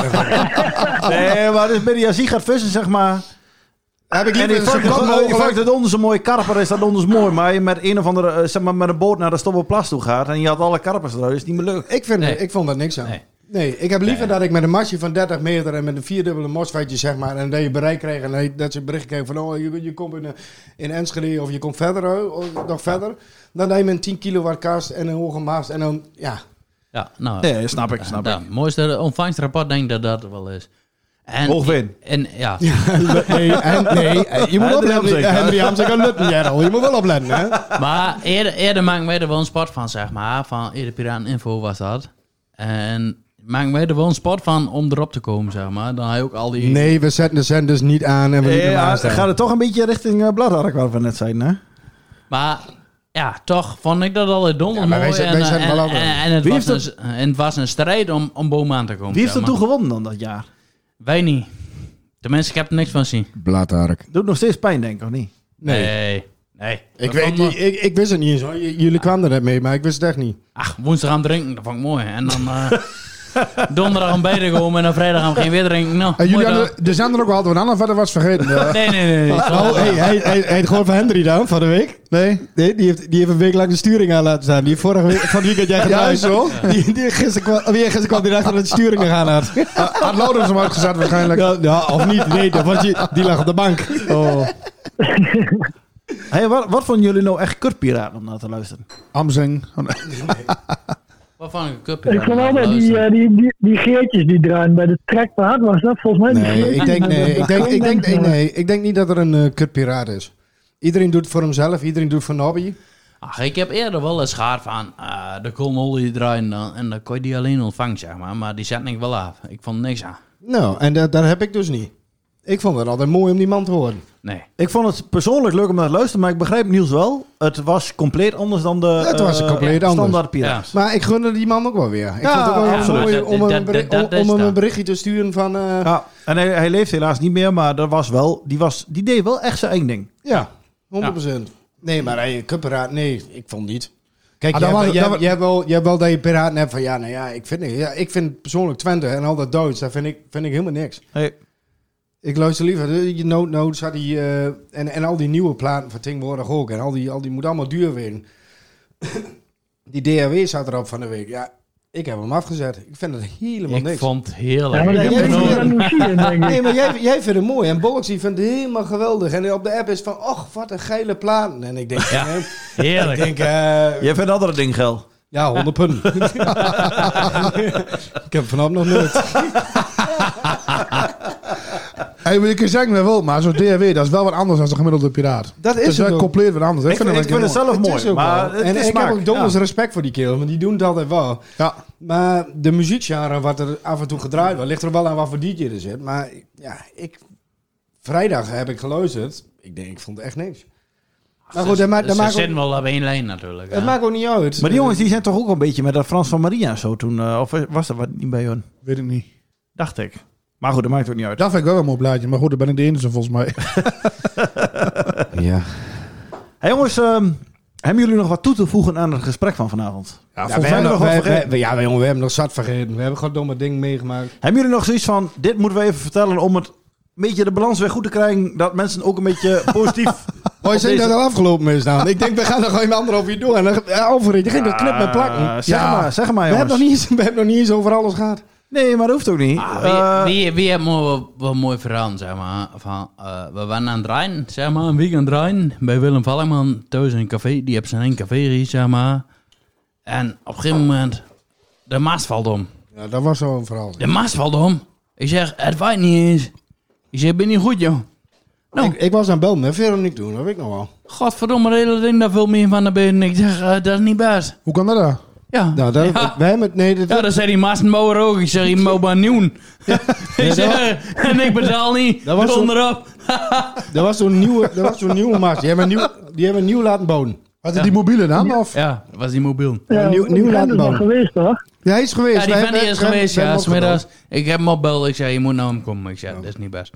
Speaker 4: Oh.
Speaker 3: Nee, maar het is een beetje als hij gaat vissen, zeg maar.
Speaker 4: Heb ik
Speaker 3: En
Speaker 4: liever
Speaker 3: die
Speaker 4: zo
Speaker 3: vangt
Speaker 4: plat
Speaker 3: het- die vangt
Speaker 4: mogelijk.
Speaker 3: het onder zijn mooie karper, is dat onder zijn mooi. Maar je met een of andere, eh, zeg maar, met een boot naar de Stoppenplas toe gaat en je had alle karpers eruit, is niet meer leuk.
Speaker 4: Ik, vind,
Speaker 5: Nee.
Speaker 4: ik vond daar niks aan.
Speaker 5: Nee.
Speaker 4: Nee. ik heb liever dat ik met een masje van 30 meter en met een vierdubbele mosfetje, zeg maar, en dat je bereik kreeg en dat je- dat ze een bericht kreeg van, oh, je, je komt in, eh, in Enschede of je komt verder, eh, of nog verder, dan dat je met een 10 kilowatt kast en een hoge maast en dan, ja,
Speaker 5: Ja, nou.
Speaker 3: Nee, snap ik, snap
Speaker 5: dat
Speaker 3: ik.
Speaker 5: mooiste ontvangstrapport denk ik dat dat wel is. En,
Speaker 3: Hogeveen.
Speaker 5: En, ja.
Speaker 4: Nee, en, nee, eh, je moet
Speaker 3: Henry
Speaker 4: opletten.
Speaker 3: Hamsik, hè?
Speaker 4: Henry Hamsik en Lutten, Jarrel. Je moet wel opletten, hè?
Speaker 5: Maar eerder, eerder maken wij er wel een sport van, zeg maar. Van eerder Piraten Info was dat. En maken wij er wel een sport van om erop te komen, zeg maar. Dan had je ook al die...
Speaker 4: Nee, we zetten de zenders niet aan en we lieten hem
Speaker 3: Ja,
Speaker 4: aanstaan.
Speaker 3: gaat het toch een beetje richting uh, Bladark, waar we net zijn, hè?
Speaker 5: Maar ja, toch vond ik dat altijd donder
Speaker 4: Ja, maar wij
Speaker 5: mooi.
Speaker 4: zijn-
Speaker 5: en,
Speaker 4: wij
Speaker 5: eh,
Speaker 4: zijn
Speaker 5: en,
Speaker 4: wel ook-
Speaker 5: en, en het
Speaker 3: Wie
Speaker 5: was
Speaker 3: heeft
Speaker 5: een, en het was een strijd om, om boom aan te komen.
Speaker 3: Wie heeft
Speaker 5: zeg
Speaker 3: er toen
Speaker 5: maar.
Speaker 3: gewonnen dan dat jaar?
Speaker 5: Wij niet. Tenminste, ik heb er niks van zien.
Speaker 4: Blaadark.
Speaker 3: Doet nog steeds pijn, denk ik, of niet?
Speaker 4: Nee.
Speaker 5: Nee. nee.
Speaker 4: Ik,
Speaker 5: Dat
Speaker 4: weet,
Speaker 5: vond
Speaker 4: niet, ik, ik wist het niet eens. hoor. J- Jullie kwamen er net mee, maar ik wist het echt niet.
Speaker 5: Ach, woensdag aan drinken, dat vond ik mooi. En dan eh, donderdag aan beide komen en dan vrijdag gaan we geen weer drinken. Nou,
Speaker 6: En jullie
Speaker 5: mooi
Speaker 6: hadden, er zijn er ook wel hadden we een ander verder was vergeten.
Speaker 5: dag.
Speaker 6: Eh,
Speaker 5: Nee, nee, nee. nee.
Speaker 4: Oh, hey, hij, hij, hij heeft gewoon van Henry dan, van de week.
Speaker 6: nee?
Speaker 4: Nee, die heeft, die heeft een week lang de sturing aan laten staan. Die heeft vorige week, van het weekend jij gedraaid.
Speaker 6: zo.
Speaker 4: Die, die gisteren kwam, of ja, gisteren kwam die achter dat de sturing eraan had.
Speaker 6: Ah, Had Laurens hem uitgezet waarschijnlijk.
Speaker 4: Ja, ja, of niet, nee, dat was je, die lag op de bank.
Speaker 6: Oh,
Speaker 3: Hey, wat, wat vonden jullie nou echt kutpiraten om naar te luisteren?
Speaker 6: Amzing.
Speaker 5: Wat vond ik een cup?
Speaker 15: Ik vond altijd die, eh, die, die, die geertjes die draaien bij de trekpaard, was dat volgens mij? die
Speaker 4: Nee, ik denk, nee, ik denk, ik denk, nee, nee, ik denk niet dat er een eh, kutpiraat is. Iedereen doet het voor hemzelf, iedereen doet het voor een hobby.
Speaker 5: Ach, ik heb eerder wel eens gehaald van eh, de koolmol die draaien dan, en dan kon je die alleen ontvangen, zeg maar. Maar die zet ik wel af. Ik vond niks aan.
Speaker 4: Nou, en dat, dat heb ik dus niet. Ik vond het altijd mooi om die man te horen.
Speaker 5: Nee.
Speaker 3: Ik vond het persoonlijk leuk om naar te luisteren, maar ik begrijp Niels wel. Het was compleet anders dan de
Speaker 4: Het was
Speaker 3: eh,
Speaker 4: compleet anders.
Speaker 3: standaard
Speaker 5: Ja.
Speaker 3: piraat.
Speaker 4: Maar ik gunde die man ook wel weer. Ik
Speaker 3: Ja,
Speaker 4: vond het ook wel
Speaker 5: absoluut.
Speaker 4: mooi om hem
Speaker 5: Dat-
Speaker 4: een, beri-
Speaker 5: dat-
Speaker 4: om-
Speaker 5: dat
Speaker 4: om
Speaker 5: is
Speaker 4: hem
Speaker 5: dat.
Speaker 4: een berichtje te sturen van... eh,
Speaker 3: Ja, en hij, hij leeft helaas niet meer, maar dat was wel, die, was, die deed wel echt zijn eigen ding.
Speaker 4: ja. 100%. Nee, maar hey, kupperaad, nee, ik vond niet. Kijk,
Speaker 18: Ah,
Speaker 4: je,
Speaker 18: dan
Speaker 4: hebt,
Speaker 18: was-
Speaker 4: je,
Speaker 18: dan
Speaker 4: hebt,
Speaker 18: was-
Speaker 4: je hebt wel, je hebt wel dat je piraten hebt van ja, nou ja, ik vind, ja, ik vind persoonlijk Twente en al dat Duits, dat vind ik, vind ik helemaal niks. Ik luister liever, eh, je Nood Notes had die, eh, en, en al die nieuwe platen van tegenwoordig ook. En al die, al die moet allemaal duur worden. die DHW zat erop van de week. Ja, ik heb hem afgezet. Ik vind het helemaal
Speaker 5: Ik
Speaker 4: niks.
Speaker 5: vond het
Speaker 4: Ja,
Speaker 5: heerlijk.
Speaker 4: maar
Speaker 5: Ik
Speaker 4: jij
Speaker 5: heb
Speaker 4: vindt-
Speaker 5: genoten.
Speaker 4: Nee, maar jij, jij vindt het mooi. En Bollocks die vindt het helemaal geweldig. En op de app is van, och, wat een geile plaat. En ik denk,
Speaker 3: Ja,
Speaker 4: eh,
Speaker 5: heerlijk.
Speaker 4: Ik denk, eh,
Speaker 3: Jij vindt andere ding geil.
Speaker 4: ja, 100 punten. ik heb vanaf nog nooit.
Speaker 6: Hey, maar ik kan zeggen, wel, maar zo'n DHW, dat is wel wat anders dan de gemiddelde piraat.
Speaker 4: Dat is
Speaker 6: dus
Speaker 4: het
Speaker 6: dat
Speaker 4: ook.
Speaker 6: compleet wat anders.
Speaker 4: Ik vind- ik vind het zelf mooi,
Speaker 6: is ook
Speaker 4: maar
Speaker 6: wel.
Speaker 4: het is smaak, ja. respect voor die kerel, want die doen het altijd wel.
Speaker 6: Ja.
Speaker 4: Maar de muziekgenre wat er af en toe gedraaid wordt, ligt er wel aan wat voor DJ er zit. Maar ja, ik, vrijdag heb ik geluisterd. Ik denk, ik vond het echt niks. Maar goed,
Speaker 5: Ze-
Speaker 4: dat, ma- dat
Speaker 5: ze
Speaker 4: maakt,
Speaker 5: zitten
Speaker 4: ook,
Speaker 5: Dus wel op één lijn natuurlijk.
Speaker 4: dat
Speaker 5: ja.
Speaker 4: maakt ook niet uit.
Speaker 3: Maar die jongens die zijn toch ook een beetje met dat Frans van Maria en zo toen. eh, of was dat wat niet bij hun?
Speaker 6: Weet ik niet.
Speaker 3: Dacht ik. Maar goed, dat maakt ook niet uit.
Speaker 6: Dat vind ik wel een mooi blaadje, maar goed, daar ben ik de enige volgens mij.
Speaker 4: ja.
Speaker 3: Hey jongens, ehm, hebben jullie nog wat toe te voegen aan het gesprek van vanavond?
Speaker 4: Ja,
Speaker 3: volgens
Speaker 4: we
Speaker 3: mij
Speaker 4: hebben nog,
Speaker 3: nog wat
Speaker 4: wij-
Speaker 3: vergeten.
Speaker 4: wij- ja, jongen, we hebben nog zat vergeten. We hebben goddomme ding meegemaakt.
Speaker 3: Hebben jullie nog zoiets van, dit moeten we even vertellen om het een beetje de balans weer goed te krijgen, dat mensen ook een beetje positief...
Speaker 4: Oh, je
Speaker 3: op
Speaker 4: zei
Speaker 3: deze-
Speaker 4: dat al afgelopen is nou. Ik denk, we gaan er gewoon een anderhalf uur door. En dan, ja, Alfred, je ging dat knip met plakken.
Speaker 3: Ah, Zeg
Speaker 4: Ja.
Speaker 3: maar, zeg maar
Speaker 4: we
Speaker 3: jongens.
Speaker 4: hebben, nog niet eens, we hebben nog niet eens over alles gehad.
Speaker 3: Nee, maar dat hoeft ook niet.
Speaker 5: Ah,
Speaker 3: Eh,
Speaker 5: wie, wie, wie heeft me wel, wel mooi verhaal, zeg maar. Van, eh, we waren aan het draaien, zeg maar, een week aan het draaien. Bij Willem Valkman, thuis in een café. Die heeft zijn eigen café hier, zeg maar. En op een gegeven moment, de maas valt om.
Speaker 4: Ja, dat was zo'n verhaal.
Speaker 5: De maas valt om. Ik zeg, het waait niet eens. Ik zeg, ben niet goed, joh.
Speaker 4: Ik, ik was aan Belmen, Veronique doen, dat weet ik nog wel.
Speaker 5: Godverdomme, het hele ding daar veel meer van naar binnen. Ik zeg, eh, dat is niet best.
Speaker 6: Hoe kan dat dan?
Speaker 5: Ja.
Speaker 4: Nou, dat,
Speaker 5: Ja.
Speaker 4: wij hebben het... Nee, dat,
Speaker 5: Ja, dan zei die Maastenbouwer ook. Ik zeg, je moet maar nieuwen. Ik zeg, en ik betaal niet.
Speaker 4: Dat was
Speaker 5: Dat
Speaker 4: zo-
Speaker 5: onderop.
Speaker 4: dat was zo'n nieuwe, dat was zo'n nieuwe maat. Die hebben een nieuw, die hebben een nieuw laten bouwen.
Speaker 6: Had die mobiele naam? Of?
Speaker 5: Ja, was die mobiel.
Speaker 4: Ja, nieuw, nieuw laten bouwen.
Speaker 15: geweest, toch?
Speaker 4: Ja, hij is geweest.
Speaker 5: Ja, die
Speaker 4: Wij
Speaker 5: ben die
Speaker 4: hebben-
Speaker 5: is
Speaker 4: wij-
Speaker 5: geweest,
Speaker 4: wij
Speaker 5: ja.
Speaker 4: hebben hem
Speaker 5: Smiddags. Ik heb hem opbeld. Ik zei, je moet naar hem komen. Ik zei, dat is niet best.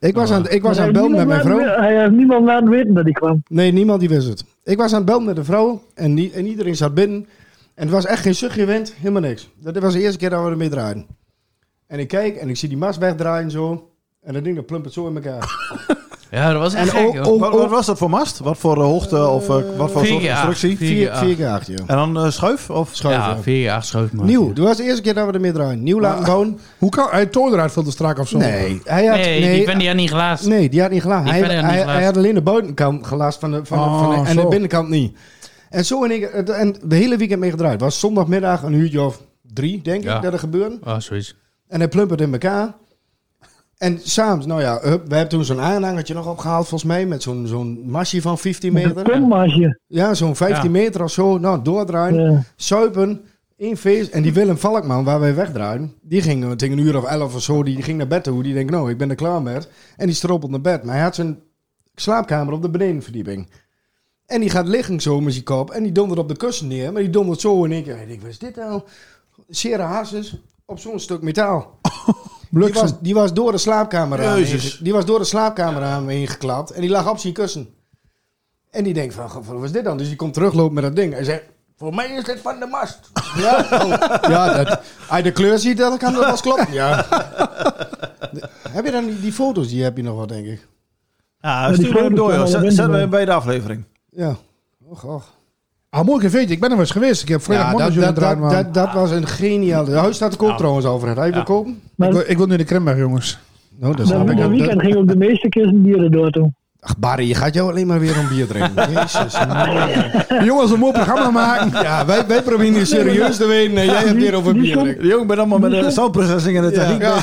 Speaker 4: Ik was aan, ik was aan het
Speaker 15: Hij heeft
Speaker 4: belmen met mijn
Speaker 15: niemand laten
Speaker 4: vrouw.
Speaker 15: we- Hij heeft niemand laten weten dat hij kwam.
Speaker 4: Nee, niemand die wist het. Ik was aan het belmen met de vrouw en, die, en iedereen zat binnen. En het was echt geen zuchtje wind, helemaal niks. Dat was de eerste keer dat we ermee draaiden. En ik kijk en ik zie die mast wegdraaien zo. En dat ding dat plumpert zo in elkaar.
Speaker 5: Ja, dat was echt
Speaker 4: En
Speaker 5: gek,
Speaker 4: ook-
Speaker 5: joh.
Speaker 4: ook-
Speaker 3: wat, wat was dat voor mast? Wat voor eh, hoogte of eh, wat voor
Speaker 5: vier
Speaker 3: soort
Speaker 5: keer acht.
Speaker 3: constructie?
Speaker 5: Vier keer acht.
Speaker 4: Vier keer acht, joh.
Speaker 3: En dan eh, schuif? Of?
Speaker 4: Schuif,
Speaker 5: ja,
Speaker 4: ja.
Speaker 5: 4 jaar schoof, man.
Speaker 4: Nieuw, dat was de eerste keer dat we ermee draaien. Nieuw laten bouwen.
Speaker 6: Hoe kan hij toon eruit veel te strak of zo?
Speaker 4: Nee, hij had,
Speaker 5: Nee, die ben die had niet glazen.
Speaker 4: Nee, die had niet glazen.
Speaker 5: Die
Speaker 4: Hij,
Speaker 5: verder had niet
Speaker 4: hij,
Speaker 5: glazen.
Speaker 4: hij had alleen de buitenkant gelast van de, van de-
Speaker 6: Oh,
Speaker 4: van de- en de
Speaker 6: zo.
Speaker 4: binnenkant niet. En zo en ik, het- en de hele weekend mee gedraaid. Was zondagmiddag een uurtje of drie, denk
Speaker 5: Ja.
Speaker 4: ik, dat er gebeurde.
Speaker 5: Oh, zoiets.
Speaker 4: En hij plumpert in elkaar. En s'avonds, nou ja, hup, we hebben toen zo'n aanhangertje nog opgehaald, volgens mij, met zo'n zo'n masje van 15
Speaker 15: Een
Speaker 4: meter.
Speaker 15: kommaasje.
Speaker 4: Ja, zo'n 15
Speaker 5: Ja.
Speaker 4: meter of zo. Nou, doordraaien,
Speaker 15: Ja.
Speaker 4: zuipen, één feest. En die Willem Valkman, waar wij wegdraaien, die ging eh, tegen een uur of elf of zo, die ging naar bed toe. Die denkt, nou, ik ben er klaar met. En die stroppelt naar bed. Maar hij had zijn slaapkamer op de benedenverdieping. En die gaat liggen zo met zijn kop. En die dondert op de kussen neer. Maar die dondert zo in één keer. Ik denk, wat is dit nou? Sera Hasses op zo'n stuk metaal. Die
Speaker 6: Bliksem.
Speaker 4: was, die was door de slaapkamer aan
Speaker 3: Jezus.
Speaker 4: heen- eh, Die was door de slaapkamer aan heen geklapt. En die lag op zijn kussen. En die denkt van, "Goh, wat is dit dan? Dus die komt teruglopen met dat ding. Hij zegt, voor mij is dit van de mast. ja, oh, ja dat, als je de kleur ziet, dan kan dat wel eens kloppen. Ja. De- heb je dan die, die foto's? Die heb je nog wel, denk ik.
Speaker 3: Ja,
Speaker 15: Maar die
Speaker 3: stuur hem
Speaker 15: foto's
Speaker 3: door.
Speaker 15: zijn
Speaker 3: joh.
Speaker 15: al
Speaker 3: Zet-
Speaker 15: binnen,
Speaker 3: Zetten we
Speaker 15: man.
Speaker 3: hem bij de aflevering.
Speaker 4: Ja. Och, och.
Speaker 6: Ah, mooi cafeetje. Ik ben er wel eens geweest. Ik heb
Speaker 4: Ja,
Speaker 6: vrijdagmorgen
Speaker 4: dat,
Speaker 6: jullie
Speaker 4: dat,
Speaker 6: eruit,
Speaker 4: dat,
Speaker 6: man.
Speaker 4: dat, dat was een geniaal. Het huis staat te koop trouwens, Alfred. Hij wil kopen?
Speaker 6: Ik
Speaker 15: Maar
Speaker 6: wil- Ik wil nu de Krimberg, jongens.
Speaker 4: Nou, dat
Speaker 15: dat
Speaker 4: snap ik.
Speaker 15: dat
Speaker 4: Dat-
Speaker 15: weekend ging ook de meeste kisten bieren door toen.
Speaker 4: Ach, Barry, je gaat jou alleen maar weer een bier drinken. Jezus.
Speaker 6: jongens, een mooi programma maken.
Speaker 4: Ja, wij, wij proberen hier serieus te
Speaker 3: eh,
Speaker 4: weten en jij hebt weer over
Speaker 15: Die
Speaker 4: bier
Speaker 15: stond-
Speaker 4: drinken.
Speaker 3: De jongen ben allemaal met de soundprocessing en de techniek.
Speaker 4: Ja.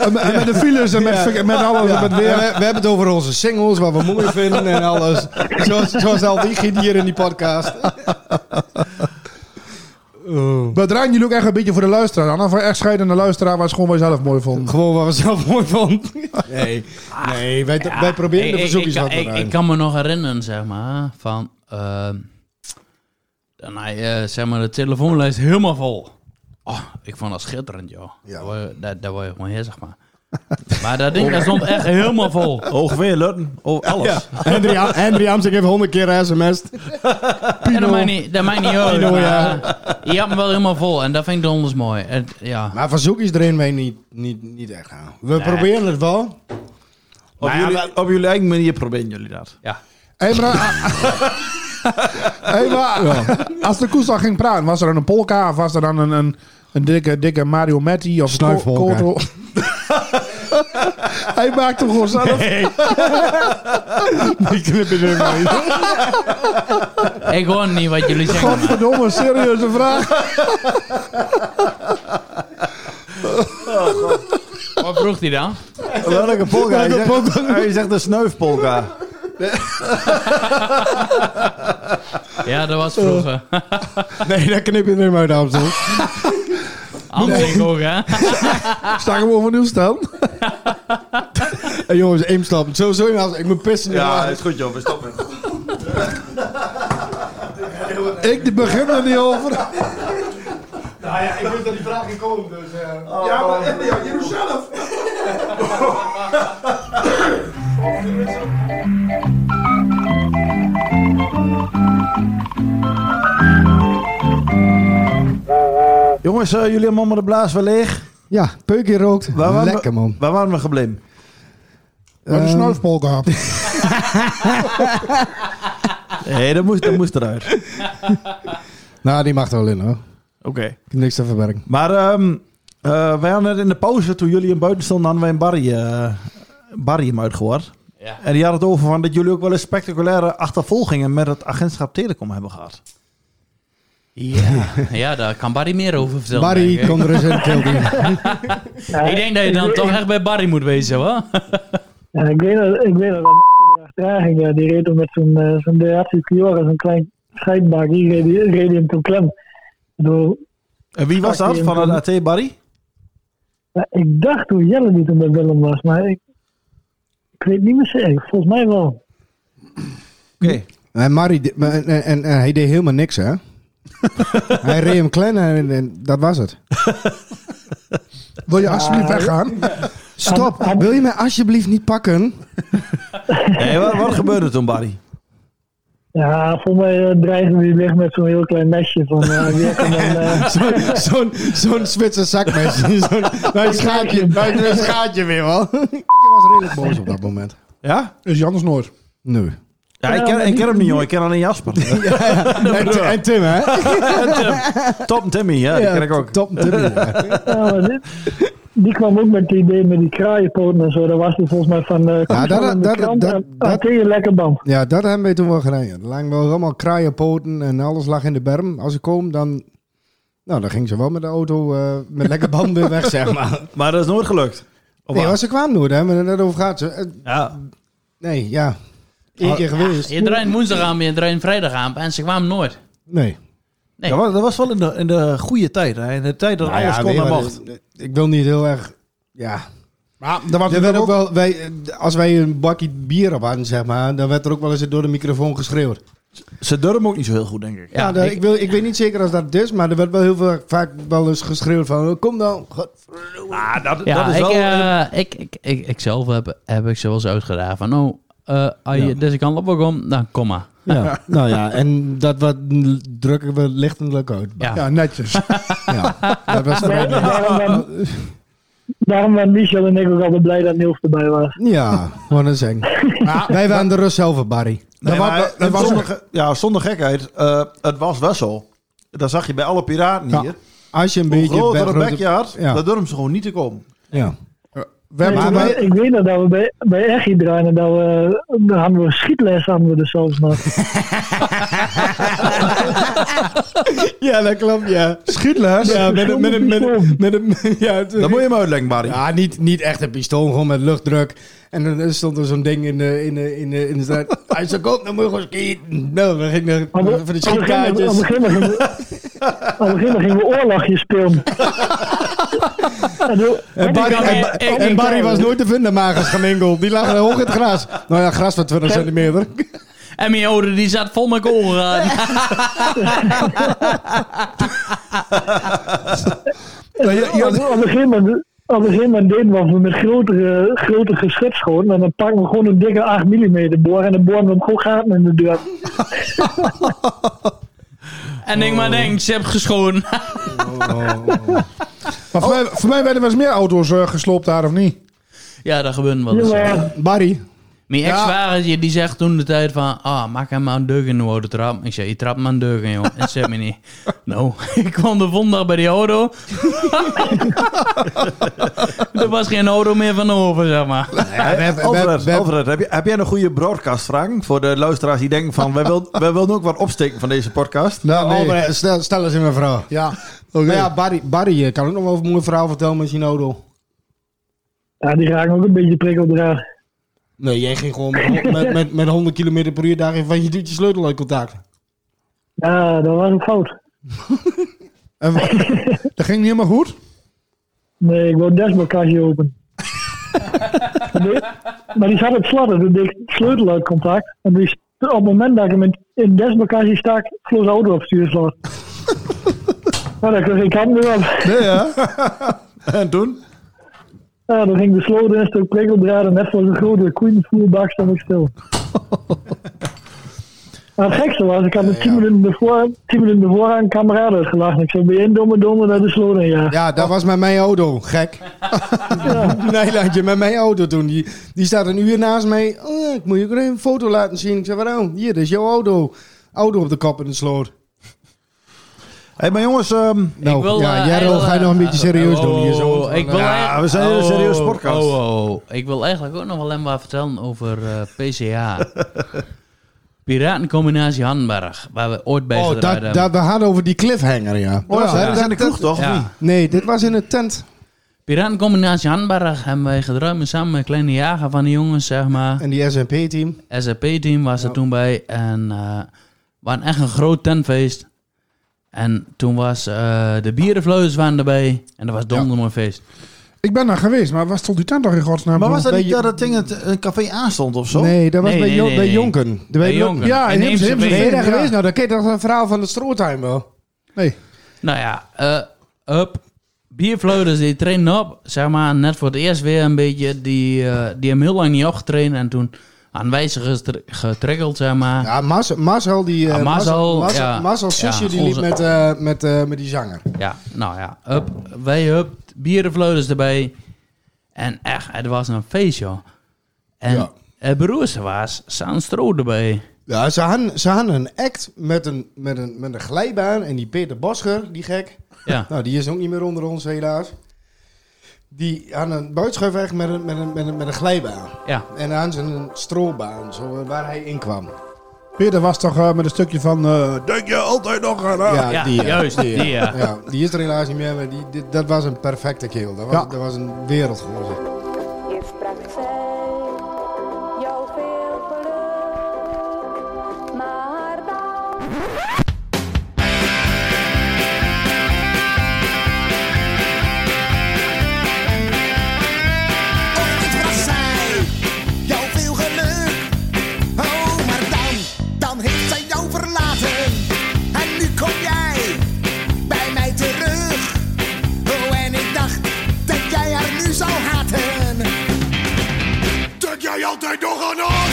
Speaker 6: En met- en met de files en met, met alles. en
Speaker 4: Ja,
Speaker 6: Met
Speaker 4: we,
Speaker 6: weer.
Speaker 4: we hebben het over onze singles, wat we mooi vinden en alles. Zoals, zoals al die giet hier in die podcast. Oh.
Speaker 6: We draaien jullie ook echt een beetje voor de luisteraar aan. Of we echt scheiden aan de luisteraar waar ze gewoon wij zelf mooi vonden.
Speaker 4: Gewoon wat we zelf mooi vonden. Nee, nee wij, wij proberen de
Speaker 5: Ik- ik-
Speaker 4: verzoekjes
Speaker 5: ik,
Speaker 4: wat
Speaker 5: kan-
Speaker 4: te
Speaker 5: ik, ik
Speaker 4: doen.
Speaker 5: kan me nog herinneren, zeg maar, van... ehm, dan had je, zeg maar, de telefoonlijst helemaal vol. Oh, ik vond dat schitterend, joh. Daar word je- Daar daar word je gewoon heer, zeg maar. Maar dat ding dat stond echt helemaal vol.
Speaker 3: Ongeveer Lutten. Oh, alles.
Speaker 4: Henry, Am- Henry Amsink heeft honderd keer sms.
Speaker 5: Ja, dat maakt niet, dat maakt niet uit.
Speaker 4: Pino,
Speaker 5: maar,
Speaker 4: ja.
Speaker 5: eh, Je had hem wel helemaal vol en dat vind ik donders mooi. Het, ja.
Speaker 4: Maar verzoekjes erin mee niet, niet, niet echt aan. We proberen het wel.
Speaker 3: Op, jullie, op jullie eigen manier proberen jullie dat.
Speaker 5: Nou Ja.
Speaker 6: Hé, maar, Hé, maar als de koestal ging praten, was er dan een polka of was er dan een, een, een dikke, dikke Mario Metti of een ko-
Speaker 14: Snuifpolka.
Speaker 6: koto? Hij maakt hem gewoon zelf.
Speaker 4: Die knip je er mee.
Speaker 5: Ik hoor niet wat jullie zeggen. maar-
Speaker 6: Godverdomme, serieuze vraag.
Speaker 5: Wat vroeg hij dan?
Speaker 3: Welke polka? Hij
Speaker 5: Welke
Speaker 3: zegt, hij zegt een snuifpolka.
Speaker 5: Ja, dat was vroeger.
Speaker 4: Nee, dat knip je er mee uit, Amstel.
Speaker 5: Anders ook, hè?
Speaker 6: Sta gewoon van nieuw staan.
Speaker 4: Hey, jongens, één stap. Zo, zo, Amstel. ik moet pissen.
Speaker 3: Ja, is goed joh, we stoppen.
Speaker 6: Ik begin er niet over.
Speaker 14: Nou ja, ik wist dat die vragen komen, dus...
Speaker 4: Ja, maar
Speaker 14: ja, je zelf!
Speaker 3: Jongens, eh, jullie hebben allemaal de blaas wel leeg.
Speaker 4: Ja, peukje rookt.
Speaker 3: Waar waren
Speaker 4: Lekker,
Speaker 3: we,
Speaker 4: man.
Speaker 3: Waar waren we gebleven? Eh,
Speaker 6: Wat een
Speaker 4: Ehm.
Speaker 6: snuifpolka.
Speaker 3: Nee, dat moest, dat moest eruit. Oké.
Speaker 4: Nou, die mag er wel in, hoor. Ik heb niks te verbergen.
Speaker 3: Maar ehm, eh, wij hadden het in de pauze, toen jullie in buiten stonden, hadden wij een Barry, eh, Barry hem uitgehoord.
Speaker 5: Ja.
Speaker 3: En die had het over van dat jullie ook wel eens spectaculaire achtervolgingen met het agentschap Telecom hebben gehad.
Speaker 5: Ja, ja, daar kan Barry meer over vertellen.
Speaker 3: Barry,
Speaker 5: denk ik.
Speaker 3: kom er eens in,
Speaker 5: Ik denk dat je dan toch echt bij Barry moet wezen, hoor.
Speaker 15: Ja, ik weet dat, ik weet dat, dat erachteraan ging. Ja, die reed toen met zo'n eh, zo'n Deatsu Fiora, zo'n klein scheidbakje, reed, die- reed die hem toen klem. Ik bedoel,
Speaker 3: En wie was
Speaker 15: Pak
Speaker 3: dat
Speaker 15: die
Speaker 3: van
Speaker 15: hem
Speaker 3: het
Speaker 15: dan.
Speaker 3: AT Barry?
Speaker 15: ja, ik dacht toen Jelle die toen bij Willem was, maar ik, ik weet niet meer zeker. Volgens mij wel.
Speaker 4: En, Marie, di- maar- en, en, en hij deed helemaal niks, hè? hij reed hem klein en, en dat was het.
Speaker 6: Wil je alsjeblieft
Speaker 4: Ja.
Speaker 6: weggaan?
Speaker 4: Stop, wil je mij alsjeblieft niet pakken?
Speaker 3: Nee, wat, wat gebeurde toen, Barry?
Speaker 15: Ja, volgens mij eh, dreigde die weg met zo'n heel klein mesje van eh wie kan dan... eh,
Speaker 4: Zo'n zo'n zo'n Zwitser zakmes. Zo'n nou, een schaatje, nou, een schaatje weer, wel. Je was redelijk boos op dat moment.
Speaker 3: Ja?
Speaker 6: Is Janus nooit.
Speaker 4: Nee.
Speaker 3: Ja, ik ken, ik ken hem niet, joh. Ik ken alleen Jasper.
Speaker 4: En, Ti- en Tim, hè?
Speaker 3: Tom Timmy, ja, die
Speaker 4: Ja,
Speaker 3: ken ik ook.
Speaker 4: Tom Timmy.
Speaker 15: ja, maar dit- die kwam ook met het idee met die kraaienpoten en zo. Dat was die volgens mij van... eh ja,
Speaker 4: dat- dat- dat- dat-
Speaker 15: je Ah, lekker band.
Speaker 4: Ja, dat hebben we toen wel gedaan. Ja. Er lagen wel allemaal kraaienpoten en alles lag in de berm. Als ik kom, dan... Nou, dan ging ze wel met de auto eh, met lekker banden weg, zeg maar.
Speaker 3: Maar dat is nooit gelukt. Of
Speaker 4: nee,
Speaker 3: wat?
Speaker 4: was ze kwamen nooit, hè? Maar net over gaat ze. Eh,
Speaker 3: Ja.
Speaker 4: Nee, ja. Eén keer geweest.
Speaker 5: Je draait woensdag aan, je draait vrijdag aan en ze kwamen nooit.
Speaker 4: Nee.
Speaker 5: Nee.
Speaker 3: Dat, was, dat was wel in de, in de goede tijd. Hè? In de tijd dat
Speaker 4: Nou ja,
Speaker 3: alles
Speaker 4: weet
Speaker 3: kon
Speaker 4: je
Speaker 3: en
Speaker 4: wat,
Speaker 3: mocht.
Speaker 4: eh, Ik wil niet heel erg... Ja.
Speaker 6: Maar er was
Speaker 4: Er werd
Speaker 6: natuurlijk
Speaker 4: ook
Speaker 6: ook...
Speaker 4: wel, wij, eh, als wij een bakje bier op hadden, zeg maar, dan werd er ook wel eens door de microfoon geschreeuwd.
Speaker 3: Ze durven ook niet zo heel goed, denk ik.
Speaker 4: Ja, dat- ik, wil, ik weet niet zeker als dat is, maar er werd wel heel veel, vaak wel eens geschreeuwd van, eh, kom dan.
Speaker 3: Ah, dat,
Speaker 5: Ja,
Speaker 3: dat is
Speaker 5: ik,
Speaker 3: wel...
Speaker 5: eh, ik, ik, ik, ik zelf heb, heb ik ze wel eens uitgedragen van, oh, eh, als je deze kant op wil komen, dan kom maar.
Speaker 4: Ja, nou ja, en dat wat l- drukken we lichtelijk uit.
Speaker 5: Ja.
Speaker 6: Ja, netjes.
Speaker 4: Ja, dat was
Speaker 15: Nee,
Speaker 4: wel-
Speaker 15: daarom, waren, daarom waren Michel en ik ook altijd blij dat Niels erbij was.
Speaker 4: Ja, wat een zeng.
Speaker 6: Maar-
Speaker 4: Wij waren de rust over, Barry.
Speaker 3: Nee,
Speaker 6: Dat wa-
Speaker 3: maar
Speaker 6: dat
Speaker 3: het
Speaker 6: was
Speaker 3: zonder, ge- ja, zonder gekheid. eh, het was wel zo. Dat zag je bij alle piraten
Speaker 4: Ja,
Speaker 3: hier.
Speaker 4: Als je een
Speaker 3: Hoe
Speaker 4: beetje...
Speaker 3: groter een
Speaker 4: grote-
Speaker 3: bekje had,
Speaker 4: Ja.
Speaker 3: dan durven ze gewoon niet te komen.
Speaker 4: ja.
Speaker 6: We hebben
Speaker 15: Nee,
Speaker 6: toen-
Speaker 15: maar ik weet nog dat we bij, bij Echi draaien en dat we, dan hadden we schietles hadden we er zelfs nog.
Speaker 4: ja, dat klopt, ja.
Speaker 6: Schietles?
Speaker 4: Ja, met een... Met een, met een, met een- ja, het-
Speaker 3: Dat moet je hem uitleggen, Barry.
Speaker 4: Ja, niet, niet echt een pistool, gewoon met luchtdruk. En dan stond er zo'n ding in de, in de, in de, in de straat. Hij zei, kom, dan moet je gewoon skieten. Nou, dan ging er
Speaker 15: Op
Speaker 4: van
Speaker 15: het
Speaker 4: de
Speaker 15: begin gingen we- op
Speaker 4: schietkaartjes.
Speaker 15: het begin gingen we- op het begin gingen we oorlogjes spelen. En toen-
Speaker 4: En Barry, en, Ba-
Speaker 5: Ik-
Speaker 4: en
Speaker 5: ik-
Speaker 4: Barry was nooit te vinden, Magus Gemengel. Die lag hoog in het gras. Nou ja, gras van 20 centimeter.
Speaker 5: En mijn ouder die zat vol met koren aan.
Speaker 6: Ja, ja,
Speaker 15: op, op een gegeven moment Op een gegeven moment deden we met grotere, grotere geschut gewoon. En dan pakken we gewoon een dikke 8 mm boor. En dan boren we hem gewoon gaten in de deur.
Speaker 5: En denk maar, denk, ze hebben geschoten.
Speaker 4: Oh.
Speaker 6: Maar voor, mij, voor mij werden wel eens meer auto's eh, gesloopt daar, of niet?
Speaker 5: ja, dat gebeurt wel eens.
Speaker 6: Barry.
Speaker 5: Mijn
Speaker 6: Ja.
Speaker 5: ex-zwagertje die zegt toen de tijd van... Ah, maak hem maar een deuk in de oude trap. Ik zei, je trapt maar een deuk in, joh. Dat zegt me niet. Nou, ik kwam de vondag bij die auto. er was geen auto meer van over, zeg maar.
Speaker 3: Alfred, Alfred, heb, je- heb jij een goede broadcast, Frank? Voor de luisteraars die denken van... wij, wil, wij wilden ook wat opsteken van deze podcast.
Speaker 4: Nou, Albert, stel, stel eens in mijn vraag.
Speaker 6: Ja.
Speaker 4: Maar ja, Barry, Barry eh, kan ook nog wel over een mooi verhaal vertellen met zijn auto.
Speaker 15: Ja, die raken ook een beetje prikkeldraad.
Speaker 4: Nee, jij ging gewoon met, met, met, met 100 km per uur daar van je doet je sleutel uit contact.
Speaker 15: Ja, dat was een fout.
Speaker 6: dat ging niet helemaal goed?
Speaker 15: Nee, ik wou het dashboardkastje open. Nee, maar die zat op slot, dus ik deed sleutel uit contact. En die, st- op het moment dat ik hem in in het dashboardkastje stak, vloog de auto op het stuurslot. nou, daar kreeg ik hand weer op.
Speaker 3: Nee, ja. en toen?
Speaker 15: Ja, dan ging de sloot in een stuk prikkeldraad en net zoals een grote koeienvoerbak stond ik stil. Maar het gekste was, ik had me tien minuten ervoor, tien minuten ervoor aan een kameraad uitgelachen. Ik zei, ben jij een domme domme dat de sloot in ja.
Speaker 4: Ja, dat was met mijn auto, gek. Nee, landje, met mijn auto toen. Die, die staat een uur naast mij. Oh, ja, ik moet je ook even een foto laten zien. Ik zei, waarom? Hier, dit is jouw auto. Auto op de kop in de sloot.
Speaker 3: Hé, maar jongens... ehm
Speaker 4: nou,
Speaker 5: wil,
Speaker 4: ja,
Speaker 5: eh,
Speaker 4: Jarro,
Speaker 5: eigenlijk-
Speaker 4: ga je nog een beetje serieus doen hier zo?
Speaker 5: Oh, ik wil eigenlijk- oh,
Speaker 3: serieuze podcast.
Speaker 5: Oh, oh, oh. Ik wil eigenlijk ook nog wel even wat vertellen over eh, PCA. Piratencombinatie Handenberg, waar we ooit bij
Speaker 4: Oh,
Speaker 5: gedraaid
Speaker 4: dat,
Speaker 5: hebben.
Speaker 4: dat, we hadden over die cliffhanger, ja.
Speaker 5: Oh, ja, dat is in de kroeg, toch, of
Speaker 4: Ja.
Speaker 5: niet?
Speaker 4: Nee, dit was in de tent.
Speaker 5: Piratencombinatie Handenberg hebben wij gedraaid met samen met een kleine jager van die jongens, zeg maar.
Speaker 4: En die SNP-team.
Speaker 5: SAP-team was er toen bij. En eh we hadden echt een groot tentfeest. En toen was eh, de bierenvleugels waren erbij. En dat was dondermooi feest.
Speaker 6: Ik ben daar geweest, maar waar stond die tent toch in godsnaam?
Speaker 3: Maar was dat
Speaker 6: Bij
Speaker 3: niet
Speaker 6: je-
Speaker 3: dat dat ding het,
Speaker 6: eh,
Speaker 3: een café aanstond of zo?
Speaker 4: Nee, dat was bij, Jo- bij Jonken.
Speaker 3: Jonken.
Speaker 4: Bij Jonken.
Speaker 6: Ja, in Heemse- Heemse-
Speaker 4: Ben je daar
Speaker 6: Ja.
Speaker 4: geweest? Nou, dan ken je toch een verhaal van de Strootuin wel.
Speaker 6: Nee.
Speaker 5: Nou ja, eh up. Biervleugels die trainen op. Zeg maar net voor het eerst weer een beetje. Die, eh, die hebben heel lang niet opgetraind. En toen aan wijzen gestre- getriggeld, zeg maar.
Speaker 4: Ja, Marcel, Marcel die... eh,
Speaker 5: Ah, Marcel,
Speaker 4: Marcel,
Speaker 5: ja.
Speaker 4: Marcel zusje,
Speaker 5: Ja,
Speaker 4: die liep
Speaker 5: onze-
Speaker 4: met, eh, met, eh, met die zanger.
Speaker 5: Ja, nou ja, up, wij up, bierenvleuters erbij. En echt, het was een feest, joh. En het beroerste was, Saan Stroo erbij.
Speaker 4: Ja, ze hadden, ze hadden een act met een, met, een, met een glijbaan. En die Peter Bosger, die gek.
Speaker 5: Ja.
Speaker 4: Nou, die is ook niet meer onder ons, helaas. Die had een buitenschuifweg met een, met, een, met, een, met een glijbaan.
Speaker 5: Ja.
Speaker 4: En aan zijn stroobaan, zo, eh, waar hij in kwam.
Speaker 6: Peter was toch eh, met een stukje van... eh, denk je altijd nog aan... haar?
Speaker 4: Ja, die, ja.
Speaker 5: die, ja.
Speaker 4: Ja, die is er helaas niet meer, maar die, dit- dat was een perfecte keel. Dat was,
Speaker 6: Ja.
Speaker 4: dat was een wereld geworden.
Speaker 2: Je sprak zij jou veel geluk, maar dan...
Speaker 14: Het was zij, jou veel geluk. Oh, maar dan, dan heeft zij jou verlaten. En nu kom jij bij mij terug. Oh, en ik dacht dat jij haar nu zou haten. Denk jij altijd nog aan haar?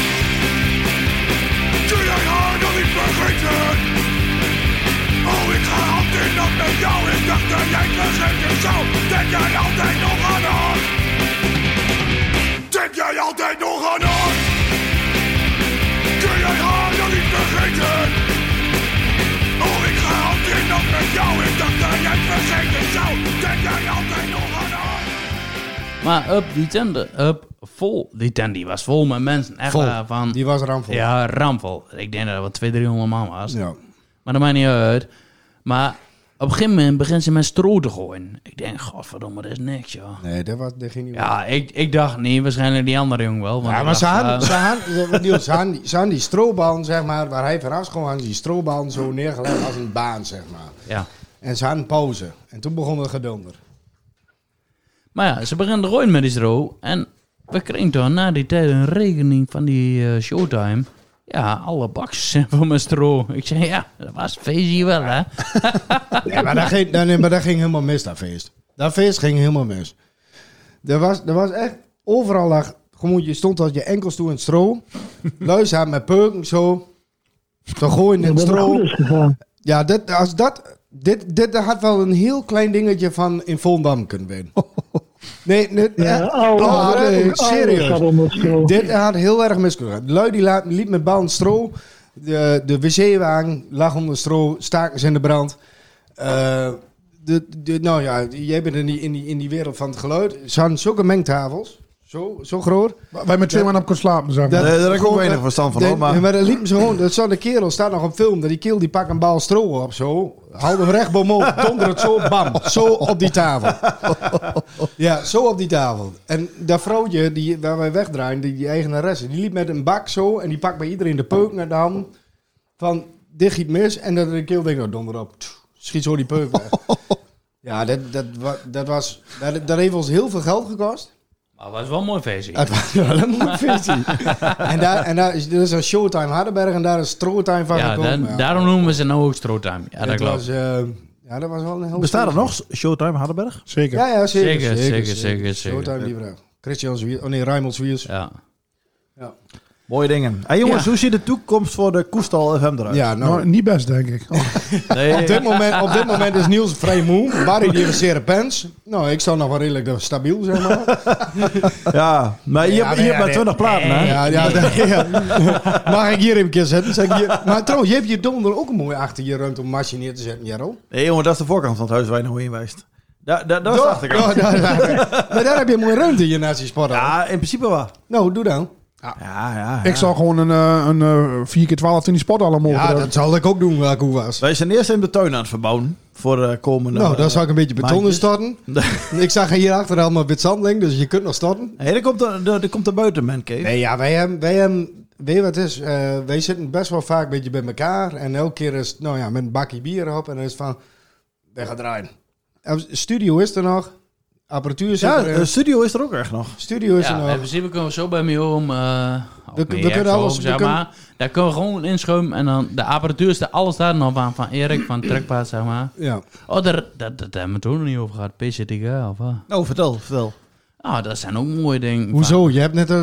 Speaker 14: Kun jij haar nog niet vergeten? Oh, ik ga altijd nog met jou. Ik dacht dat jij het vergeten zou. Denk jij altijd nog aan haar? Denk jij altijd nog aan haar? Kun jij haar nog niet vergeten? Oh, ik ga altijd nog met jou. Ik dacht dat jij het vergeten zou. Denk jij altijd nog aan haar?
Speaker 5: Maar up, die tent, up, vol. Die tent die was vol met mensen. Echt
Speaker 4: Vol.
Speaker 5: waar, van,
Speaker 4: Die was ramvol.
Speaker 5: ja, ramvol. Ik denk dat er wel 200, 300 man was.
Speaker 4: Ja.
Speaker 5: Maar dat maakt niet uit. Maar op een gegeven moment begint ze met stro te gooien. Ik denk, godverdomme, dat is niks, joh.
Speaker 4: Nee, dat, was, dat ging niet
Speaker 5: Ja, ik, ik dacht nee, waarschijnlijk die andere jongen wel. want
Speaker 4: Ja,
Speaker 5: ik
Speaker 4: maar ze
Speaker 5: dacht,
Speaker 4: hadden,
Speaker 5: eh,
Speaker 4: ze hadden- Niels, ze hadden die- ze hadden die stroobaan, zeg maar, waar hij vanaf schoon hadden ze die stroobaan zo neergelegd als een baan, zeg maar.
Speaker 5: Ja.
Speaker 4: En ze hadden pauze. En toen begon het gedonder.
Speaker 5: Maar ja, ze beginnen te gooien met die stro. En we kregen toen na die tijd een rekening van die eh, showtime. Ja, alle bakjes zijn van mijn stro. Ik zei, ja, dat was feest hier wel, hè.
Speaker 4: Ja, maar dat ging, nee, nee, maar dat ging helemaal mis, dat feest. Dat feest ging helemaal mis. Er was, er was echt overal lag gewoon, je stond als je enkels toe in het stro. Luister met peuken zo. Te gooien in het
Speaker 15: Dat het
Speaker 4: stro.
Speaker 15: goed is gegaan.
Speaker 4: Ja, dit, als dat, dit, dit had wel een heel klein dingetje van in Volendam kunnen winnen.
Speaker 15: Oh.
Speaker 4: Nee, dit,
Speaker 15: Ja,
Speaker 4: echt.
Speaker 15: oude-
Speaker 4: Oh,
Speaker 15: oude-
Speaker 4: nee,
Speaker 15: oude
Speaker 4: serieus.
Speaker 15: zat onder het stro.
Speaker 4: Dit had heel erg misgegaan. De lui die la- liep met bal in het stro. De, de wc-wagen lag onder het stro. Staken ze in de brand. Eh, de, de, nou ja, jij bent in die, in, die, in die wereld van het geluid. Ze hadden zulke mengtafels. Zo, zo groot.
Speaker 6: Wij met twee man op kon slapen, zeg maar.
Speaker 4: Dat- gewoon, eh,
Speaker 3: verstand van,
Speaker 4: de-
Speaker 3: hoor, maar-
Speaker 4: maar dan liepen ze gewoon, dat zo'n kerel staat nog op film, dat die kerel die pakt een bal stro op zo, houdt hem recht bovenop, donder het zo, bam, zo op die tafel. Ja, zo op die tafel. En dat vrouwtje die, waar wij wegdraaien, die, die eigenaresse, die liep met een bak zo en die pakt bij iedereen de peuk naar de hand van, dit giet mis en dat de kerel denkt, oh donder op, tjoe, schiet zo die peuk weg. Ja, dat, dat, wa- dat, was, dat, dat heeft ons heel veel geld gekost.
Speaker 5: Maar het was wel een mooi feestje.
Speaker 4: Het was wel een mooi feestje. en daar, en daar is, er is een Showtime Hardenberg en daar is Strootime van
Speaker 5: Ja,
Speaker 4: gekomen.
Speaker 5: dan- daarom noemen we ze nou ook Strootime. Ja, dat
Speaker 4: Het
Speaker 5: klopt.
Speaker 4: was, eh, ja, dat was wel een heel...
Speaker 3: Bestaat er
Speaker 4: feestje.
Speaker 3: nog Showtime Hardenberg?
Speaker 6: Zeker.
Speaker 4: Ja, ja, zeker.
Speaker 5: Zeker, zeker, zeker, zeker.
Speaker 4: Showtime Libra. Christian Zwiers. Oh nee, Raymond Zwiers.
Speaker 5: Ja.
Speaker 4: Ja.
Speaker 3: Mooie dingen. Hey jongens,
Speaker 4: Ja.
Speaker 3: hoe ziet de toekomst voor de Koestal FM eruit?
Speaker 4: Ja, nou-
Speaker 6: Nou, niet best, denk ik.
Speaker 4: Op, dit moment, op dit moment is Niels vrij moe. Barry die heeft een zere pens. Nou, ik zou nog wel redelijk stabiel, zeg maar.
Speaker 3: Ja, maar je
Speaker 4: Ja,
Speaker 3: hebt,
Speaker 4: nee,
Speaker 3: je
Speaker 4: ja,
Speaker 3: hebt maar
Speaker 4: nee.
Speaker 3: 20 platen, hè?
Speaker 4: Ja, ja, ja. Mag ik hier even een keer zetten? Zeg ik hier- Maar trouwens, je hebt je donder ook een mooie achter je ruimte om machine neer te zetten, Jarro.
Speaker 3: Nee jongen, dat is de voorkant van het huis waar je nou heen wijst. Da, da, dat is de
Speaker 4: Toch?
Speaker 3: achterkant.
Speaker 4: Ja, daar- daar- maar daar heb je mooie ruimte in je naast je sporthal.
Speaker 3: Ja, in principe wel.
Speaker 4: Nou, doe dan.
Speaker 3: Ja, ja. ja.
Speaker 6: Ik zou gewoon een, eh, een eh, 4x12 in die sport allemaal mogen.
Speaker 4: Ja,
Speaker 6: hebben.
Speaker 4: dat zal ik ook doen waar ik hoe was.
Speaker 3: Wij zijn eerst in de tuin aan het verbouwen voor de komende...
Speaker 4: Nou, daar zou ik een beetje beton in
Speaker 3: maandjes.
Speaker 4: storten. ik zag hierachter allemaal wit zand liggen, dus je kunt nog storten.
Speaker 3: Nee, er komt er, er, er komt er buiten, man, Kees.
Speaker 4: Nee, ja, wij hebben, wij hebben, weet je wat het is? Eh, wij zitten best wel vaak een beetje bij elkaar. En elke keer is het, nou ja, met een bakje bier op. En dan is het van, we gaan draaien. En Studio is er nog. Apparatuur zit
Speaker 3: Ja,
Speaker 4: erin.
Speaker 3: de studio is er ook echt nog.
Speaker 4: Studio is
Speaker 5: ja,
Speaker 4: er nog.
Speaker 5: in principe kunnen we zo bij mij om. eh, ook
Speaker 4: We-
Speaker 5: bij
Speaker 4: we
Speaker 5: Jack
Speaker 4: kunnen
Speaker 5: zo
Speaker 4: alles-
Speaker 5: om,
Speaker 4: we
Speaker 5: Zeg
Speaker 4: kunnen-
Speaker 5: maar. Daar kunnen we gewoon inschuimen en dan de apparatuur staat alles daar nog aan. Van Erik van Trekpaard, zeg maar.
Speaker 4: Ja.
Speaker 5: Oh, daar, dat, dat hebben we het ook nog niet over gehad. PCTK of wat?
Speaker 3: Nou, vertel, vertel.
Speaker 5: Ah, dat zijn ook mooie dingen. van-
Speaker 4: Hoezo? Je hebt net eh,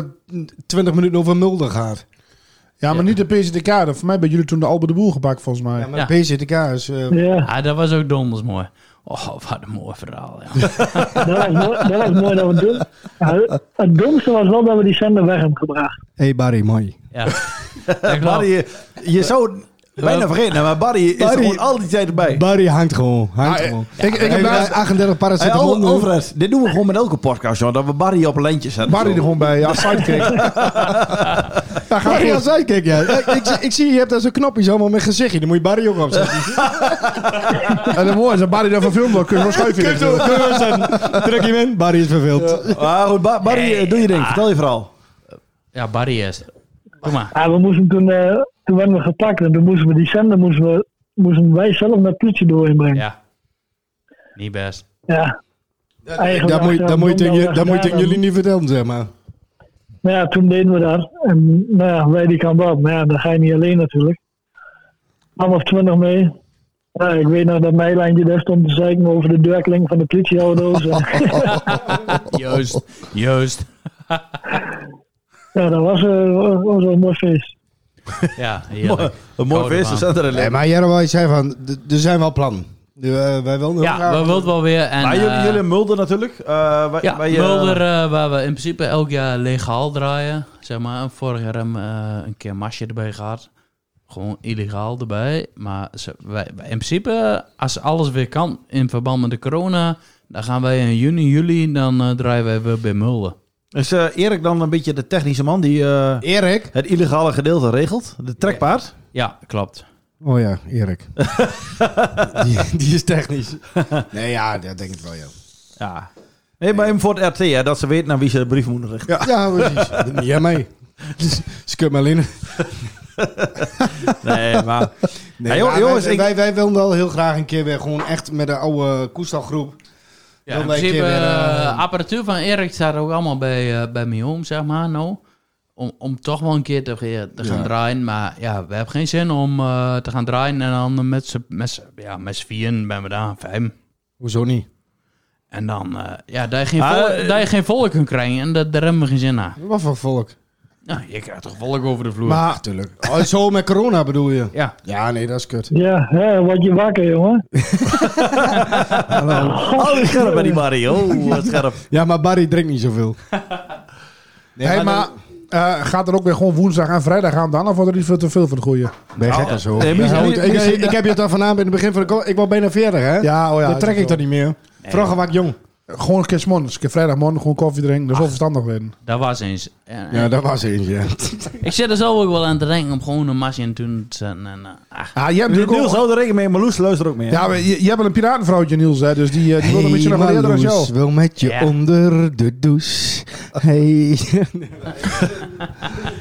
Speaker 4: 20 minuten over Mulder gehad.
Speaker 6: Ja, maar niet de PCTK. dat- Voor mij hebben jullie toen de Albert de Boer gepakt, volgens mij.
Speaker 4: Ja, maar PZTK is... eh,
Speaker 5: Ah, dat was ook donders mooi. Oh, wat een mooi verhaal. Ja.
Speaker 15: Dat was, mooi, dat was mooi dat we het doen. Ja, het domste was wel dat we die zender weg hebben gebracht.
Speaker 4: hey Barry, mooi.
Speaker 5: ja.
Speaker 3: Barry, je, je zou het bijna vergeten, maar Barry is er
Speaker 4: Barry-
Speaker 3: gewoon al die tijd erbij.
Speaker 4: Barry hangt gewoon. Hangt
Speaker 3: Ah,
Speaker 4: gewoon.
Speaker 3: eh, ik- ik heb
Speaker 4: Hij
Speaker 3: laatst-
Speaker 4: heeft 38
Speaker 3: Hey,
Speaker 4: paracetamol
Speaker 3: Al-
Speaker 4: nu.
Speaker 3: Alfred, dit doen we gewoon met elke podcast, joh, dat we Barry op een lijntje zetten.
Speaker 6: Barry er gewoon bij, ja, sidekick. Daar gaat
Speaker 4: Barry
Speaker 6: hij
Speaker 4: als sidekick, ja. Ik, ik, zie- ik zie, je hebt daar zo'n knopje zo, maar met gezichtje. Dan moet je Barry ook opzetten.
Speaker 6: En dan mooi, is dat Barry daar van film kun je wel schuiven.
Speaker 4: Kun je zo- kun je wel Ah, zetten. Druk hem in. Barry is verveeld.
Speaker 3: Maar goed, Ba- Barry,
Speaker 5: Hey,
Speaker 3: doe je ding,
Speaker 5: ah.
Speaker 3: vertel je verhaal.
Speaker 5: ja, Barry is er. Kom maar.
Speaker 15: Ja, we moesten toen, eh, toen werden we gepakt en toen moesten we die zender moesten we, moesten wij zelf naar politie doorheen brengen.
Speaker 5: Ja. Niet best.
Speaker 15: Ja. Eigenlijk
Speaker 4: Dat moet, je- dat
Speaker 15: achteraf
Speaker 4: moet je tegen
Speaker 15: dom
Speaker 4: je- dat moet je tegen
Speaker 15: gedaan.
Speaker 4: jullie niet vertellen, zeg maar.
Speaker 15: Maar ja, toen deden we dat. En nou ja, wij die kant op. Maar ja, dan ga je niet alleen natuurlijk. Man of twintig mee. Ja, ik weet nog dat Meilandje daar stond te zeiken over de duikeling van de politieauto's. En-
Speaker 5: Juist. Juist.
Speaker 15: ja, dat was, eh, was, was wel een mooi feest.
Speaker 5: Ja, heerlijk.
Speaker 3: Een mooi
Speaker 5: Koude
Speaker 3: feest, dus
Speaker 5: baan.
Speaker 3: we zetten er
Speaker 4: Nee,
Speaker 3: in.
Speaker 4: maar Jero, je zei van, d- er zijn wel plannen. Eh, wij willen heel
Speaker 5: Ja,
Speaker 4: graag-
Speaker 5: we wilden wel weer. En,
Speaker 3: Maar jullie,
Speaker 5: eh,
Speaker 3: jullie Mulder natuurlijk. eh, wij-
Speaker 5: ja,
Speaker 3: wij, eh,
Speaker 5: Mulder, eh, waar we in principe elk jaar lege hal draaien. Zeg maar. En Vorig jaar hebben we eh, een keer masje erbij gehad. Gewoon illegaal erbij. Maar ze, wij, wij- in principe, eh, als alles weer kan in verband met de corona, dan gaan wij in juni, juli, dan eh, draaien wij weer bij Mulder.
Speaker 3: Is eh, Erik dan een beetje de technische man die eh,
Speaker 4: Erik?
Speaker 3: het illegale gedeelte regelt? De trekpaard?
Speaker 5: Ja, klopt.
Speaker 4: Oh ja, Erik. die, die is technisch. Nee, ja, dat denk ik wel, ja.
Speaker 3: Ja. Nee, maar hem voor het RT, hè, dat ze weten naar wie ze de brief moeten richten.
Speaker 4: Ja, precies. Niet aan mij. Dus, ze kunnen maar alleen.
Speaker 3: Nee, maar...
Speaker 4: Nee,
Speaker 3: Hey, joh-
Speaker 4: maar
Speaker 3: jongens,
Speaker 4: wij,
Speaker 3: ik-
Speaker 4: wij, wij willen wel heel graag een keer weer gewoon echt met de oude Koestalgroep.
Speaker 5: Ja,
Speaker 4: Dan
Speaker 5: in
Speaker 4: wij een
Speaker 5: principe,
Speaker 4: keer weer, eh,
Speaker 5: eh, apparatuur van Erik staat ook allemaal bij, eh bij Mion, zeg maar, nou. Om, om toch wel een keer te, ge- te gaan
Speaker 4: Ja.
Speaker 5: draaien. Maar ja, we hebben geen zin om eh, te gaan draaien. En dan met z'n met z'n- ja, met z'n vieren ben we daar, vijf.
Speaker 4: Hoezo niet?
Speaker 5: En dan, eh, ja, daar je geen,
Speaker 4: Ah,
Speaker 5: volk,
Speaker 4: eh.
Speaker 5: daar je geen volk kunt krijgen. En dat, daar hebben we geen zin aan.
Speaker 4: Wat voor volk?
Speaker 5: Nou, je krijgt toch volk over de vloer.
Speaker 4: Maar, natuurlijk. Oh, zo met corona bedoel je?
Speaker 5: Ja.
Speaker 4: Ja, nee, dat is kut.
Speaker 15: Ja, hè, word je wakker, jongen.
Speaker 3: Oh, die scherp bij die Barry. Oh, wat scherp.
Speaker 4: Ja, maar Barry drinkt niet zoveel.
Speaker 6: Nee, maar, eh, gaat er ook weer gewoon woensdag en vrijdag aan dan? Of wordt er iets veel te veel van het goede?
Speaker 4: Ben je
Speaker 5: Oh.
Speaker 4: gek of zo? Ja, goed, ik, ik- ik heb je het al vanavond in het begin van de call- Ik word bijna 40, hè?
Speaker 6: Ja, oh ja.
Speaker 4: Dat trek ik toch niet meer. Vroeger was ik jong.
Speaker 6: Gewoon een keer 's morgens, een keer vrijdagmorgen, gewoon koffie drinken. Dat is wel verstandig werden.
Speaker 5: Dat was eens. Eh,
Speaker 4: Ja, dat was eentje. ja.
Speaker 5: Ik zit er zo ook wel aan te denken om gewoon een masje in te zetten. En, eh, ah.
Speaker 6: Ah, je hebt
Speaker 3: Niels
Speaker 6: natuurlijk ook-
Speaker 3: houdt er rekening mee, maar Loes luistert ook mee. hè?
Speaker 6: Ja, maar je, je hebt wel een piratenvrouwtje, Niels, hè, dus die, eh, die wil een beetje nog wel
Speaker 4: Hey,
Speaker 6: eerder als
Speaker 4: Marloes,
Speaker 6: jou.
Speaker 4: wil met je
Speaker 6: Ja.
Speaker 4: onder de douche. Hey.
Speaker 6: Ik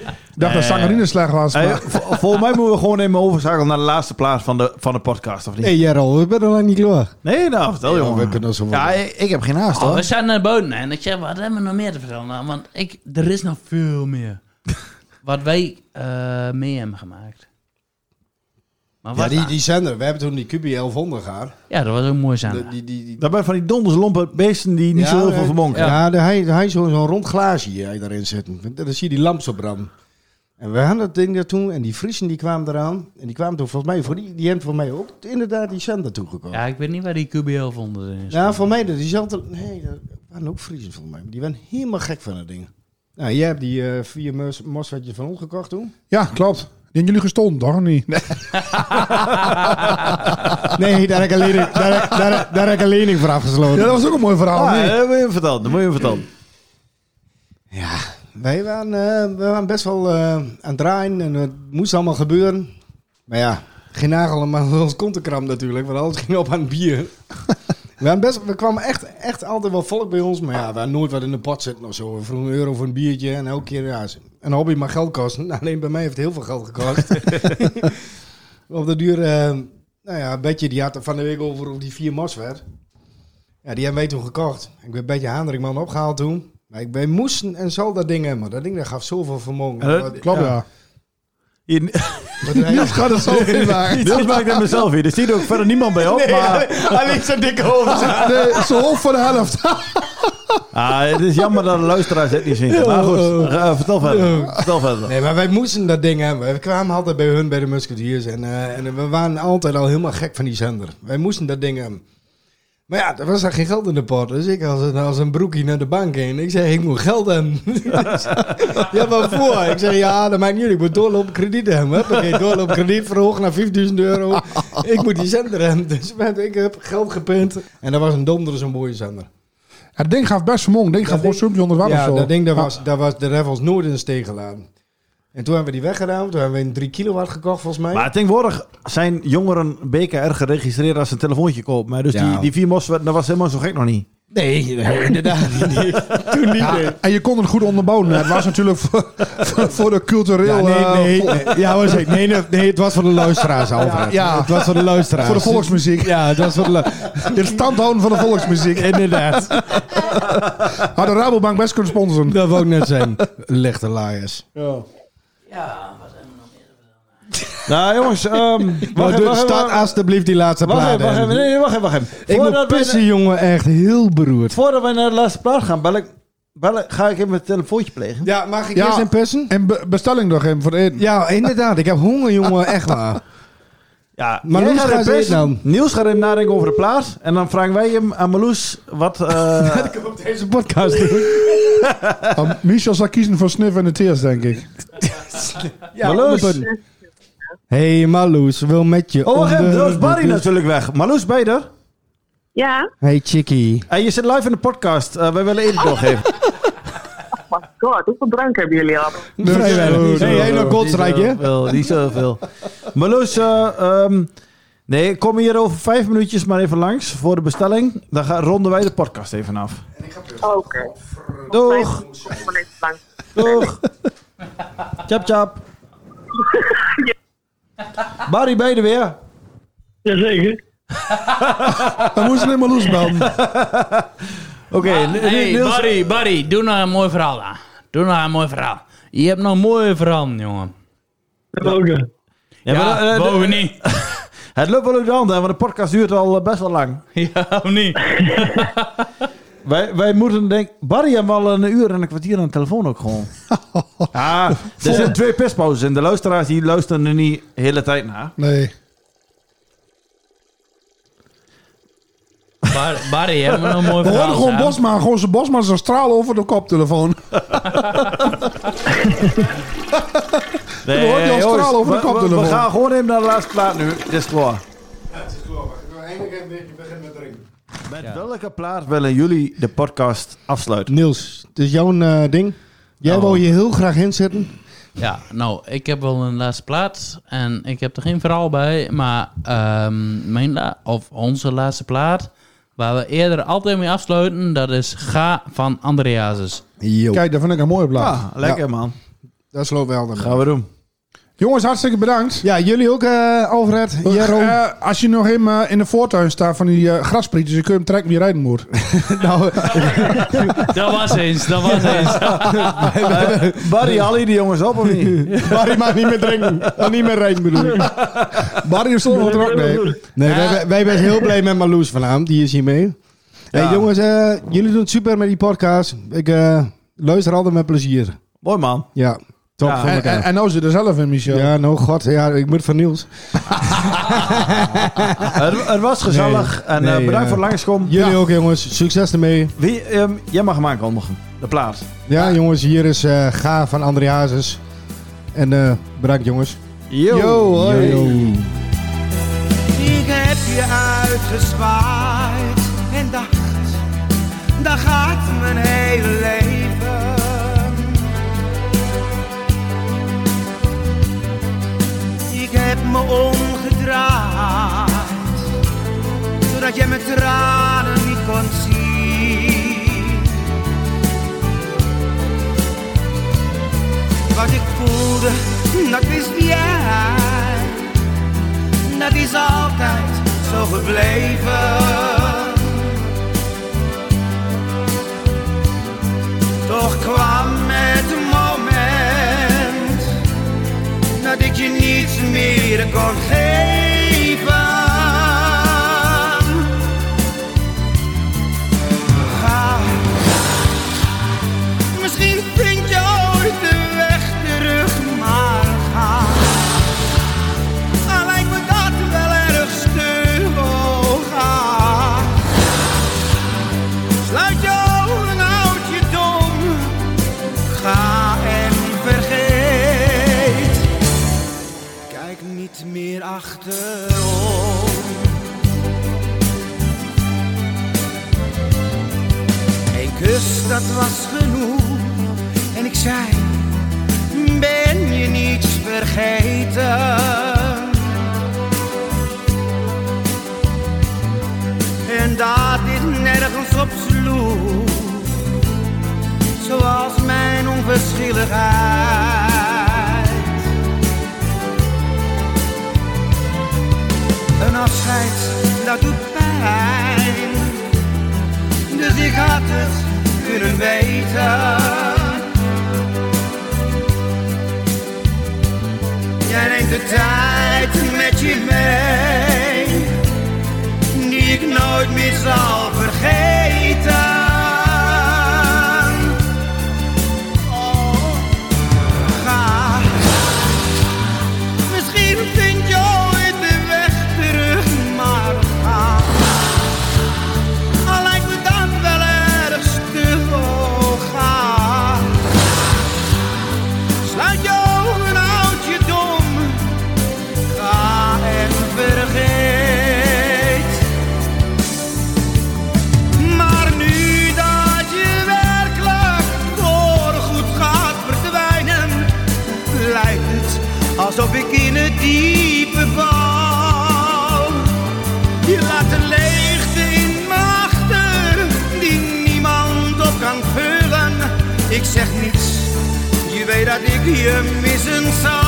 Speaker 5: Eh,
Speaker 6: dacht dat Sangarineslag was.
Speaker 3: Eh, Hey,
Speaker 6: maar-
Speaker 3: vol- volgens mij moeten we gewoon even overschakelen naar de laatste plaats van de, van de podcast, of niet?
Speaker 4: hey Jarol, we zijn nog lang niet klaar.
Speaker 3: Nee, nou, vertel jongen.
Speaker 4: we kunnen zo
Speaker 3: ja, ik, ik heb geen haast,
Speaker 5: Oh,
Speaker 3: hoor.
Speaker 5: we zijn naar boven en ik zeg, wat hebben we nog meer te vertellen? Nou, want ik, er is nog veel meer. wat wij eh, mee hebben gemaakt. Maar
Speaker 4: Ja,
Speaker 5: wat
Speaker 4: die,
Speaker 5: dan?
Speaker 4: die zender. We hebben toen die QB 1100 gehad.
Speaker 5: ja, dat was ook mooi zijn.
Speaker 4: Die, die, die,
Speaker 3: Daarbij van die donderslompe beesten die niet zo heel veel
Speaker 4: eh,
Speaker 3: vermonken.
Speaker 4: Ja, ja daar hij, hij zo'n zo'n rond glaasje hier, hij daarin zitten. Dan zie je die lamp zo branden. En we hadden dat ding daar toen en die Friesen die kwamen eraan. En die kwamen toen volgens mij, voor die, die hebben voor mij ook inderdaad die zender toegekomen.
Speaker 5: Ja, ik weet niet waar die QBL vonden is.
Speaker 4: Ja, voor mij dat diezelfde. Nee, dat waren ook Friesen volgens mij. maar Die waren helemaal gek van dat ding. Nou, jij hebt die eh, vier mos- mosfetjes van ons gekocht toen.
Speaker 6: Ja, klopt. Die hebben jullie gestolen, toch? Of niet?
Speaker 4: Nee, daar heb ik een lening, daar, daar, daar heb ik een lening voor afgesloten.
Speaker 6: Ja, dat was ook een mooi verhaal.
Speaker 3: Ah,
Speaker 6: nee.
Speaker 3: dat moet je hem vertellen, dat moet je hem vertellen.
Speaker 4: Wij waren, eh, we waren best wel eh, aan het draaien en het moest allemaal gebeuren. Maar ja, geen nagel maar ons kontenkram natuurlijk, want alles ging op aan het bier. we, waren best, we kwamen echt, echt altijd wel volk bij ons, maar ja, we hadden nooit wat in de pot zitten of zo. We vroegen een euro voor een biertje en elke keer, ja, een hobby mag geld kosten. Nou, alleen bij mij heeft het heel veel geld gekost. op de duur, eh, nou ja, Betje die had er van de week over of die vier mos werd. Ja, die hebben wij toen gekocht. Ik ben Betje Hendrikman opgehaald toen. Maar ik ben moesten en zal dat ding hebben. Dat ding dat gaf zoveel vermogen.
Speaker 3: Eh,
Speaker 4: Wat-
Speaker 3: klopt, ja.
Speaker 4: Niels gaat er zo in maken.
Speaker 3: Niels maakt het mezelf hier, dus die doet ook verder niemand bij op. maar...
Speaker 4: alleen zo'n dikke hoofd.
Speaker 6: Nee, zo hoofd voor de helft.
Speaker 3: Ah, het is jammer dat de luisteraars het niet zien. Maar goed, eh, vertel verder. Vertel verder.
Speaker 4: Nee, maar wij moesten dat ding hebben. We kwamen altijd bij hun, bij de musketiers. En, eh, en we waren altijd al helemaal gek van die zender. Wij moesten dat ding hebben. Maar ja, er was daar geen geld in de pot. Dus ik als een, als een broekie naar de bank heen. Ik zei, ik moet geld hebben. ja, maar voor. Ik zei, ja, dat maakt niet uit. Ik moet doorlopen krediet hebben. Huppakee, doorlopen krediet verhogen naar 5000 euro. Ik moet die zender hebben. Dus met- ik heb geld gepint. En dat was een donder zo'n mooie zender.
Speaker 6: Het ding gaf best vermogen. Het ding gaf gewoon sumpje onder water
Speaker 4: Ja,
Speaker 6: of zo.
Speaker 4: dat ding, daar was, daar was de Revels nooit in de steeg gelaten. En toen hebben we die weggedaan. Toen hebben we een 3 kilowatt gekocht, volgens mij.
Speaker 3: Maar tegenwoordig zijn jongeren BKR geregistreerd als ze een telefoontje kopen. hè. Dus die,
Speaker 4: Ja.
Speaker 3: die vier mos, dat was helemaal zo gek nog niet.
Speaker 4: nee, nee, inderdaad. Toen niet.
Speaker 6: Ja,
Speaker 4: nee.
Speaker 6: en je kon het goed onderbouwen. Het was natuurlijk voor, voor, voor de
Speaker 4: Ja,
Speaker 6: cultureel...
Speaker 4: nee,
Speaker 6: eh,
Speaker 4: nee,
Speaker 6: vol-
Speaker 4: nee. Ja, was ik. Nee, nee, nee, het was voor de luisteraars, Alfred.
Speaker 6: Ja, ja.
Speaker 4: Het was voor de luisteraars.
Speaker 6: Voor de volksmuziek.
Speaker 4: Ja, het was voor de lu-
Speaker 6: Het standhouden van de volksmuziek.
Speaker 4: Inderdaad.
Speaker 6: Had de Rabobank best kunnen sponsoren.
Speaker 4: Dat wou ik net zijn. Lichte laaiers.
Speaker 3: Nou jongens, ehm wacht,
Speaker 4: Maar
Speaker 3: even,
Speaker 4: doe-
Speaker 3: wacht,
Speaker 4: start
Speaker 3: even.
Speaker 4: alsjeblieft die laatste
Speaker 3: Wacht
Speaker 4: plaat.
Speaker 3: even, wacht even.
Speaker 4: Andy.
Speaker 3: Nee, nee, wacht even, wacht even.
Speaker 4: Ik moet
Speaker 3: Voordat wij-
Speaker 4: pissen, jongen. Echt heel beroerd.
Speaker 3: Voordat wij naar de laatste plaat gaan, bel ik, bel ik- ga ik even mijn telefoontje plegen.
Speaker 4: Ja, mag ik
Speaker 6: Ja.
Speaker 4: eerst een pissen?
Speaker 6: En be- bestelling nog even voor het eten.
Speaker 4: Ja, inderdaad. Ik heb honger, jongen. Echt waar.
Speaker 3: Ja,
Speaker 4: Maar
Speaker 3: jij
Speaker 4: Loes
Speaker 3: gaat nou.
Speaker 4: gaat
Speaker 3: even
Speaker 4: eten dan.
Speaker 3: Niels gaat even nadenken over de plaat. En dan vragen wij hem aan Meloes wat... eh,
Speaker 4: Deze podcast doen.
Speaker 6: Want Um, Michel zal kiezen voor Sniff en de Tears, denk ik.
Speaker 4: Ja, Hé, hey, Marloes, wil met je
Speaker 3: oh, wacht even.
Speaker 4: onder
Speaker 3: Er is Barry
Speaker 4: de-
Speaker 3: natuurlijk weg. Meloes, ben je er?
Speaker 20: Ja,
Speaker 4: Hey, chickie.
Speaker 3: Hey, Eh, je zit live in de podcast. Eh, wij willen input geven.
Speaker 20: Oh god, hoeveel drank hebben jullie al?
Speaker 4: Vrij weinig. Hey, jij nog Godsrijk, hè?
Speaker 3: Wel, niet zoveel. Meloes, eh, ehm, nee, kom hier over vijf minuutjes maar even langs voor de bestelling. Dan gaan, ronden wij de podcast even af.
Speaker 20: Oké.
Speaker 3: Doeg,
Speaker 20: lang.
Speaker 3: doeg. Chap, chap. Barry, ben je er weer?
Speaker 15: Jazeker.
Speaker 6: Dan moest alleen maar Loes bellen.
Speaker 3: Oké, Ni- Ni-
Speaker 5: Ah, Hey,
Speaker 3: Niels-
Speaker 5: Barry, Barry, doe nou een mooi verhaal aan. Doe nou een mooi verhaal. Je hebt nou nog een mooi verhaal, jongen.
Speaker 15: Welke?
Speaker 3: Ja, maar,
Speaker 5: Ja,
Speaker 3: eh,
Speaker 5: mogen niet.
Speaker 3: Het lukt wel uit de handen, want de podcast duurt al eh, best wel lang.
Speaker 5: Ja, of niet?
Speaker 3: wij, wij moeten denk Barry heeft wel een uur en een kwartier aan de telefoon ook gewoon. ah, er zijn twee pispauzes en de luisteraars die luisteren er niet de hele tijd naar.
Speaker 6: Nee.
Speaker 5: Bar- Barry, hè? maar nou een mooi
Speaker 6: We
Speaker 5: verhaal.
Speaker 6: horen gewoon
Speaker 5: hè?
Speaker 6: Bosma, gewoon zijn Bosma, zijn straal over de koptelefoon.
Speaker 3: Nee,
Speaker 6: hoort die al
Speaker 3: jongens,
Speaker 6: straal over de
Speaker 3: we- we-
Speaker 6: koptelefoon.
Speaker 3: We gaan gewoon even naar de laatste plaat nu. Dit is klaar. Met welke plaat willen jullie de podcast afsluiten?
Speaker 18: Niels, het is jouw eh, ding. Jij
Speaker 6: Nou.
Speaker 5: Oh.
Speaker 18: wou je heel graag inzetten.
Speaker 5: Ja, nou, ik heb wel een laatste plaat en ik heb er geen verhaal bij, maar ehm, mijn la- of onze laatste plaat, waar we eerder altijd mee afsluiten, dat is Ga van Andreasus.
Speaker 6: Kijk, dat vind ik een mooie plaat.
Speaker 5: Ja, lekker,
Speaker 3: man.
Speaker 18: Dat sloopt wel dan.
Speaker 3: Gaan we doen.
Speaker 6: Jongens, hartstikke bedankt.
Speaker 18: Ja, jullie ook, eh, Alfred.
Speaker 6: Jeroen. als je nog helemaal in de voortuin staat van die eh grasprietjes, dan kun je hem trekken wie rijden moet.
Speaker 18: nou,
Speaker 5: Dat was eens, dat was eens.
Speaker 3: Eh, Barry, haal je die jongens op of niet?
Speaker 18: Barry mag niet meer drinken. Mag niet meer rijden bedoel ik.
Speaker 6: Barry of Slot er ook mee.
Speaker 18: Nee, wij, wij zijn heel blij met Marloes vanavond. Die is hier mee. Hey, jongens, eh, jullie doen het super met die podcast. Ik eh, luister altijd met plezier.
Speaker 3: Mooi man.
Speaker 18: Ja, top
Speaker 6: Ja,
Speaker 18: voor
Speaker 6: en,
Speaker 18: elkaar.
Speaker 6: en, en nou zit er zelf in, Michel.
Speaker 18: ja, nou god, ja, ik moet van Niels.
Speaker 3: het, het was gezellig
Speaker 18: Nee,
Speaker 3: en eh,
Speaker 18: nee,
Speaker 3: bedankt
Speaker 18: eh,
Speaker 3: voor het langskomen.
Speaker 18: Jullie ook, jongens. Succes ermee.
Speaker 3: Wie, ehm, jij mag hem aankondigen, de plaat.
Speaker 18: Ja, jongens, hier is eh, Ga van André Hazes. En eh, bedankt, jongens.
Speaker 3: Yo.
Speaker 18: Yo, hoi.
Speaker 14: Ik heb je uitgezwaaid en dacht, daar gaat mijn hele leven. Ik heb me omgedraaid, zodat jij mijn tranen niet kon zien. Wat ik voelde, dat wist jij dat is altijd zo gebleven. Toch kwam het moment dat ik je niets meer kon geven. Ga, misschien vind je ooit de weg terug, maar ga. Al lijkt me dat wel erg oh, stug aan. Sluit je ogen, houd je dom. Ga en vergeet. Kijk niet meer achterom. Een kus, dat was genoeg. En ik zei ben je niets vergeten. En dat dit nergens op sloeg, zoals mijn onverschilligheid. Een afscheid, dat doet pijn, dus ik had het kunnen weten. Jij neemt de tijd met je mee, die ik nooit meer zal vergeten. Oh, ga. Misschien vind je ooit de weg terug, maar ga. Al lijkt me dan wel erg stug, oh, ga. Sluit je ogen, houd je dom. Ga en vergeet. Maar nu dat je werkelijk voorgoed gaat verdwijnen, lijkt het alsof ik in het diepe val. Je laat de leegte in me achter, die niemand op kan vullen. Ik zeg niets. Je weet dat ik je missen zal.